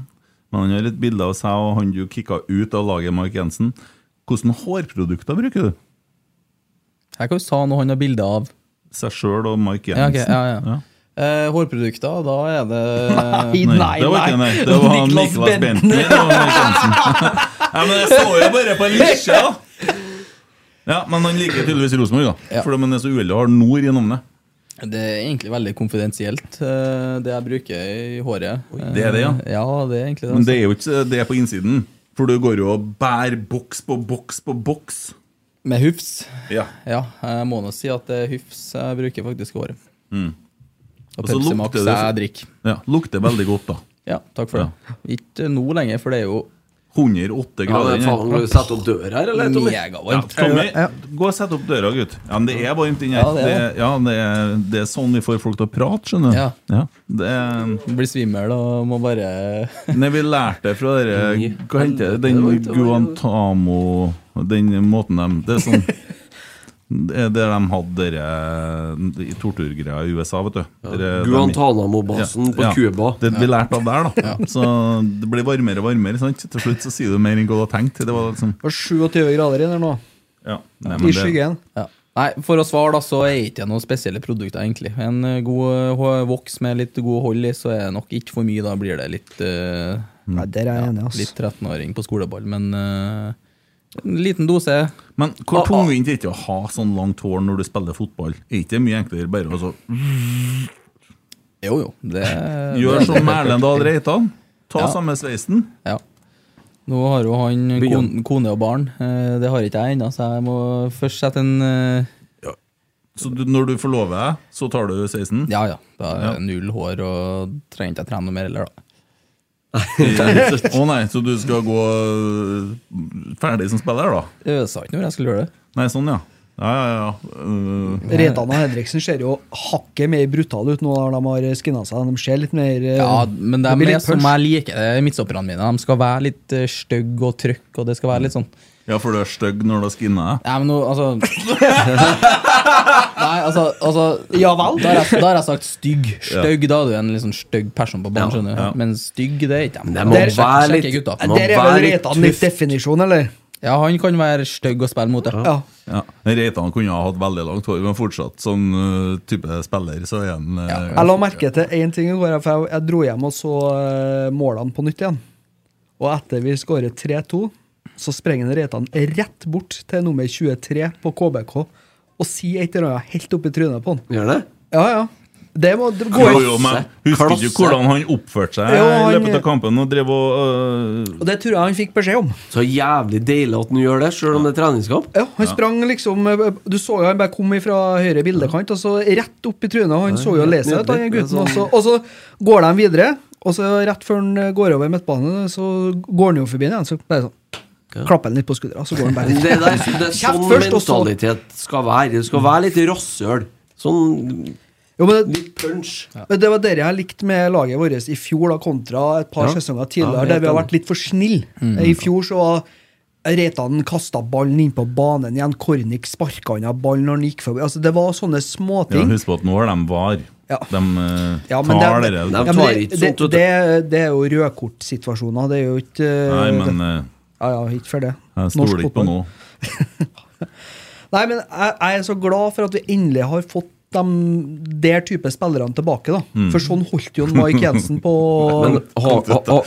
A: Men han har et bilde av seg og han du kicka ut av laget, Mark Jensen. Hvilke hårprodukter bruker du?
D: Her kan vi ta noe han har bilde av.
A: Seg sjøl og Mark
D: Ja,
A: Jensen?
D: ok, ja, ja. Eh, hårprodukter, da er det *laughs*
A: Nei, det var ikke nei. Det var han *laughs* Niklas Bentner og Mark Jensen. *laughs* Nei, men jeg så jo bare på lisja! Ja, men han liker tydeligvis Rosenborg, da.
D: Ja.
A: For han er så uheldig å ha Nord i navnet.
D: Det er egentlig veldig konfidensielt, eh, det jeg bruker i håret. Eh,
A: det er det, ja.
D: Ja, det er egentlig det.
A: Men
D: Altså.
A: det er jo ikke det er på innsiden. For du går jo og bærer boks på boks på boks.
D: Med hufs.
A: Ja.
D: Ja, jeg må nå si at det er hufs jeg bruker faktisk i håret. Mm. Og
A: Og så
D: Pepsi
A: lukter
D: Max
A: det så-
D: jeg drikker.
A: ja. Lukter veldig godt, da.
D: Ja, takk for det. Ikke nå lenger, for det er jo
A: 108
C: Ja,
A: grader
C: men faen,
A: inne.
C: må du sette opp dør her, eller, Tommy?
A: Ja,
D: megavarmt.
A: Tommy, gå og sett opp døra, gutt. Ja, men det er varmt inne her.
D: Ja, det
A: det,
D: er
A: ja, det, er, det er sånn vi får folk til å prate, skjønner du.
D: Ja.
A: Det er,
D: Jeg Blir svimmel og må bare
A: nei, vi lærte det fra dere Hva heter det?
C: Helvete,
A: Den
C: det var-
A: Guantamo Den måten de Det er sånn Det er der de hadde dere i torturgreia i USA, vet du. Dere-
C: Guantánamo-basen på Cuba.
A: Det vi lærte av der, da. Så det blir varmere og varmere. Sant? Til slutt så sier du mer enn hva du har tenkt. Det var liksom,
B: Det var 27 grader inne her nå,
A: ja. Nei, men
B: i
A: det,
B: skyggen.
D: Ja. Nei, for å svare, da, så er ikke jeg noen spesielle produkter, egentlig. En eh, god eh, hå- voks med litt god hold i, så er det nok ikke for mye. Da blir det litt eh,
A: Mm.
B: Nei, der er jeg enig, ass.
D: Litt 13-åring på skoleball, men eh, en liten dose.
A: men hvor tungvint er det ikke å ha sånn langt hår når du spiller fotball? Er ikke det mye enklere bare å så
D: Jo, jo. Det,
A: *laughs* Gjør som Erlend Dahl Reitan. Ta samme sveisen.
D: *laughs* Ja. Nå har jo han kon,
C: Begynn.
D: kone og barn. eh, Det har ikke jeg ennå, så jeg må først sette en eh,
A: Så du, når du forlover deg, så tar du sveisen?
D: Ja ja, da er det null hår og trenger ikke jeg trene noe mer heller, da.
A: Å nei, så du skal gå øh, ferdig som spiller, da?
D: Jeg sa ikke når jeg skulle gjøre det.
A: Nei, sånn, ja. Ja, ja, ja. Øh,
B: Reitan og Henriksen ser jo hakket mer brutale ut nå når de har skinna seg. De ser litt mer eh,
D: Ja, men de
B: det blir
D: er
B: litt
D: som
B: punch.
D: jeg liker det, midtstopperne mine. De skal være litt eh, stygge og trøkk, og det skal være litt sånn
A: ja, for du er stygg når du har skinna deg?
D: Nei, men nå, altså
B: *laughs*
D: Nei, altså, altså
B: Ja vel?
D: Da har jeg, da har jeg sagt stygg. Stygg, da er du en litt sånn stygg person på banen, skjønner du. Men stygg, det er ikke
C: Det
D: jeg.
C: må
D: Der-
C: være
D: sjekker-
C: litt-
D: sjekker gutta.
B: Nei,
C: må
B: Der er
C: være
B: vel
C: litt
B: Reitan litt
C: tøff.
B: definisjon, eller?
D: Ja, han kan være stygg og spille mot det.
B: Ja.
A: Ja, Reitan kunne ha hatt veldig langt hår, men fortsatt som eh, type spiller, så er han eh,
B: Jeg la merke til én ting i går. For jeg, jeg dro hjem og så eh, målene på nytt igjen. Og etter vi skårer 3-2, så sprenger Reitan rett bort til nummer 23 på KBK og sier et eller annet helt opp i trynet på han.
C: Gjør det?
B: Ja, ja. Det må det går
A: Jo,
B: jo.
A: jo, men
C: Klasse.
A: Husker
C: Klasse.
A: ikke hvordan han oppførte seg
B: Jo, han-
A: i løpet av kampen og drev og eh,
B: Og det tror jeg han fikk beskjed om.
C: Så jævlig deilig at han gjør det, sjøl om det er treningskamp.
B: Ja, han sprang liksom Du så jo han bare kom ifra høyre bildekant, og så rett opp i trynet. og Han så jo lese ut, han gutten. Og
C: sånn-
B: så, og så går de videre, og så rett før han eh, går over midtbanen, så går han jo forbi igjen. Så bare sånn klapper han litt på skuldra, så går han bare
C: *laughs* Det,
B: litt.
C: der, det er sånn
B: først, og så-
C: mentalitet skal være. Det skal være litt rasshøl. Sånn
B: Jo, men det,
C: litt punch.
B: men det var det jeg likte med laget vårt i fjor da, kontra et par
C: Ja.
B: sesonger
C: Ja,
B: tidligere,
C: helt Mm.
B: der vi har
C: enig.
B: vært litt for snille. Eh, I fjor så var Reitan kasta ballen inn på banen igjen, Kornik sparka han av ballen når han gikk forbi. Altså, det var sånne
A: ja,
B: småting.
A: Husk på at nå er de var.
B: Ja.
A: De eh,
B: Ja, men
A: tar
B: det-
A: dere
C: Nei,
B: Ja, men
C: tar
B: det,
C: ikke
B: det,
C: sånt, vet du.
B: det, det er jo rødkortsituasjoner. Det er jo ikke
A: Nei, men eh,
B: Ja, ja, ikke for det.
A: jeg stoler ikke på noe.
B: Nei, men jeg, jeg er så glad for at vi endelig har fått de der type spillerne tilbake, da.
A: Mm.
B: For sånn holdt jo Mike Jensen på
A: *laughs*
C: Men ha, ha, ha,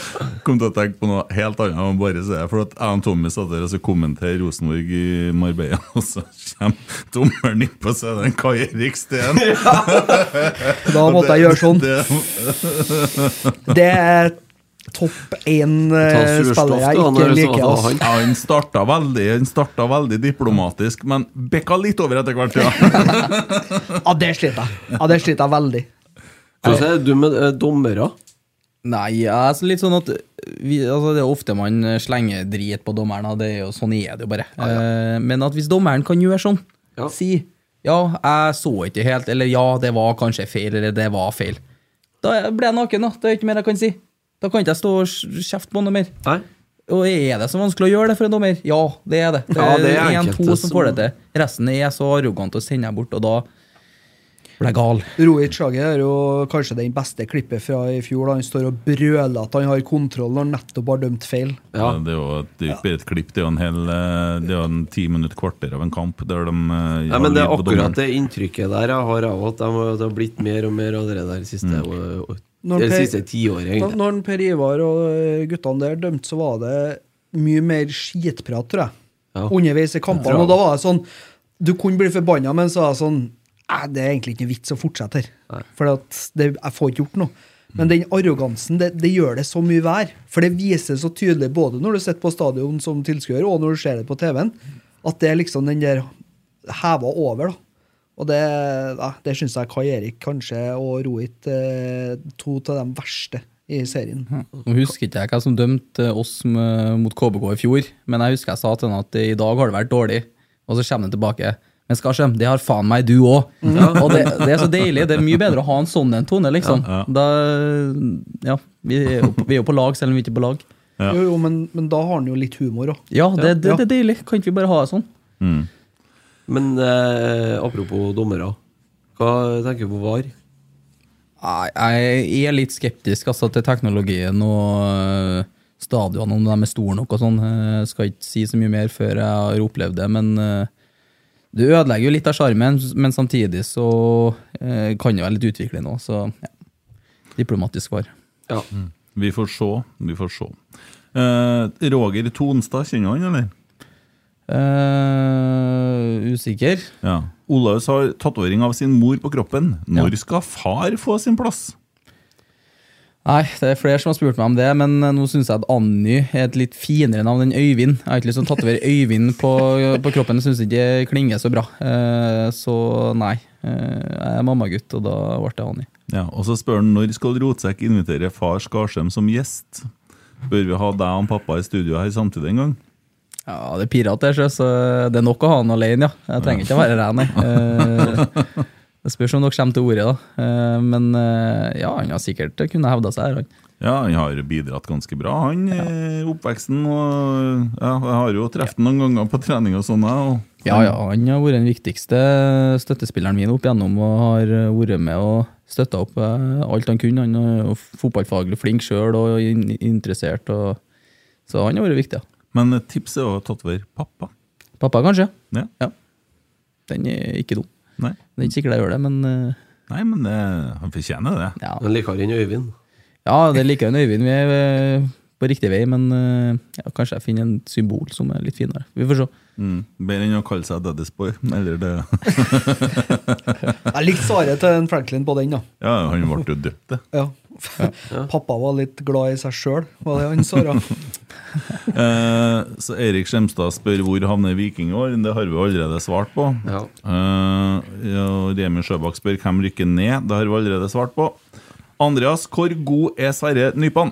A: Kom til å tenke på noe helt annet. Jeg må bare si det, For at jeg og Tommy satt der og så kommenterer Rosenborg i Marbella, *laughs* og så kommer dommeren inn på scenen, Kai Erik
B: *laughs*
A: Steen.
B: Da måtte jeg gjøre sånn.
A: Det-
B: Det er topp
C: Ta surstoff,
B: én-spiller jeg
C: da,
B: ikke
C: når det så-
B: liker. ass.
C: han-
A: Ja, han starta veldig, han starta veldig diplomatisk, men bekka litt over etter hvert. Ja.
B: Ja, det sliter jeg. Ja, det sliter jeg veldig.
C: hvordan er du med eh, dommere?
D: Nei, jeg er så litt sånn at vi, altså Det er ofte man slenger drit på dommeren, og det er jo, sånn er det jo bare. Eh, Men at hvis dommeren kan gjøre sånn,
C: Ja.
D: si ja, jeg så ikke helt, eller ja, det var kanskje feil, eller det var feil. Da blir jeg naken, da. Det er ikke mer jeg kan si. Da kan ikke jeg stå og sj- kjefte på noe mer.
C: Nei?
D: Og er det så vanskelig å gjøre det for en dommer? Ja, det er det. Det
C: Ja,
D: er
C: det er
D: én,
C: enkelte
D: to som
C: som-
D: får det til. Resten er så arrogant og sender jeg bort, og da blir jeg gal.
B: Rohit Sjage er jo kanskje den beste klippet fra i fjor. da Han står og brøler at han har kontroll når han nettopp har dømt feil.
C: Ja.
A: Eh, Det er jo et- det er jo ikke bare et klipp, det er jo en hel eh, Det er jo en ti minutter kvarter av en kamp der de eh,
C: Nei,
A: har
C: men det er
A: lyd på dommeren.
C: akkurat det inntrykket der jeg har av at de har- det har blitt mer og mer av det der siste, mm.
B: Når
C: det
B: Per-
C: siste tiåret,
B: Da
C: egentlig.
B: når Per Ivar og eh, guttene der dømte, så var det mye mer skitprat, tror jeg.
C: Ja.
B: Underveis i kampene. Og da var det sånn Du kunne bli forbanna, men så var det sånn "Nei, Det er egentlig ikke vits å fortsette her. For at det, jeg får ikke gjort noe. Men den arrogansen, det, det gjør det så mye vær. For det vises så tydelig både når du sitter på stadion som tilskuer, og når du ser det på TV-en, at det er liksom den der heva over, da. Og det, ja, det syns jeg Kai Erik kanskje og Rohit eh, to av de verste i serien.
D: Nå husker ikke jeg hvem som dømte oss m- mot KBK i fjor, men jeg husker jeg sa til henne at i dag har det vært dårlig, og så kommer det tilbake. Men Skarsheim, det har faen meg du òg! Og det, det er så deilig. Det er mye bedre å ha en sånn en tone, liksom. Da, ja, vi er, jo, vi er jo på lag, selv om vi ikke er på lag.
B: Jo, jo, men, men da har han jo litt humor òg.
D: Ja, det, det, det er deilig. Kan ikke vi bare ha det sånn?
A: Mm.
C: Men eh, apropos dommere, hva tenker du på VAR?
D: Nei, Jeg er litt skeptisk altså, til teknologien og øh, stadionene, om de er store nok og sånn. Jeg skal ikke si så mye mer før jeg har opplevd det, men øh, det ødelegger jo litt av sjarmen. Men samtidig så øh, kan det være litt utviklende òg, så ja. Diplomatisk svar.
C: Ja.
A: Vi får se. Vi får se. Eh, Roger Tonstad, kjenner du han, eller?
D: Eh, usikker.
A: Ja. Olaus har tatovering av sin mor på kroppen. Når skal far få sin plass?
D: Nei, det er flere som har spurt meg om det, men eh, nå syns jeg at Anny er et litt finere navn enn Øyvind. Jeg har ikke lyst til å tatovere Øyvind på, på kroppen, jeg syns ikke det klinger så bra. Eh, så nei. Eh, jeg er mammagutt, og da ble det Anny.
A: Ja, og så spør han når skal Rotsekk invitere far Skarsheim som gjest? Bør vi ha deg og pappa i studio her samtidig en gang?
D: Ja, det er pirat der, sjø, så det er nok å ha han alene, ja. Jeg trenger ikke å være ræv, nei. Eh, det spørs om dere kommer til ordet, da. Eh, men eh, ja, han har sikkert kunnet hevda seg her, han.
A: Ja, han har bidratt ganske bra, han, i oppveksten. Og ja, jeg har jo truffet ham noen ganger på trening og sånn, jeg. og-
D: Ja, ja, han har vært den viktigste støttespilleren min opp igjennom og har eh, vært med og støtta opp eh, alt han kunne. Han er jo fotballfaglig flink sjøl og in interessert, og, så han har vært viktig. Ja.
A: Men et tips er å tatovere pappa.
D: Pappa, kanskje?
A: Ja.
D: Ja. Den er ikke dum.
A: Nei.
D: Det er ikke sikkert jeg gjør det, men eh,
A: Nei, men det, han fortjener det.
D: ja.
C: Men likere enn Øyvind.
D: ja, det liker han Øyvind. Vi er eh, på riktig vei, men eh, ja, kanskje jeg finner en symbol som er litt finere. Vi får se.
A: Mm. Bedre enn å kalle seg Daddy's Boy. Eller det
B: Jeg likte svaret til en Franklin på den, da.
A: Ja, han ble jo døpt, det.
B: Ja. Pappa var litt glad i seg sjøl, var det han svara.
A: Eh, så Erik Skjemstad spør hvor havner Viking i år. Det har vi allerede svart på.
C: Ja.
A: Eh, ja, Remi Sjøbakk spør hvem rykker ned. Det har vi allerede svart på. Andreas, hvor god er Sverre Nypan?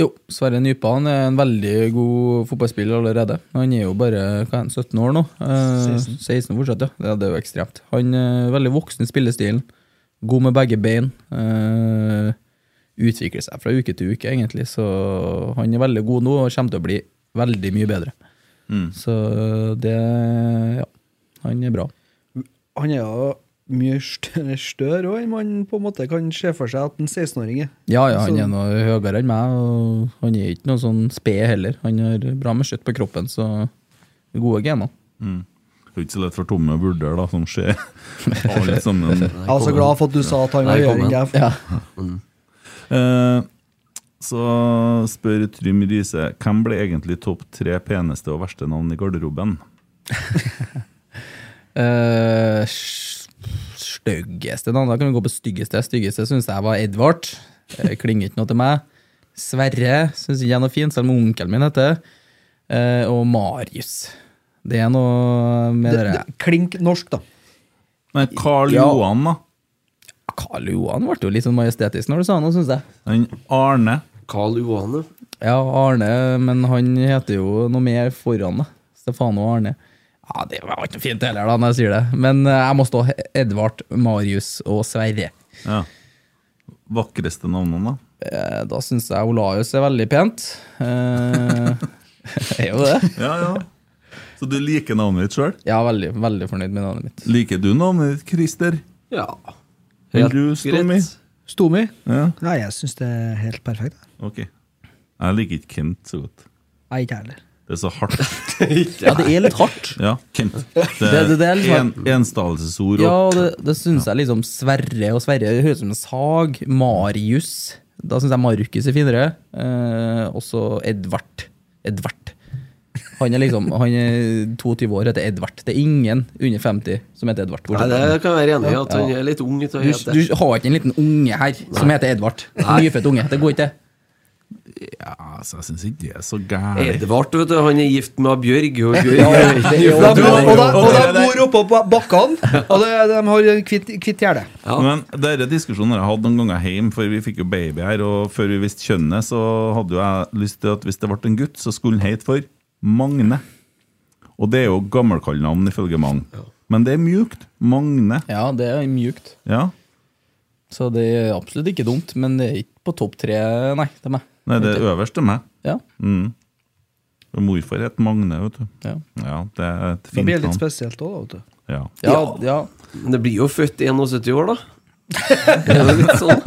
D: Jo, Sverre Nypan er en veldig god fotballspiller allerede. Han er jo bare hva er han, 17 år nå. Eh, 16. fortsatt, ja. ja. Det er jo ekstremt. Han er veldig voksen i spillestilen. God med begge bein. Eh, utvikler seg fra uke til uke, egentlig. Så han er veldig god nå og kommer til å bli veldig mye bedre. Så eh, det Ja, han er bra.
B: Han er jo mye større større òg enn man på en måte kan se for seg at en 16-åring er.
D: Ja, ja, han
B: Så-
D: er noe høyere enn meg, og han er ikke noe sånn sped heller. Han har bra med kjøtt på kroppen, så gode gener.
A: Det er ikke så lett for tomme vurdere, da, som
D: *laughs*
A: skjer alle sammen.
B: Jeg var så glad for at du sa at han var
C: Nei,
B: høyere
C: kom
B: enn
C: igjen.
B: jeg. for-
A: Eh, så spør Trym Riise hvem ble egentlig topp tre peneste og verste navn i garderoben?
D: Eh, s- Styggeste navn? Da kan vi gå på styggeste. Styggeste syns jeg var Edvard. Eh, Klinger ikke noe til meg. Sverre syns ikke jeg er noe fint, selv om onkelen min heter det. Eh, Og Marius. Det er noe med
B: Det-
D: det
B: det- Klink norsk, da.
A: Nei, Karl
D: Ja.
A: Johan, da.
D: Karl Johan ble jo litt sånn majestetisk når du sa noe, syns jeg.
A: Han Arne.
C: Karl Johanne.
D: Ja, Arne, men han heter jo noe mer foran, da. Stefano Arne. Ja, Det var ikke fint heller, da, når jeg sier det. Men eh, jeg må stå Edvard, Marius og Sverre.
A: Ja. Vakreste navnene, da?
D: Eh, Da syns jeg Olaus er veldig pent. *laughs* Eh, er jo det.
A: Ja, ja. Så du liker navnet ditt sjøl?
D: Ja, veldig, veldig fornøyd med navnet mitt.
A: Liker du navnet ditt, Christer?
C: Ja.
A: Vil du stå med?
B: Stomi?
A: Ja,
B: Nei, jeg syns det er helt perfekt. jeg.
A: ok. Jeg liker ikke Kent så godt.
B: Nei, ikke jeg heller.
A: Det er så hardt.
D: Ja, det er litt hardt.
A: Ja, Kent. Det
D: *laughs* Det- det- det er
A: er
D: litt
A: en, enstavelsesord.
D: Ja,
A: og-
D: og det, det syns jeg liksom Sverre og Sverre det høres ut som en sag. Marius. Da syns jeg Markus er finere. Eh, også Edvard. Edvard. Han er liksom Han er 22 år, heter Edvard. Det er ingen under 50 som heter Edvard.
C: Nei,
D: bortsett
C: det
D: fra-
C: kan jeg være enig i, at
D: Ja.
C: han er litt ung. til å
D: Du,
C: hete.
D: du har ikke en liten unge her som heter Edvard. Nyfødt unge. Det går ikke.
A: Ja, altså, jeg syns ikke det er så gærent.
C: Edvard, vet du, han er gift med Bjørg. Og Bjørg
D: Ja, det er jo-
B: Og de
A: det- det-
B: bor oppå på bakkene, og det, de har en kvitt, kvitt gjerde.
C: Ja.
A: Men denne diskusjonen har jeg hatt noen ganger hjemme, for vi fikk jo baby her. Og før vi visste kjønnet, så hadde jo jeg lyst til at hvis det ble en gutt, så skulle han hete for Magne. Og det er jo gammelkallenavn ifølge mange. Men det er mjukt. Magne.
D: Ja, det er mjukt.
A: Ja.
D: Så det er absolutt ikke dumt, men det er ikke på topp tre, nei. til meg.
A: Nei, det er øverst til meg.
D: Ja,
A: Mm. Og Morfar het Magne, vet du.
D: ja.
A: Ja, det er et
B: Det
A: fint
B: blir litt
A: navn.
B: spesielt òg, vet du.
A: Ja.
D: ja, ja.
C: Men det blir jo født 71 år, da. Det er jo litt sånn.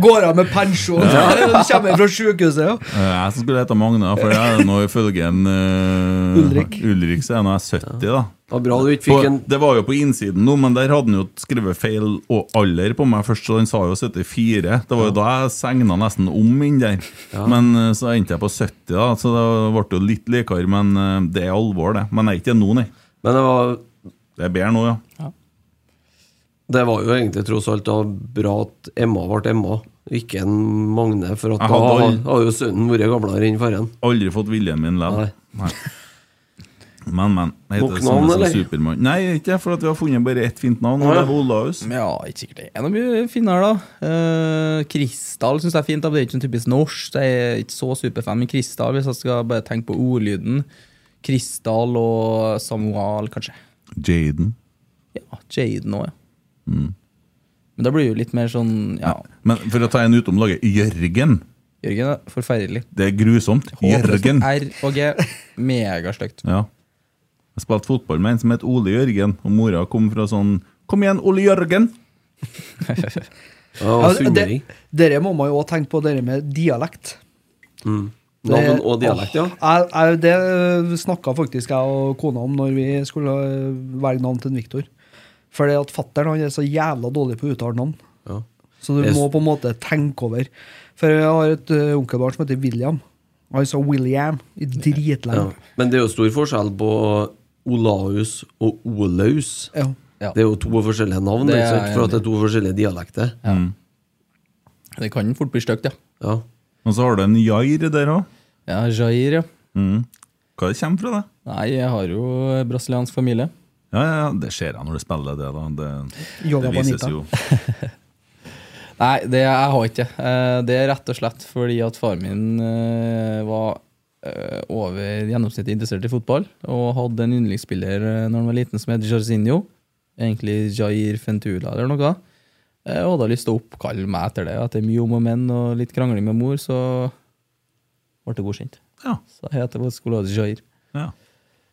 B: Går av med pensjon, *laughs* ja. kommer fra sjukehuset. Ja.
A: Eh, Jeg som skulle hete Magne, da, for jeg er nå ifølge en eh,
B: Ulrik.
A: Ulrik så er jeg nå 70, da.
C: Det var bra du ikke
A: På,
C: fikk en
A: det var jo på innsiden nå, men der hadde han jo skrevet feil og alder på meg først, så han sa jo 74. Det var jo da jeg segna nesten om inn der. Men eh, så endte jeg på 70, da, så det ble jo litt likere. Men eh, det er alvor, det. Men jeg er ikke det nå, nei.
C: Men det var,
A: Det er bedre nå, ja.
C: det var jo egentlig tross alt da bra at Emma ble Emma, ikke en Magne. For at
A: Jeg
C: da
A: hadde
C: har
A: aldri-
C: har jo sønnen vært gamlere enn faren.
A: Aldri fått viljen min
C: Nei.
A: levd. Nei. Men, men. Jeg heter
C: Nok
A: det samme
C: navn,
A: som
C: eller?
A: Supermann. Nei, ikke det, for at vi har funnet bare ett fint navn, og det er Olaus.
D: ja ikke sikkert det er noe mye finere, da. Eh, Kristall syns jeg er fint, da, men det er ikke sånn typisk norsk. Jeg er ikke så superfan, men Kristall, hvis jeg skal bare tenke på ordlyden. Kristall og Samuel, kanskje.
A: Jaden.
D: Ja, Jaden òg, ja. Mm. Men da blir det jo litt mer sånn Ja,
A: Men for å ta en utom laget Jørgen.
D: Jørgen er forferdelig.
A: Det er grusomt. Jørgen.
D: R og G. Megastygt.
A: Ja. Jeg spilte fotball med en som het Ole Jørgen, og mora kom fra sånn Kom igjen, Ole Jørgen!
C: Ja,
B: Ja,
C: Sunnmøring.
B: det- Dere må man jo òg tenke på, dere med dialekt.
C: Mm. Navn og dialekt, ja.
B: Åh, jeg- jeg- det snakka faktisk jeg og kona om når vi skulle øh, velge navn til en Viktor. Fordi at fattern er så jævla dårlig på å uttale navn.
C: ja.
B: Så du
C: Jeg s-
B: må på en måte tenke over. For jeg har et øh, onkelbarn som heter William. Og Han sa William i
C: Ja.
B: dritlenge.
C: Men det er jo stor forskjell på Olaus og Olaus.
B: Ja.
D: Ja.
C: Det er jo to forskjellige navn,
D: Det er
C: ikke sant?
D: jeg
C: for at
D: enig
C: det er to forskjellige dialekter.
D: Mm. Det kan fort bli stygt, ja.
C: Ja.
A: Og så har du en Jair der òg.
D: Ja, Jair, ja.
A: Mm. Hva det kommer fra, det?
D: Nei, jeg har jo eh, brasiliansk familie.
A: Ja, ja, ja, det ser jeg når du spiller det, da. Det,
B: Yoga
A: det vises
B: Bonita.
A: jo.
D: Nei, det jeg har ikke. Eh, Det er rett og slett fordi at faren min eh, var eh, over gjennomsnittet interessert i fotball, og hadde en yndlingsspiller eh, når han var liten som het Jarzinho. Egentlig Jair Fentula eller noe. Eh, Og hadde lyst til å oppkalle meg etter det. Etter mye om og men og litt krangling med mor, så ble det godkjent.
A: Ja,
D: Så jeg heter på skolen Jair.
A: ja.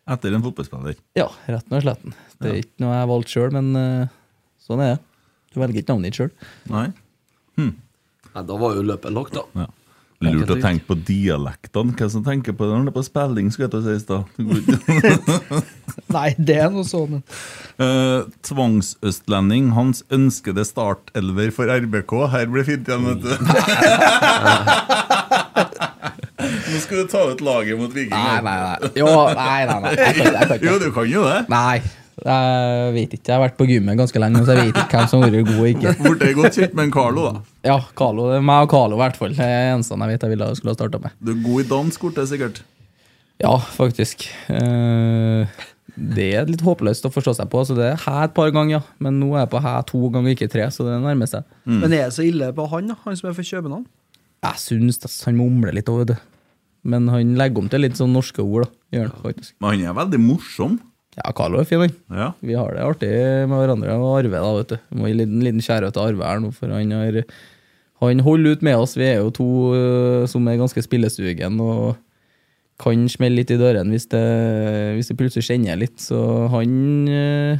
A: Etter en fotballspiller.
D: Ja, retten og sletten. Det er ikke noe jeg valgte sjøl, men eh, sånn er det. Du velger ikke navnet ditt sjøl.
A: Nei.
C: Nei, da var jo løpet lagt, da.
A: Ja. Lurt å
C: Enkelt og
A: tenke på dialektene. Hvem som tenker på det når det er på spilling, skulle jeg til å si i stad.
B: Nei, det er noe sånn.
A: Eh, Tvangsøstlending, hans ønskede startelver for RBK. Her blir fint igjen, vet
D: *laughs*
A: du. Nå skal du ta ut laget mot Viking.
D: Nei, nei, nei. Jo, nei, nei, nei. Jeg kan ikke, jeg kan ikke.
A: Jo, du kan jo det.
D: Nei, jeg vet ikke. Jeg har vært på gymmet ganske lenge, så jeg vet ikke hvem som har vært god og ikke.
A: Borte er godt kjent med en Carlo, da.
D: Ja, Carlo. det er Meg og Carlo, i hvert fall. Det er eneste jeg vet jeg ville ha- skulle ha starta med.
A: Du er god i dansk, borte, sikkert.
D: Ja, faktisk. Eh, Det er litt håpløst å forstå seg på, så det er hæ et par ganger, ja. Men nå er jeg på hæ to ganger, ikke tre, så det nærmer seg.
C: Mm.
B: Men er det så ille på han, da? Han som er fra København?
D: Jeg syns det- han mumler litt òg, vet du. Men han legger om til litt sånn norske ord, da. Gjør han faktisk.
A: Men han er veldig morsom.
D: Ja, Carlo er fin, han.
A: Ja.
D: Vi har det artig med hverandre og Arve, da, vet du. Vi må gi en liten, liten kjærlighet til Arve her nå, for han har Han holder ut med oss. Vi er jo to øh, som er ganske spillesugen og kan smelle litt i dørene hvis det, hvis det plutselig kjenner litt. Så han øh,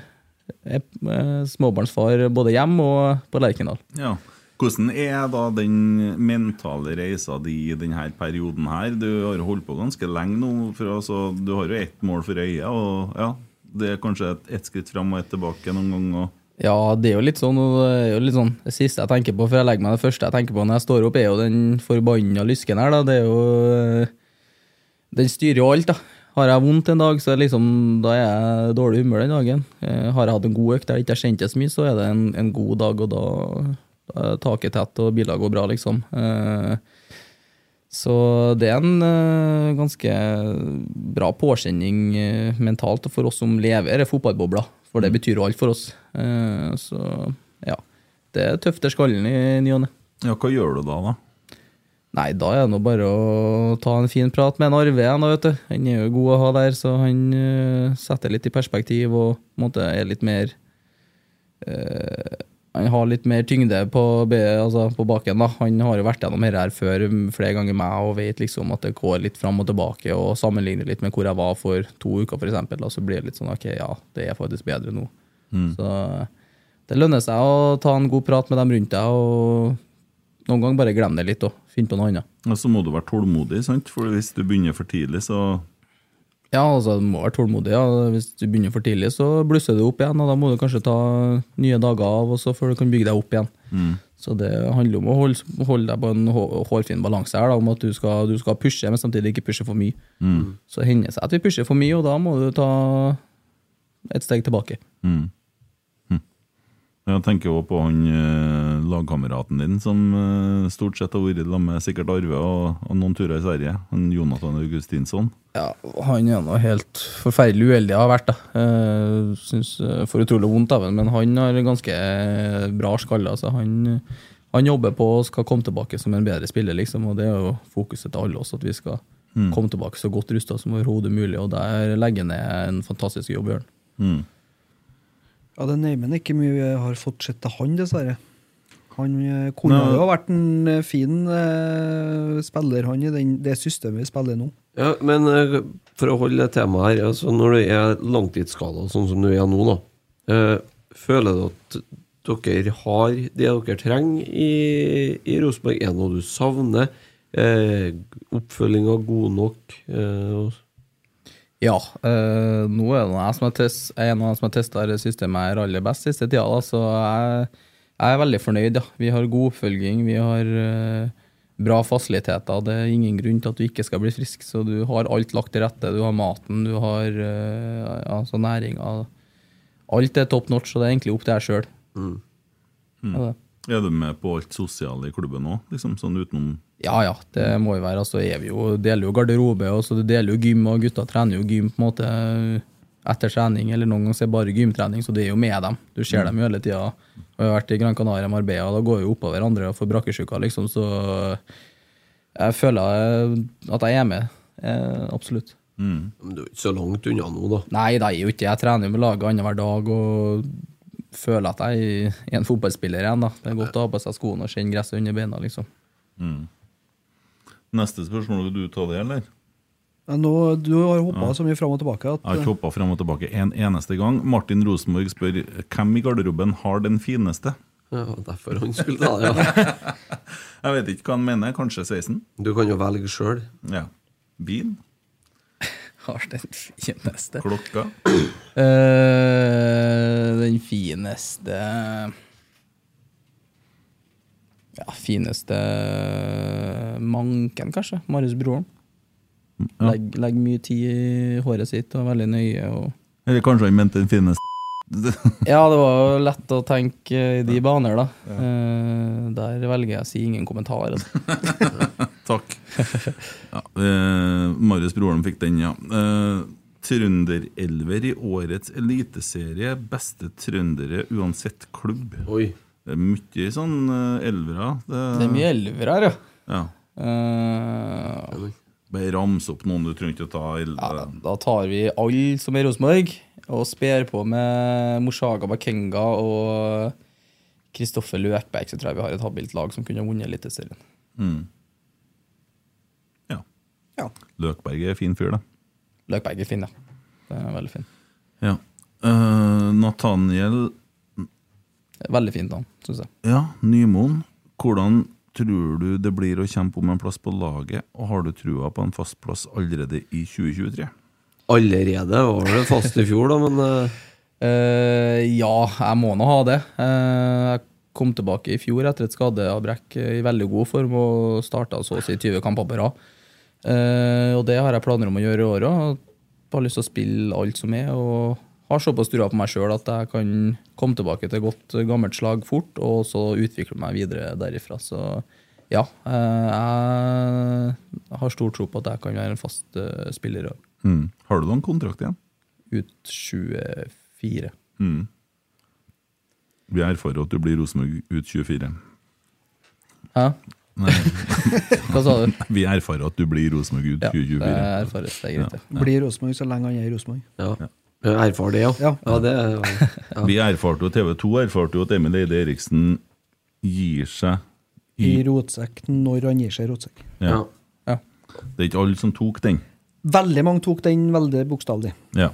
D: er øh, småbarnsfar både hjemme og på Lerkendal.
A: Ja. Hvordan er da den mentale reisa di i denne perioden her? Du har jo holdt på ganske lenge nå. For altså, du har jo ett mål for øyet. Og ja, det er kanskje et- ett skritt fram og ett tilbake noen ganger.
D: Ja, det er jo litt sånn, og det er jo litt sånn Det siste jeg tenker på, for jeg legger meg det første jeg tenker på når jeg står opp, er jo den forbanna lysken her, da. Det er jo øh, Den styrer jo alt, da. Har jeg vondt en dag, så er det liksom, da er jeg i dårlig humør den dagen. Eh, har jeg hatt en god økt der jeg ikke har kjent det så mye, så er det en, en god dag, og da, da er taket tett og biler går bra, liksom. Eh, så det er en eh, ganske bra påkjenning eh, mentalt for oss som lever i fotballbobla, for det betyr jo alt for oss. Eh, så ja, det tøfter skallen i ny og ne.
A: Ja, hva gjør du da, da?
D: Nei, da er det nå bare å ta en fin prat med en Arve igjen, da, vet du. Han er jo god å ha der, så han eh, setter litt i perspektiv og på en måte er litt mer eh, Han har litt mer tyngde på, be- altså, på baken, da. Han har jo vært gjennom dette her før mm, flere ganger meg og vet liksom at det går litt fram og tilbake, og sammenligner litt med hvor jeg var for to uker, for eksempel, da, så blir det litt sånn ok, ja, det er faktisk bedre nå. Så det lønner seg å ta en god prat med dem rundt deg, og noen ganger bare glem det litt og finne på noe annet.
A: Ja, så må du være tålmodig, sant? For hvis du begynner for tidlig, så
D: Ja, altså, du må være tålmodig. Ja. Hvis du begynner for tidlig, så blusser du opp igjen, og da må du kanskje ta nye dager av og så før du kan bygge deg opp igjen. Så det handler om å holde, holde deg på en hå- hårfin balanse her, da, om at du skal, du skal pushe, men samtidig ikke pushe for mye.
A: Mm.
D: Så hender det seg at vi pusher for mye, og da må du ta et steg tilbake.
A: mm. Hm. Jeg tenker også på han eh, lagkameraten din som eh, stort sett har vært sammen med sikkert Arve og, og noen turer i Sverige. Han Jonathan Augustinsson.
D: Ja, han er nå helt forferdelig uheldig har vært, da. Eh, synes eh, får utrolig vondt av ham, men han har ganske eh, bra skalle. Altså. Han, han jobber på og skal komme tilbake som en bedre spiller, liksom, og det er jo fokuset til alle oss, at vi skal komme tilbake så godt rusta som overhodet mulig, og der legger han ned en fantastisk jobb, Jørn.
A: Mm.
B: Ja, det nøyer meg ikke mye jeg har fått sett til han, dessverre. Han eh, kunne
A: Nei.
B: jo ha vært en eh, fin eh, spiller, han, i den, det systemet vi spiller nå.
C: Ja, men eh, for å holde det temaet her, altså når du er langtidsskada, sånn som du er nå, da, eh, føler du at dere har det dere trenger i, i Rosenborg? Er det noe du savner? Eh, Oppfølginga god nok? Eh, og-
D: Ja, eh, nå er det jeg som har test, jeg er en av dem som har testa systemet her aller best siste tida, da, så jeg, jeg er veldig fornøyd. Ja. Vi har god oppfølging, vi har eh, bra fasiliteter. Det er ingen grunn til at du ikke skal bli frisk, så du har alt lagt til rette. Du har maten, du har eh, altså næringa. Alt er top notch, så det er egentlig opp til deg sjøl. Ja, det.
A: Er du med på alt sosiale i klubben òg, liksom, sånn utenom
D: Ja, ja, det må jo være. Altså, er vi jo, deler jo garderobe, og så deler jo gym, og gutta trener jo gym på en måte etter trening, eller noen ganger så er det bare gymtrening, så det er jo med dem. Du ser dem jo hele tida. Og Jeg har vært i Gran Canaria, Marbella, da går vi oppå hverandre og får brakkesjuka, liksom, så jeg føler at jeg er med. Eh, absolutt.
A: mm.
C: Men du er ikke så langt unna nå, da.
D: Nei, det er jo ikke Jeg trener jo med laget annenhver dag og føler at jeg er en fotballspiller igjen, da. Det er godt å ha på seg skoene og kjenne gresset under beina, liksom.
A: Neste spørsmål, vil du ta det, eller?
B: Ja, nå, du har hoppa så mye fram og tilbake at eh,
A: Jeg har ikke hoppa frem og tilbake en eneste gang. Martin Rosenborg spør hvem i garderoben har den fineste?
C: Ja, derfor han skulle ta det, ja.
A: Jeg vet ikke hva han mener. Kanskje 16?
C: Du kan jo velge sjøl.
A: Ja. Bil?
D: Har den fineste.
A: Klokka?
D: Eh, den fineste Ja, fineste manken, kanskje. Marius Broren.
A: ja.
D: Legger legg mye tid i håret sitt og er veldig nøye. Og
A: Eller kanskje han mente den fineste? *laughs*
D: ja, det var jo lett å tenke i de baner, da. Eh, der velger jeg å si ingen kommentar. Altså.
A: Takk. Ja, eh, Marius Broholm fikk den, ja. Eh, Trønderelver i årets eliteserie. Beste trøndere uansett klubb.
C: Oi.
A: Det er mye sånn eh, elvere.
D: Det er mye elver her, ja.
A: Ja.
D: Eh,
A: Bare ramse opp noen du trenger ikke å ta i
D: ja, da tar vi alle som er i Rosenborg, og sper på med Moshaga Bakenga og Kristoffer Løkberg, så tror jeg vi har et habilt lag som kunne ha vunnet Eliteserien.
A: Mm. Ja.
B: Ja.
A: Løkberg er fin fyr, da.
D: Løkberg er fin, ja. Det er veldig fin.
A: Ja. Eh, Nathaniel
D: Veldig fint navn, syns jeg.
A: ja, Nymoen, hvordan tror du det blir å kjempe om en plass på laget, og har du trua på en fast plass allerede i 2023?
C: Allerede var det fast i fjor, da, men eh,
D: Eh, ja, jeg må nå ha det. Eh, jeg kom tilbake i fjor etter et skadeavbrekk eh, i veldig god form og starta så å si 20 kamper på rad. Eh, og det har jeg planer om å gjøre i år òg. Har lyst til å spille alt som er. og har såpass trua på meg sjøl at jeg kan komme tilbake til godt eh, gammelt slag fort, og så utvikle meg videre derifra. Så ja, eh, jeg har stor tro på at jeg kan være en fast eh, spiller og
A: Mm. Har du noen kontrakt igjen?
D: ut 24.
A: Mm. Vi er for at du blir Rosenborg ut 24.
D: Hæ?
A: Nei,
D: *laughs* Hva sa du?
A: *laughs* vi erfarer at du blir Rosenborg ut
D: Ja, det
A: 2024.
D: er erfares, det er greit. det.
B: Blir Rosenborg så lenge han er i Rosenborg.
C: ja. Jeg erfar det, ja.
B: Ja.
C: ja det, er- ja.
A: Vi erfarte jo, TV 2 erfarte jo at Emil Eide Eriksen gir seg
B: I
A: i
B: rotsekk når han gir seg rotsekk.
A: ja.
C: Ja.
D: Ja.
A: Det er ikke alle som tok den.
B: Veldig mange tok den veldig bokstavelig.
A: Ja.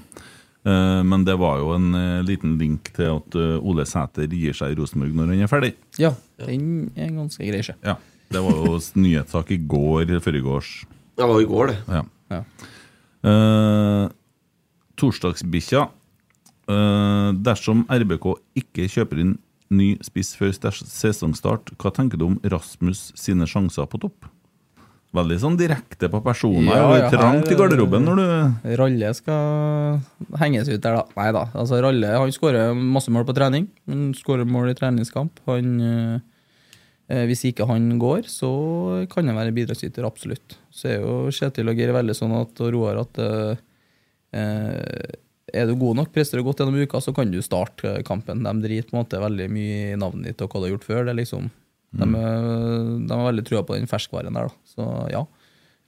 A: Eh, Men det var jo en eh, liten link til at eh, Ole Sæter gir seg i Rosenborg når han er ferdig.
D: Ja, den er ganske grei, sjø.
A: Ja. Det var jo s- nyhetssak i går eller forgårs.
C: Det var i går, det.
A: Ja.
D: Ja.
A: Eh, torsdagsbikkja. Eh, dersom RBK ikke kjøper inn ny spiss før stes- sesongstart, hva tenker du om Rasmus sine sjanser på topp? Veldig sånn direkte på personer.
D: Ja,
A: det
D: ja,
A: er trangt i
D: her-
A: garderoben når du
D: Ralle skal henges ut der, da. Nei da. Altså, Ralle han skårer masse mål på trening. Han skårer mål i treningskamp. Han, øh, eh, hvis ikke han går, så kan han være bidragsyter, absolutt. Så er jo Kjetil og Geir veldig sånn at, og Roar at øh, eh, er du god nok, presterer du godt gjennom uka, så kan du starte eh, kampen. De driter på en måte veldig mye i navnet ditt og hva du har gjort før. Det er liksom, de, er- de har veldig trua på den ferskvaren der. Da. Så ja,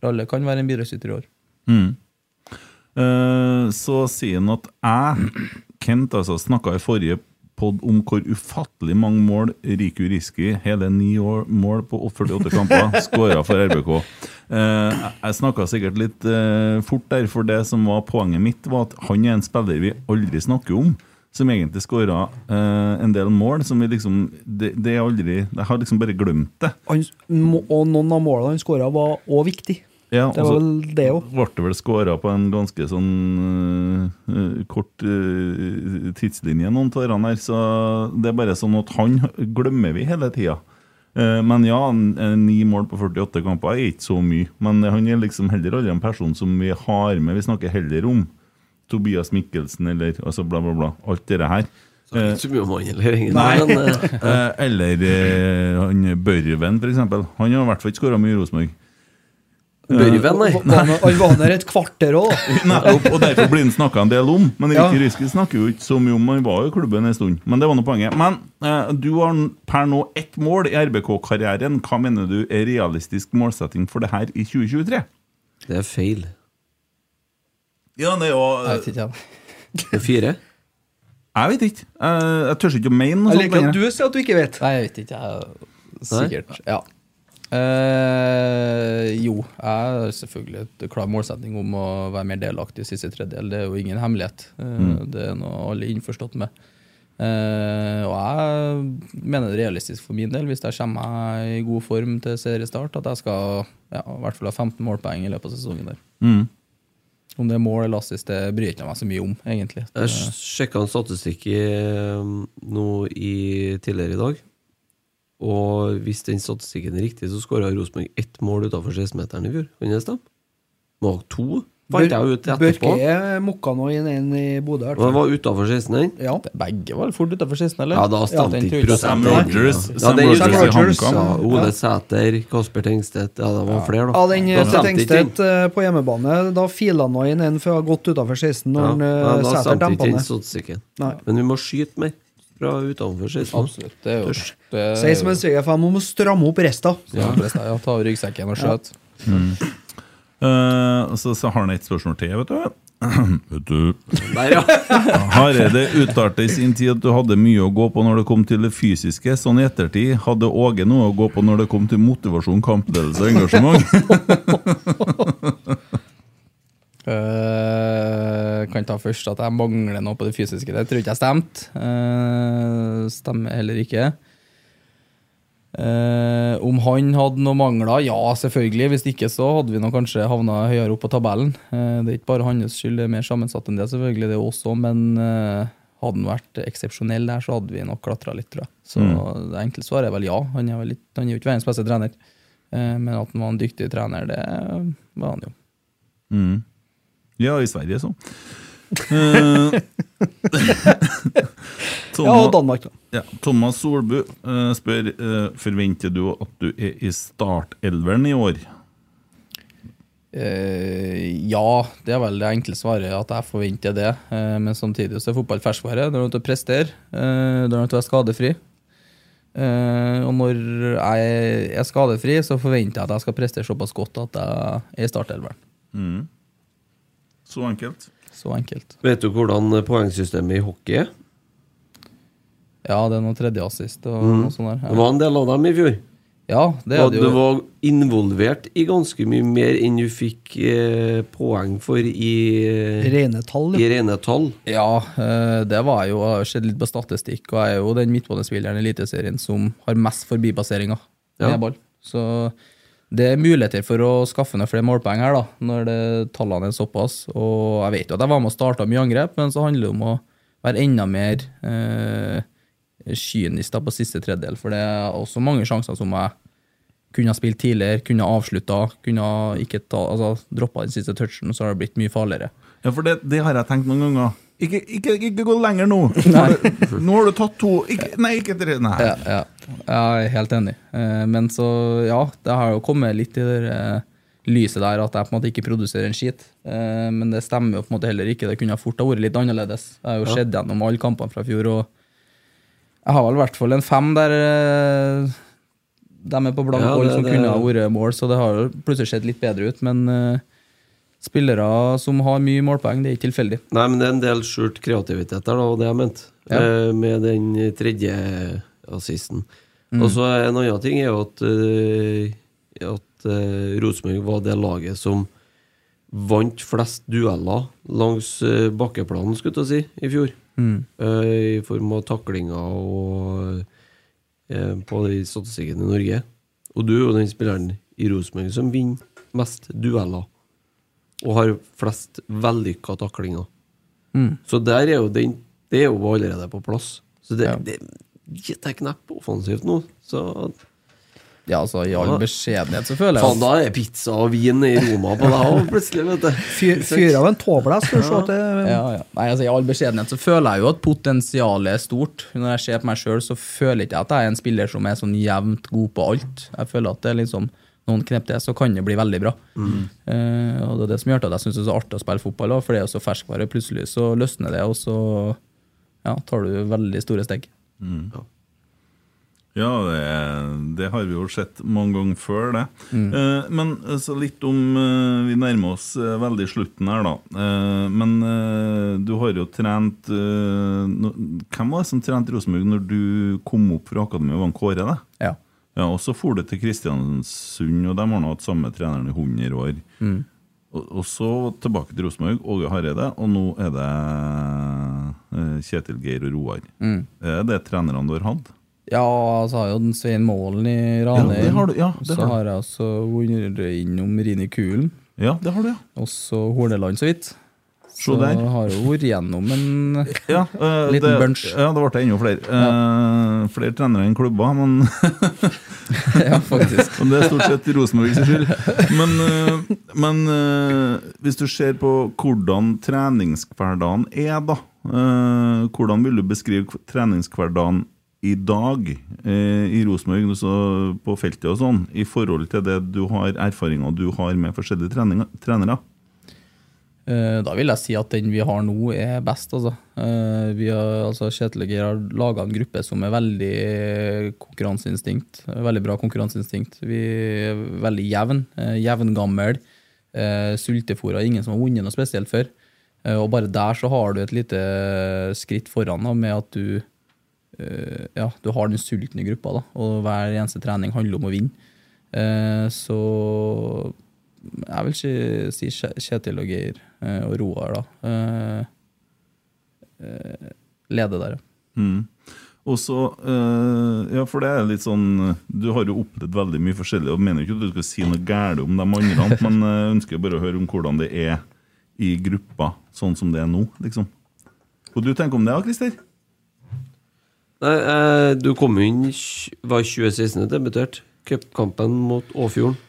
D: Ralle kan være en bidragsyter i år.
A: Mm. Eh, så sier han at jeg, Kent, altså, snakka i forrige pod om hvor ufattelig mange mål Riku Riski, hele ni år, mål på 48 kamper, skåra for RBK. Eh, jeg- jeg snakka sikkert litt eh, fort der, for det som var poenget mitt, var at han er en spiller vi aldri snakker om. Som egentlig skåra eh, en del mål som vi liksom det, det er aldri Jeg har liksom bare glemt det.
B: Han, må- og noen av målene han skåra, var òg viktig.
A: Ja, altså-
B: Det
A: og
B: var
A: så-
B: vel det òg.
A: ble det vel skåra på en ganske sånn øh, kort øh, tidslinje, noen av derne her. Så det er bare sånn at han glemmer vi hele tida. Eh, men ja, n- eh, ni mål på 48 kamper er ikke så mye. Men han er liksom heller aldri en person som vi har med. Vi snakker heller om Tobias Mikkelsen eller altså bla, bla, bla. Alt det her.
C: Så det er ikke så mye om han heller, egentlig.
A: Nei.
C: Men,
A: *laughs*
C: eh,
A: Eh, eller eh, han Børven, f.eks. Han har i hvert fall ikke skåra mye i Rosenborg.
C: Børven,
B: *laughs*
C: nei.
B: Han var der et kvarter òg, da.
A: Nettopp, og derfor blir han snakka en del om. Men
B: Ja.
A: Rikke Ryske snakker jo ikke så mye om han var jo i klubben en stund. Men det var noe poenget. Men eh, du har n- per nå ett mål i RBK-karrieren. Hva mener du er realistisk målsetting for det her i 2023?
C: Det er feil.
A: Ja, det er jo eh,
D: Jeg vet ikke, jeg.
C: Det er fire.
A: Jeg vet ikke. Eh, jeg tør ikke å mene noe
B: Jeg
A: sånt
B: liker at
A: lenger.
B: du sier at du ikke vet.
D: Nei, jeg vet ikke. Jeg, sikkert. Ja. Eh, jo, jeg har selvfølgelig et klar målsetning om å være mer delaktig i siste tredjedel. Det er jo ingen hemmelighet. Eh,
C: Mm.
D: Det er noe alle er innforstått med. Eh, og jeg mener det er realistisk for min del, hvis jeg kommer meg i god form til seriestart, at jeg skal ja, i hvert fall ha 15 målpoeng i løpet av sesongen. der.
A: Mm.
D: Om det er mål eller assist, det bryr jeg ikke meg så mye om, egentlig.
C: Jeg sjekka en statistikk i, um, nå i, tidligere i dag. Og hvis den statistikken er riktig, så skåra Rosenborg ett mål utafor 16-meteren i fjor. Kan det stemme? Må ha to, fant jeg ut etterpå.
B: Børke mokka nå i en- en i Bodø. i hvert
C: Og
B: fall.
C: det var utafor 16, den.
B: Ja.
D: Begge var fort utafor 16, eller?
C: Ja, da
D: den
C: stemte
D: tror
C: ikke
D: jeg
A: Sam
C: prosenten.
A: Rogers,
C: Ja,
A: Sam
C: den-
A: Rogers
B: Sam
A: i
B: Rogers,
A: HamKam.
C: Ja, Ole Sæter, Kasper Tengstedt Ja, det var flere, da.
B: Ja, den
C: Da
B: til
C: stemte ikke den.
B: Tengstedt eh, på hjemmebane, da fila han nå inn en før å ha gått utafor 16 når
C: Ja,
B: han,
C: ja,
B: eh,
C: da
B: Sæter
C: stemte
B: dempa
C: ikke den
B: ned.
C: statistikken.
B: Nei.
C: Men vi må skyte mer. fra utenfor 16.
D: Absolutt. Det er jo det er-
B: Sier som en svigerfar, man må stramme opp resta.
D: Ja, forresten, ja, ta av ryggsekken og skjøt.
A: Eh, så, så har han et spørsmål til, vet du. *clears throat* vet du.
C: Der, ja.
A: Hareide uttalte i sin tid at du hadde mye å gå på når det kom til det fysiske. Sånn i ettertid, hadde Åge noe å gå på når det kom til motivasjon, kampledelse og engasjement?
D: Eh, kan ta først at jeg mangler noe på det fysiske. Det tror jeg ikke jeg stemte. Eh, stemmer heller ikke. Eh, om han hadde noen mangler? Ja, selvfølgelig. Hvis ikke så hadde vi nå kanskje havna høyere opp på tabellen. Eh, det er ikke bare hans skyld, det er mer sammensatt enn det, selvfølgelig. Det er også, men eh, hadde han vært eksepsjonell der, så hadde vi nok klatra litt, tror jeg. Så det enkle svaret er vel ja. Han er, vel litt, han er jo ikke verdens beste trener. Eh, men at han var en dyktig trener, det var han jo.
A: Mm. Ja, i Sverige,
B: *laughs*
A: så. Eh, *laughs*
B: Ja, og Danmark, da.
A: Ja, Thomas Solbu eh, spør eh, Forventer du at du er i startelveren i år?
D: Eh, ja, det er vel det enkle svaret, at jeg forventer det. Eh, men samtidig så er fotball ferskvare. Du er nødt til å prestere, eh, du er nødt til å være skadefri. Eh, og når jeg er skadefri, så forventer jeg at jeg skal prestere såpass godt at jeg er i startelveren.
A: Mm. Så enkelt.
D: Så enkelt.
C: Vet du hvordan poengsystemet i hockey er?
D: Ja, det er noe tredjeassist og noe sånt
C: Det
D: der.
C: var en del av dem i fjor.
D: Ja, det er
C: og
D: det
C: du
D: jo.
C: var involvert i ganske mye mer enn du fikk eh, poeng for i,
B: Rene tall.
C: i
B: ja.
C: rene tall.
D: Ja, eh, det var jeg jo. Jeg har sett litt på statistikk, og jeg er jo den midtbanespilleren i Eliteserien som har mest forbipasseringer
C: Ja.
D: med ball. Så det er muligheter for å skaffe noen flere målpoeng her, da, når det, tallene er såpass. Og jeg vet jo at jeg var med og starta mye angrep, men så handler det om å være enda mer eh, kynisk da på siste tredjedel, for det er også mange sjanser som jeg kunne ha spilt tidligere, kunne ha avslutta, kunne ha ikke ta, altså, droppa den siste touchen, så har det blitt mye farligere.
A: Ja, for det, det har jeg tenkt noen ganger. Ikke, ikke, ikke gå lenger nå!
B: *laughs*
A: Nå har du- nå har du tatt to ikke, Nei, ikke tre. Nei.
D: Ja, ja. Jeg er helt enig. Eh, Men så, ja, det har jo kommet litt i det eh, lyset der at jeg på en måte ikke produserer en skit. Eh, Men det stemmer jo på en måte heller ikke. Det kunne ha fort ha vært litt annerledes. Jeg har jo sett gjennom alle kampene fra fjor, og jeg har vel i hvert fall en fem der eh, de er på blank
C: Ja,
D: hold
C: det-
D: som
C: det-
D: kunne ha vært mål, så det har jo plutselig sett litt bedre ut. Men eh, spillere som har mye målpoeng, det er ikke tilfeldig.
C: Nei, men det er en del skjult kreativitet der, da, og det jeg mente.
D: Ja.
C: Eh, med den tredje assisten. Og så en annen ting er jo at, eh, at eh, Rosenborg var det laget som vant flest dueller langs eh, bakkeplanen, skulle jeg til å si, i fjor. Eh, I form av taklinger og eh, på de statistikken i Norge. Og du er jo den spilleren i Rosenborg som vinner mest dueller. Og har flest vellykka taklinger.
B: Mm.
C: Så der er jo den Det er jo allerede på plass. Så det,
D: Ja.
C: det, det er knepp offensivt nå. Så
D: Ja, altså, I all
C: Ja.
D: beskjedenhet så føler jeg
C: faen, da er pizza og vin i Roma på deg òg, plutselig, vet du.
B: Fyr fyr av en tåvle, jeg skal se at det
D: Ja, ja. Nei, altså I all beskjedenhet så føler jeg jo at potensialet er stort. Når jeg ser på meg sjøl, så føler jeg ikke at jeg er en spiller som er sånn jevnt god på alt. Jeg føler at det er liksom noen knep til, så kan det bli veldig bra.
A: Mm.
D: Eh, og Det er det som gjør at jeg syns det er så artig å spille fotball, også, for det er jo så ferskvare. Plutselig så løsner det, og så ja, tar du veldig store steg.
A: Ja, det, det har vi jo sett mange ganger før, det. Eh, men eh, så litt om eh, Vi nærmer oss eh, veldig slutten her, da. Eh, men eh, du har jo trent eh, nå- Hvem var det som trente Rosenborg når du kom opp fra akademiet? Var han Kåre, det?
D: Ja.
A: Ja, og så for du til Kristiansund, og de har nå hatt samme treneren i 100 år. Og, og så tilbake til Rosenborg, Åge Hareide, og nå er det eh, Kjetil Geir og Roar. Er det trenerne du har hatt?
D: Ja, så har jeg jo den Svein Målen i
A: Ja, det har
D: Ranheim.
A: du, ja, det
D: så
A: har du.
D: har jeg også vært innom Rini Kulen.
A: Ja, det har du, ja.
D: Og så Horneland, så vidt.
A: Se der.
D: Så har jeg jo vært gjennom en
A: Ja, eh,
D: Liten
A: det,
D: bunch.
A: Ja, det ble enda flere. Eh, flere trenere enn klubber, men *laughs*
D: *laughs* Ja, faktisk.
A: men det er stort sett Rosenborgs skyld. Men, eh, men eh, hvis du ser på hvordan treningshverdagen er, da eh, Hvordan vil du beskrive treningshverdagen i dag eh, i Rosenborg, altså på feltet og sånn, i forhold til det du har erfaringer du har med forskjellige treninger, trenere?
D: Eh, Da vil jeg si at den vi har nå, er best. Altså. Eh, Vi har, altså Kjetil og Geir har laga en gruppe som er veldig konkurranseinstinkt. Veldig bra konkurranseinstinkt. Vi er veldig jevn, eh, jevngammel. eh, Sultefòra. Ingen som har vunnet noe spesielt før. Eh, Og bare der så har du et lite skritt foran da, med at du eh, ja, du har den sulten i gruppa, da, og hver eneste trening handler om å vinne. Eh, så jeg vil ikke si Kje- Kjetil og Geir eh, og Roar, da. Eh, eh, leder der, ja.
A: Mm. Og så, eh, ja, for det er litt sånn Du har jo opplevd veldig mye forskjellig, og mener ikke at du skal si noe galt om de andre, men eh, ønsker bare å høre om hvordan det er i gruppa, sånn som det er nå, liksom. Hva du tenker om det, da, Christer?
C: Nei, eh, du kom jo inn tj- Var 2016 debutert? Cupkampen mot Åfjorden.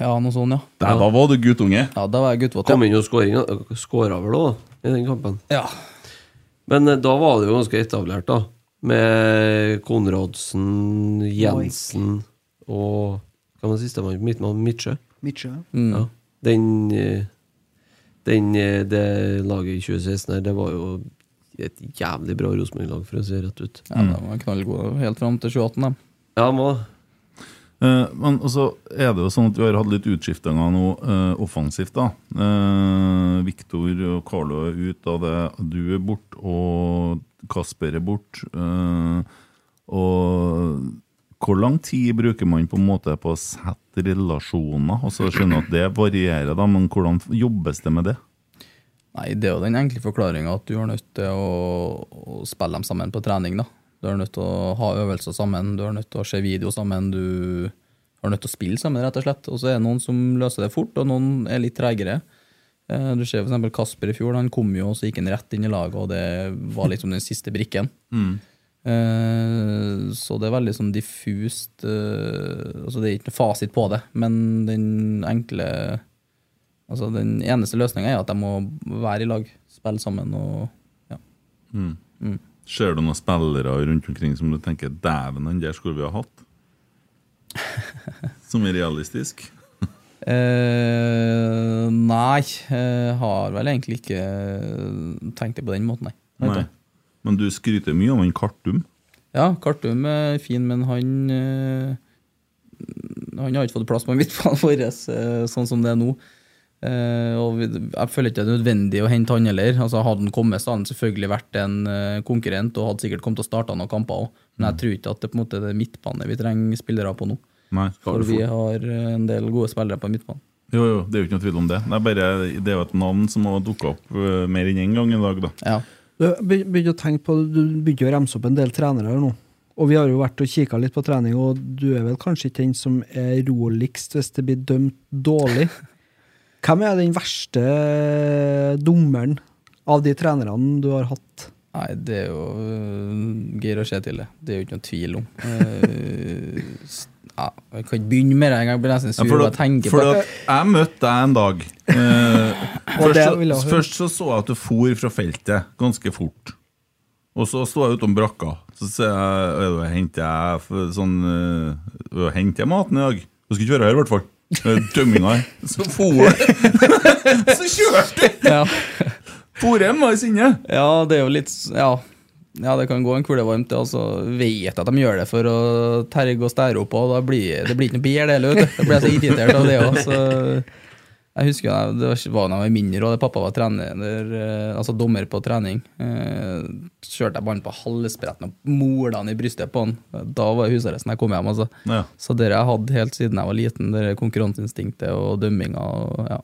D: Ja, noe sånt, ja.
A: Der, da var du guttunge.
D: Ja, Da var jeg guttevåt.
C: Kom inn og skåra vel òg, i den kampen.
D: Ja.
C: Men eh, da var det jo ganske etablert, da. Med Konradsen, Jensen og Hva var det siste man midtmann? Midtsjø?
B: Midtsjø.
C: Ja. Mm. Den, eh, den eh, Det laget i 2016 her, det var jo et jævlig bra Rosenborg-lag, for å si det rett ut.
D: ja de var knallgode helt fram til 2018, de.
C: Ja, må
A: Eh, men så er det jo sånn at vi har hatt litt utskiftinger nå eh, offensivt. da. Eh, Viktor og Carlo er ute av det. Du er borte, og Kasper er borte. og hvor lang tid bruker man på en måte på å sette relasjoner? Altså, jeg skjønner at det varierer, da, men hvordan jobbes det med det?
D: Nei, det er jo den enkle forklaringa at du er nødt til å, å spille dem sammen på trening. da. Du er nødt til å ha øvelser sammen, du er nødt til å se video sammen, du er nødt til å spille sammen, rett og slett. Og så er det noen som løser det fort, og noen er litt tregere. Eh, Du ser f.eks. Kasper i fjor, han kom jo, og så gikk han rett inn i laget, og det var liksom den siste brikken. Eh, Så det er veldig sånn diffust eh, altså Det er ikke noe fasit på det, men den enkle Altså Den eneste løsninga er at de må være i lag, spille sammen og ja.
A: Ser du noen spillere rundt omkring som du tenker 'dæven, den der skulle vi ha *laughs* hatt'? Som er realistisk?
D: Eh, nei, eh, har vel egentlig ikke eh, tenkt det på den måten, nei. Vet
A: Nei.
D: du.
A: Men du skryter mye om en Kartum.
D: Ja, Kartum er fin, men han eh, Han har ikke fått plass på *laughs* midtbanen vår eh, sånn som det er nå. Eh, og vi, jeg føler ikke det er nødvendig å hente han heller. Altså, hadde han kommet, så hadde han selvfølgelig vært en eh, konkurrent og hadde sikkert kommet til å starte noen kamper òg. Men jeg tror ikke at det på en måte er det midtbane vi trenger spillere på nå.
A: Nei.
D: For vi har eh, en del gode spillere på midtbanen.
A: Jo, jo, det er jo ikke noe tvil om det. Det er bare det er jo et navn som har dukka opp eh, mer enn én en gang i dag, da.
D: Ja.
B: Du be- begynte å tenke på, du begynte å remse opp en del trenere her nå. Og vi har jo vært og kikka litt på trening, og du er vel kanskje ikke den som er roligst hvis det blir dømt
A: *laughs*
B: dårlig. Hvem er den verste dommeren av de trenerne du har hatt?
D: Nei, det er jo øh, Geir og Kjetil, det. Det er jo ikke noe tvil om. Eh, s- ja, jeg kan ikke begynne med det engang, jeg blir nesten sur
A: for
D: bare jeg tenker på
A: for
D: det.
A: at jeg møtte deg en dag.
B: *laughs*
A: Eh,
B: Og
A: først,
B: det vil jeg
A: så,
B: høre.
A: først så så jeg at du for fra feltet ganske fort. Og så sto jeg utom brakka. Så sier jeg «Øy, da henter jeg f- sånn eh, «Øy, Henter jeg maten i dag? Du skal ikke være her, i hvert fall. Eh, Dømminga her. *laughs* Så for jeg. så kjørte jeg!
D: Ja.
A: For jeg meg i sinne.
D: ja, det er jo litt s- Ja, ja det kan gå en kule varmt, det. Og så vet jeg at de gjør det for å terge og stære opp, og da blir det blir ikke noe bedre, det heller. vet du. Da blir jeg så irritert av det òg, så jeg husker jo, det var- var da jeg var mindre, og det pappa var trener, eh, altså dommer på trening. Eh, kjørte jeg ballen på halsbretten og mola han i brystet på han. Da var husarresten jeg kom hjem. altså.
A: Ja.
D: Så det har jeg hatt helt siden jeg var liten, det konkurranseinstinktet og dømminga. Og, ja.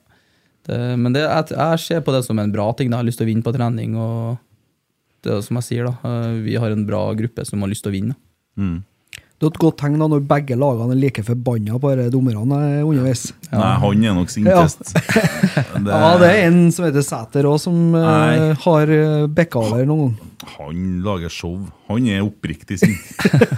D: det, men det, jeg, jeg ser på det som en bra ting. da. Jeg har lyst til å vinne på trening. og det er jo som jeg sier da, eh, Vi har en bra gruppe som har lyst til å vinne. da.
A: Mm.
B: Det er et godt tegn da når begge lagene er like forbanna på disse dommerne eh, underveis.
A: Nei, han er nok
B: *laughs*
A: sintest. *laughs* Det-
B: Ja, det er en som heter Sæter òg, som eh,
A: Nei.
B: har eh, bekka over
A: *laughs*
B: noen.
A: Han lager show. Han er oppriktig sint.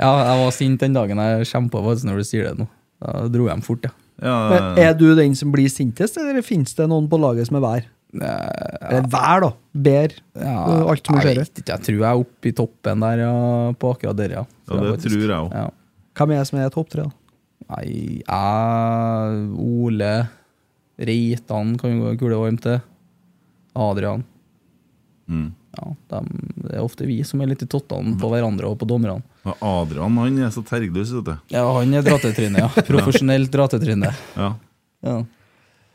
D: Ja, Jeg var sint den dagen jeg kjempa faktisk når du sier det nå. Da dro jeg hjem fort, ja.
A: Ja,
B: Men er du den som blir sintest, eller finnes det noen på laget som er vær? Eller vær, da. Ber.
D: Eh, ja
B: uh, alt som
D: jeg
B: skjer.
D: vet ikke, jeg tror jeg er oppe i toppen der ja, på akkurat der, ja.
A: ja, det tror jeg òg.
D: ja.
B: Hvem er jeg som er topp tre? da?
D: Nei, jeg, Ole Reitan kan jo gå en kule varm til. Adrian.
A: Mm.
D: Ja, dem, det er ofte vi som er litt i tottene på hverandre og på dommerne.
A: Og Adrian han er så tergløs, vet du.
D: Ja, han er dratetryne, *laughs* ja. Profesjonelt dratetryne.
A: Ja,
D: Ja.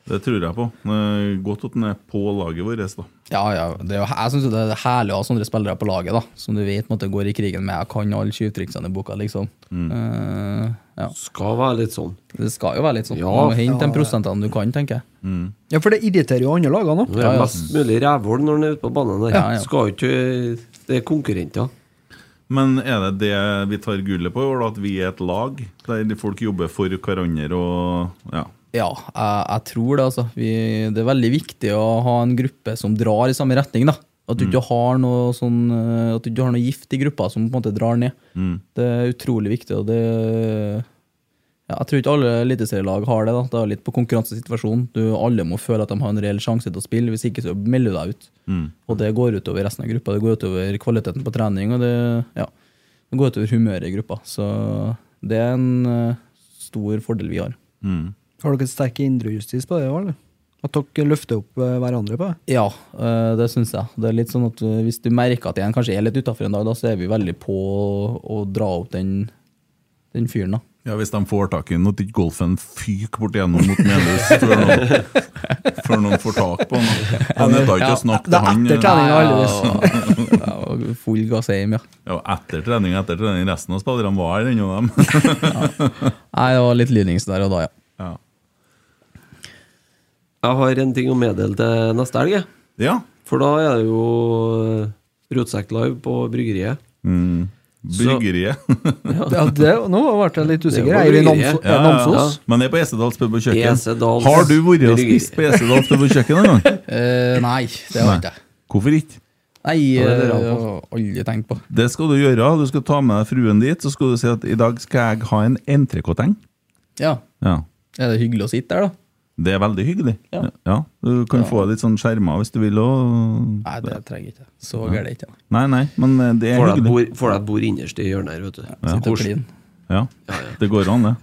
A: det tror jeg på. Det er Godt at han er på laget vårt, da.
D: Ja, ja. Det er, jo- jeg syns det er herlig å ha sånne spillere på laget, da. Som du vet måtte går i krigen med. Jeg kan alle tjuvtriksene i boka, liksom. Eh, ja.
C: Skal være litt sånn.
D: Det skal jo være litt sånn.
C: Ja.
D: Du må hente de prosentene du kan, tenker jeg.
B: Ja, for det irriterer jo andre lag òg.
C: Det er mest mulig rævhål når han er ute på banen der.
D: Ja, ja.
C: Skal jo ikke Det er konkurrenter.
A: Men er det det vi tar gullet på i år, da? At vi er et lag der folk jobber for hverandre og Ja.
D: Ja, jeg, jeg tror det, altså. Vi, det er veldig viktig å ha en gruppe som drar i samme retning, da. At du ikke har noe sånn eh, At du ikke har noe gift i gruppa som på en måte drar ned. Det er utrolig viktig, og det ja, Jeg tror ikke alle eliteserielag har det. da Det er litt på konkurransesituasjonen. Du, alle må føle at de har en reell sjanse til å spille, hvis ikke så melder du deg ut.
A: Mm.
D: Og det går utover resten av gruppa. Det går utover kvaliteten på trening, og det, ja, det går utover humøret i gruppa. Så det er en eh, stor fordel vi har.
A: Mm.
B: Har dere sterk indrejustis på det? også, Eller? At dere løfter opp eh, hverandre på det?
D: Ja, øh, det syns jeg. Det er litt sånn at øh, Hvis du merker at en kanskje er litt utafor en dag, da, så er vi veldig på å dra opp den, den fyren. da.
A: Ja, Hvis de får tak i den, at ikke golfen fyker bort igjennom mot Melhus før, *laughs* noen- før noen får tak på
B: *laughs*
A: den. Han nytter ikke å snakke til
B: det er
A: han. eh.
B: etter trening.
D: Ja,
B: aldri.
D: ja, *laughs* ja, og full gass hjem, ja.
A: Ja, etter trening, etter trening. Resten av spillerne var her, ennå dem.
D: Nei, det var litt lynings der og da, ja.
A: Ja.
C: Jeg har en ting å meddele til neste helg. jeg.
A: ja.
C: For da er det jo eh, Rotsekk Live på bryggeriet.
A: Mm. Bryggeriet.
B: Ja, det, nå ble jeg litt usikker.
C: Det var
B: Er vi i
C: bryggeriet.
B: Namso-
A: Ja,
B: eh, Namsos?
A: Men det er på Esedals pub og kjøkken.
C: Esedals
A: Har du vært og
C: bryggeri.
A: spist på Esedals pub og kjøkken en gang?
D: Eh, nei, det har ikke jeg.
A: Hvorfor ikke?
D: Nei, eh,
C: Ja, det er det
D: det har
C: rart,
D: jeg aldri tenkt på.
A: Det skal du gjøre. Du skal ta med deg fruen dit, så skal du si at i dag skal jeg ha en entrecôteng.
D: Ja,
A: Ja.
D: Er det hyggelig å sitte der, da?
A: Det er veldig hyggelig.
D: Ja.
A: Du kan få deg litt sånn skjerma hvis du vil og
D: Nei, det trenger jeg ikke. Så gærent er det ikke.
A: Nei, nei, men eh, det er
C: Får deg et
A: hyggelig.
C: bord- får deg et bord innerst i hjørnet her, vet du.
D: da. Sitte og kline.
A: Ja, det går an, det.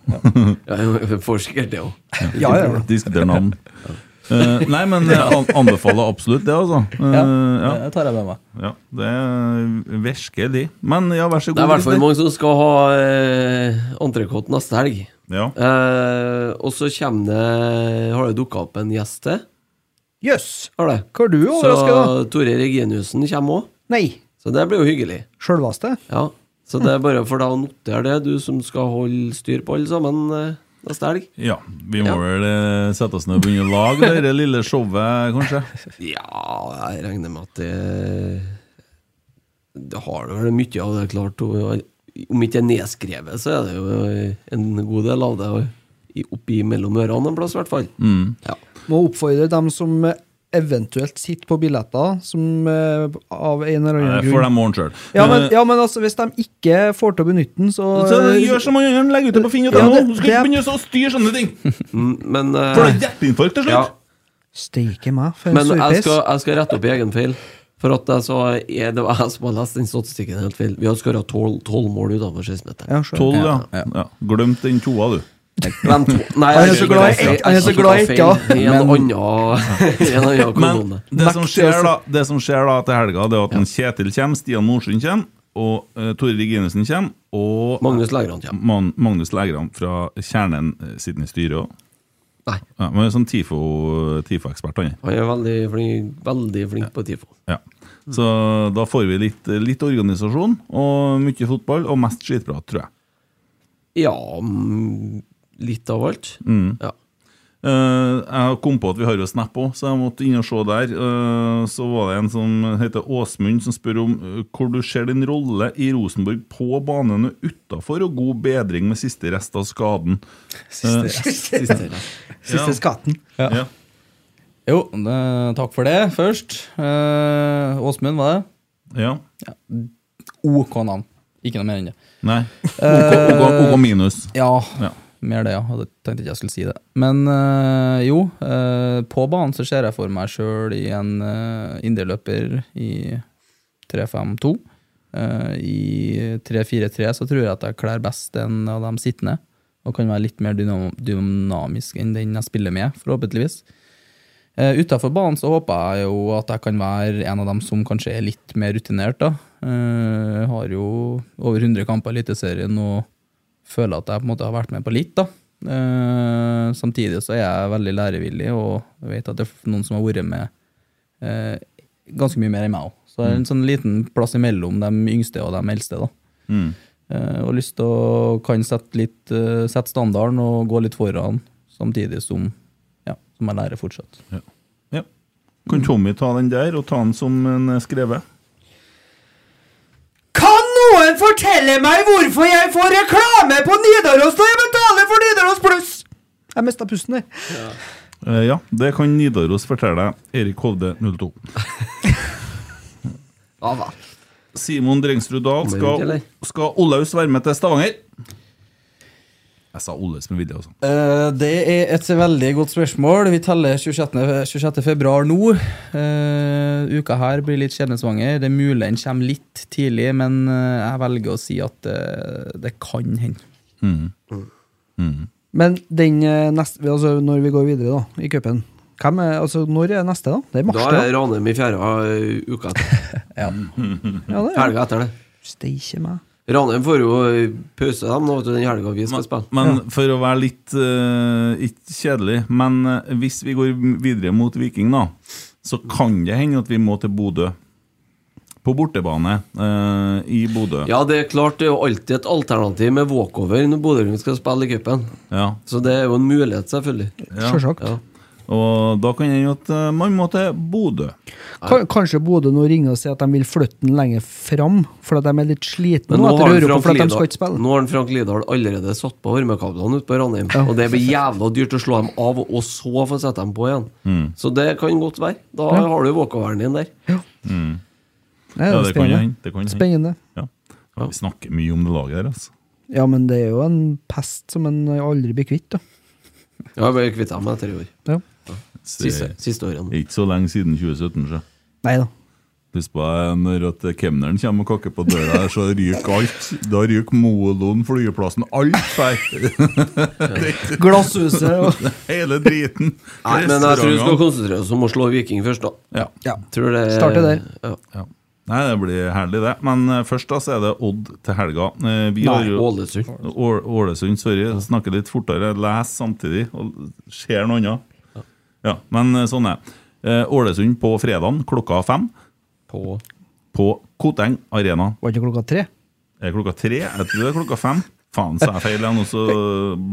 C: Ja, jeg får sikkert det òg.
B: Ja, ja, ja.
A: Diskutere navn. Eh, nei, men jeg an- anbefaler absolutt det, altså. Eh,
D: Ja,
A: ja.
D: det tar jeg med meg.
A: ja, Det er virkelig. Men ja, vær så
C: Det er i
A: god.
C: hvert fall
A: Christer.
C: mange som skal ha eh, entrecôte neste helg.
A: Ja.
C: Eh, og så kommer det Har det dukka opp en gjest til?
B: Jøss!
C: Har det?
B: Hva er du
C: Så
B: overraska, da?
C: Tore Reginiussen kommer òg.
B: Nei,
C: Så det blir jo hyggelig.
B: sjølvaste?
C: Ja. Så det er bare for deg å notere det, du som skal holde styr på alle sammen eh, neste helg.
A: ja. Vi må vel eh, sette oss ned og begynne å lage det der lille showet, kanskje.
C: Ja, jeg regner med at det Det har du vel mye av det, klart. og Om ikke det er nedskrevet, så er det jo en god del av det i- oppi mellom ørene en plass, i hvert fall.
B: Mm.
C: Ja.
B: Må oppfordre dem som eh, eventuelt sitter på billetter, som eh, av en eller
A: Det
B: annen
A: får
B: grunn
A: de ordne sjøl.
B: ja men, ja, men altså, hvis de ikke får til å benytte den, så,
A: gjør som han andre, legg ut det på Finn.no!
B: Ja, det-
A: Du skal ikke
B: det-
A: begynne å styre sånne ting!
C: Mm, Men, eh,
A: Får du hjerteinfarkt til
C: ja,
A: slutt?
B: Steike meg, for en
C: men jeg,
B: surpiss.
C: skal, jeg skal rette opp i egen feil. For at jeg sa, er det var jeg som har lest den statistikken helt feil. Vi har skåra tolv mål utenfor 16-meteren.
B: Ja, skjønner.
A: Tolv, ja. ja. Glemt den toa, du.
C: Men to- Nei,
B: Han er
C: jeg
B: så
C: kikket
B: glad i
C: feil.
B: ett- han er så
C: Jeg kikket
B: glad i ett, ja.
C: feil I en annen *laughs* i en annen
A: Men
C: kolonne.
A: det som,
B: Makt til å
A: skjer da, det som skjer da til helga, det er at en Kjetil kommer, Stian Norsund kommer, og eh, Tore Reginussen kommer, og
C: Magnus Lægran kommer.
A: Man, Magnus Lægran fra Kjernen eh, sitter i styret òg.
C: Nei.
A: Ja, men er sånn TIFO- TIFO-ekspert, han er.
C: Han er veldig flink, veldig flink på TIFO.
A: Ja. Så da får vi litt, litt organisasjon og mye fotball, og mest skitprat, tror jeg.
C: Ja, mm, litt av alt.
B: Mm.
C: Ja.
A: Eh, jeg kom på at vi har jo Snap òg, så jeg måtte inn og se der. Eh, så var det en som heter Åsmund, som spør om eh, hvor du ser din rolle i Rosenborg på banen og utafor, og god bedring med siste rest av skaden. Siste
B: *laughs* Siste skatten.
A: Ja.
D: Jo, det- takk for det først. Eh, Åsmund, var det?
A: ja.
D: OK navn. Ikke noe mer enn det.
A: Nei. OK, OK, OK minus.
D: Ja,
A: Ja.
D: mer det, ja. Jeg tenkte ikke jeg skulle si det. Men eh, jo, eh, på banen så ser jeg for meg sjøl i en uh, indreløper i 3-5-2. Eh, I 3-4-3 så tror jeg at jeg kler best en av de sittende. Å og kan være litt mer dynam dynamisk enn den jeg spiller med, forhåpentligvis. Uh, Utafor banen så håper jeg jo at jeg kan være en av dem som kanskje er litt mer rutinert. da. Eh, har jo over 100 kamper i Eliteserien og føler at jeg på en måte har vært med på litt. da. Eh, samtidig så er jeg veldig lærevillig og vet at det er noen som har vært med eh, ganske mye mer enn meg òg. Så det er en sånn liten plass imellom de yngste og de eldste. da.
A: Mm.
D: Eh, og lyst til å kan sette, litt, eh, sette standarden og gå litt foran, samtidig som, ja, som jeg lærer fortsatt.
A: Ja. ja. Kan Tommy ta den der, og ta den som en eh, skrevet?
B: Kan noen fortelle meg hvorfor jeg får reklame på Nidaros når jeg betaler for Nidaros Pluss? Jeg mista pusten der.
A: Eh, ja, det kan Nidaros fortelle deg. Erik Hovde 02.
C: Ja vel.
A: Simon Drengsrud Dahl
C: Kommer ut,
A: skal,
C: eller?
A: skal Olaus være med til Stavanger? Jeg sa Olaus med vilje, altså.
D: Eh, Det er et veldig godt spørsmål. Vi teller 26. 26. februar nå. Eh, uka her blir litt skjebnesvanger. Det er mulig den kommer litt tidlig, men eh, jeg velger å si at eh, det kan hende.
A: Mhm.
B: Men den eh, neste, altså når vi går videre da, i cupen hvem er, altså Når er neste, da? Det er mars,
C: Da
B: det.
C: er Ranheim i fjerde eh, uka etter.
B: da. Ja, det er.
C: Helga etter det.
B: Steike meg.
C: Ranheim får jo eh, pause, dem, nå, vet du, den helga vi skal spille.
A: Men for å være litt eh, Ikke kjedelig, men eh, hvis vi går videre mot Viking, da, så kan det hende at vi må til Bodø. På bortebane eh, i Bodø.
C: Ja, det er klart, det er jo alltid et alternativ med walkover når Bodø-Glimt skal spille i cupen.
A: Ja.
C: Så det er jo en mulighet, selvfølgelig.
A: Ja.
B: Sjølsagt.
C: Ja.
A: Og da kan det hende at eh, man må til Bodø.
B: Ka- Kanskje Bodø nå ringer og sier at de vil flytte den lenger fram, fordi de er litt slitne
C: Men
B: nå
C: nå
B: etter
C: har, han
B: Europa
C: Frank
B: fordi de skal
C: Lidahl,
B: ikke spille.
C: nå har han Frank Lidahl allerede satt på varmekablene ute på Ranheim. Og det blir jævla dyrt å slå dem av, og så få sette dem på igjen.
B: Mm.
C: Så det kan godt være. Da har du walkoveren din der.
B: Nei,
A: Ja, det kan
B: spennende.
A: hende. Det kan hende.
B: Spennende.
A: Ja. Ja, Vi snakker mye om det laget der, altså.
B: Ja, men det er jo en pest som en aldri blir kvitt, da.
C: Ja, jeg ble kvitt dem etter i år.
B: Ja.
A: Så Det
C: Siste, siste årene.
A: er ikke så lenge siden 2017, sjø.
B: Nei da.
A: Husk på eh, når at kemneren kommer og kakker på døra, her, så ryker alt. Da ryker moloen, flyplassen, alt her.
B: Glasshuset og
A: *laughs* Hele driten.
C: Nei, men jeg tror vi skal
A: Restaurantene.
C: konsentrere oss om å slå Viking først, da.
A: ja.
B: Ja.
C: Tror det
B: Starte der.
C: Ja.
A: Ja. Nei, det blir herlig, det. Men eh, først da, så er det Odd til helga. Eh, Vi
C: Nei,
A: har jo
C: Ålesund.
A: Å- Ålesund, sorry. jeg Snakker litt fortere. Leser samtidig og ser noe annet. Ja, men eh, sånn er det. Eh, Ålesund på fredagen klokka fem
C: På
A: på Koteng Arena.
B: Var ikke klokka tre?
A: Er det klokka tre? Jeg tror det er klokka fem. Faen, sa jeg feil igjen, og så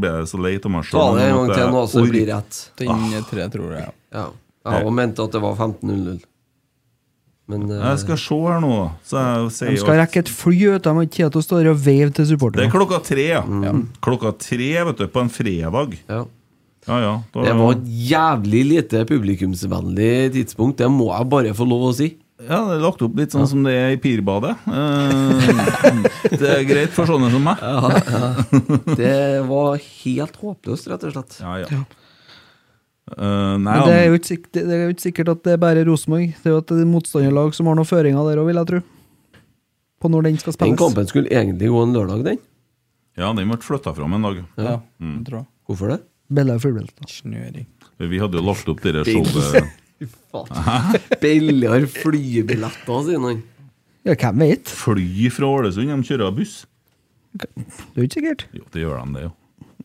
A: ble jeg så lei av meg
C: Ta
A: selv,
C: det en
A: at
C: gang
A: jeg
C: til nå, så det
A: ork-
C: blir rett.
D: Den tre, tror jeg.
C: Ja. Jeg òg mente at det var 15-0-0. Men eh,
A: Jeg skal se her nå, så jeg sier
B: De skal
A: alt.
B: rekke et fly ut, de har ikke tid til å stå der og veive til
A: Det er
B: supporterne.
A: klokka tre, ja.
C: Mm.
A: Klokka tre, vet du, på en fredag.
C: eh, ja.
A: Ja, ja. Da,
C: Det var et jævlig lite publikumsvennlig tidspunkt, det må jeg bare få lov å si.
A: Ja, det er lagt opp litt sånn som det er i Pirbadet. Eh, *laughs* det er greit for sånne som meg.
C: Det var helt håpløst, rett og slett.
A: Ja, ja. Eh, nei,
B: Men det er
A: han-
B: jo ikke sikkert, det er jo ikke sikkert at det er bare Rosenborg. Det er jo at det er motstanderlag som har noen føringer der òg, vil jeg tro. På når den skal
C: Den
B: spilles.
C: kampen skulle egentlig gå en lørdag, den.
A: ja, den ble flytta fram en dag.
D: Ja, Mm. jeg tror jeg.
C: Hvorfor det?
B: Bella er fullbelta.
D: Snøring.
A: Vi hadde jo lagt opp det der showet.
C: Billigere flybilletter, sier han.
B: Ja, hvem vet?
A: Fly fra Ålesund, de kjører buss.
B: Det er jo ikke sikkert.
A: Jo, det gjør de, det, jo.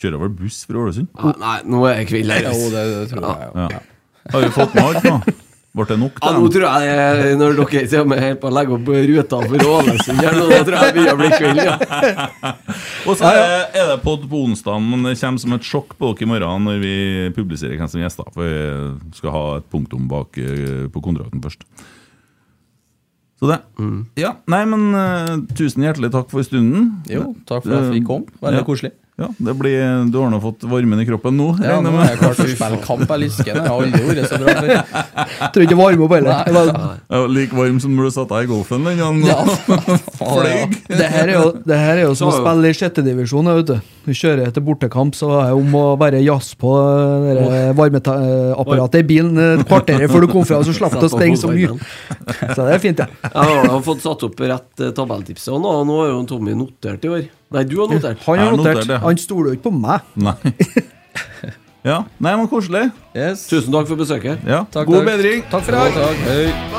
A: Kjører vel buss fra Ålesund?
C: Ah, nei, nå er jeg kvill her. altså.
D: Jo,
C: ass.
D: det, det tror jeg. Ja.
A: Ja. Har vi fått med alt nå? Ble det nok,
C: Ja, nå
A: da?
C: tror jeg det er- når dere kommer helt på å legge opp ruta for Ålesund her, nå, da tror jeg jeg begynner å bli kvill, ja.
A: Og så er er det podd på onsdag, men det kommer som et sjokk på dere i morgen når vi publiserer hvem som er gjester. For vi skal ha et punktum bak eh, på kontrakten først. Så det.
D: Mm.
A: Ja, Nei, men eh, tusen hjertelig takk for stunden.
D: Jo, takk for at vi kom. Veldig
A: Ja.
D: koselig.
A: Ja, det blir, Du har nå fått varmen i kroppen nå?
D: Ja,
A: regner
D: nå
A: jeg
D: er jeg
A: med.
D: klar til å spille kamp. Jeg lisker det. Jeg har aldri vært så bra *laughs* før.
B: Jeg tror ikke det varmer opp heller. Det var-
A: Ja, like varm som når du satt deg i golfen den gangen.
D: Ja.
A: Fløy.
B: Det her er jo, det her er jo som å
C: Så-
B: spille i sjettedivisjon. da, vet Du Du kjører etter bortekamp, så er det om å bare jazze på varmeapparatet i bilen eh, et kvarter før du kom fra, så slapp du å
C: Satt på
B: springe så mye.
C: fotballen.
B: Så det er fint, det. Ja.
C: Jeg har da fått satt opp rett eh, tabelltipset, og nå, nå har jo Tommy notert i år. Nei, du har notert.
B: Han
A: Jeg
B: har
A: har
B: notert.
A: notert det.
B: Han stoler jo ikke på meg.
A: Nei. Ja. Nei, men koselig.
D: Yes.
C: Tusen takk for besøket.
A: Ja.
D: Takk,
A: God
D: takk.
A: bedring.
D: Takk for i dag. Hei.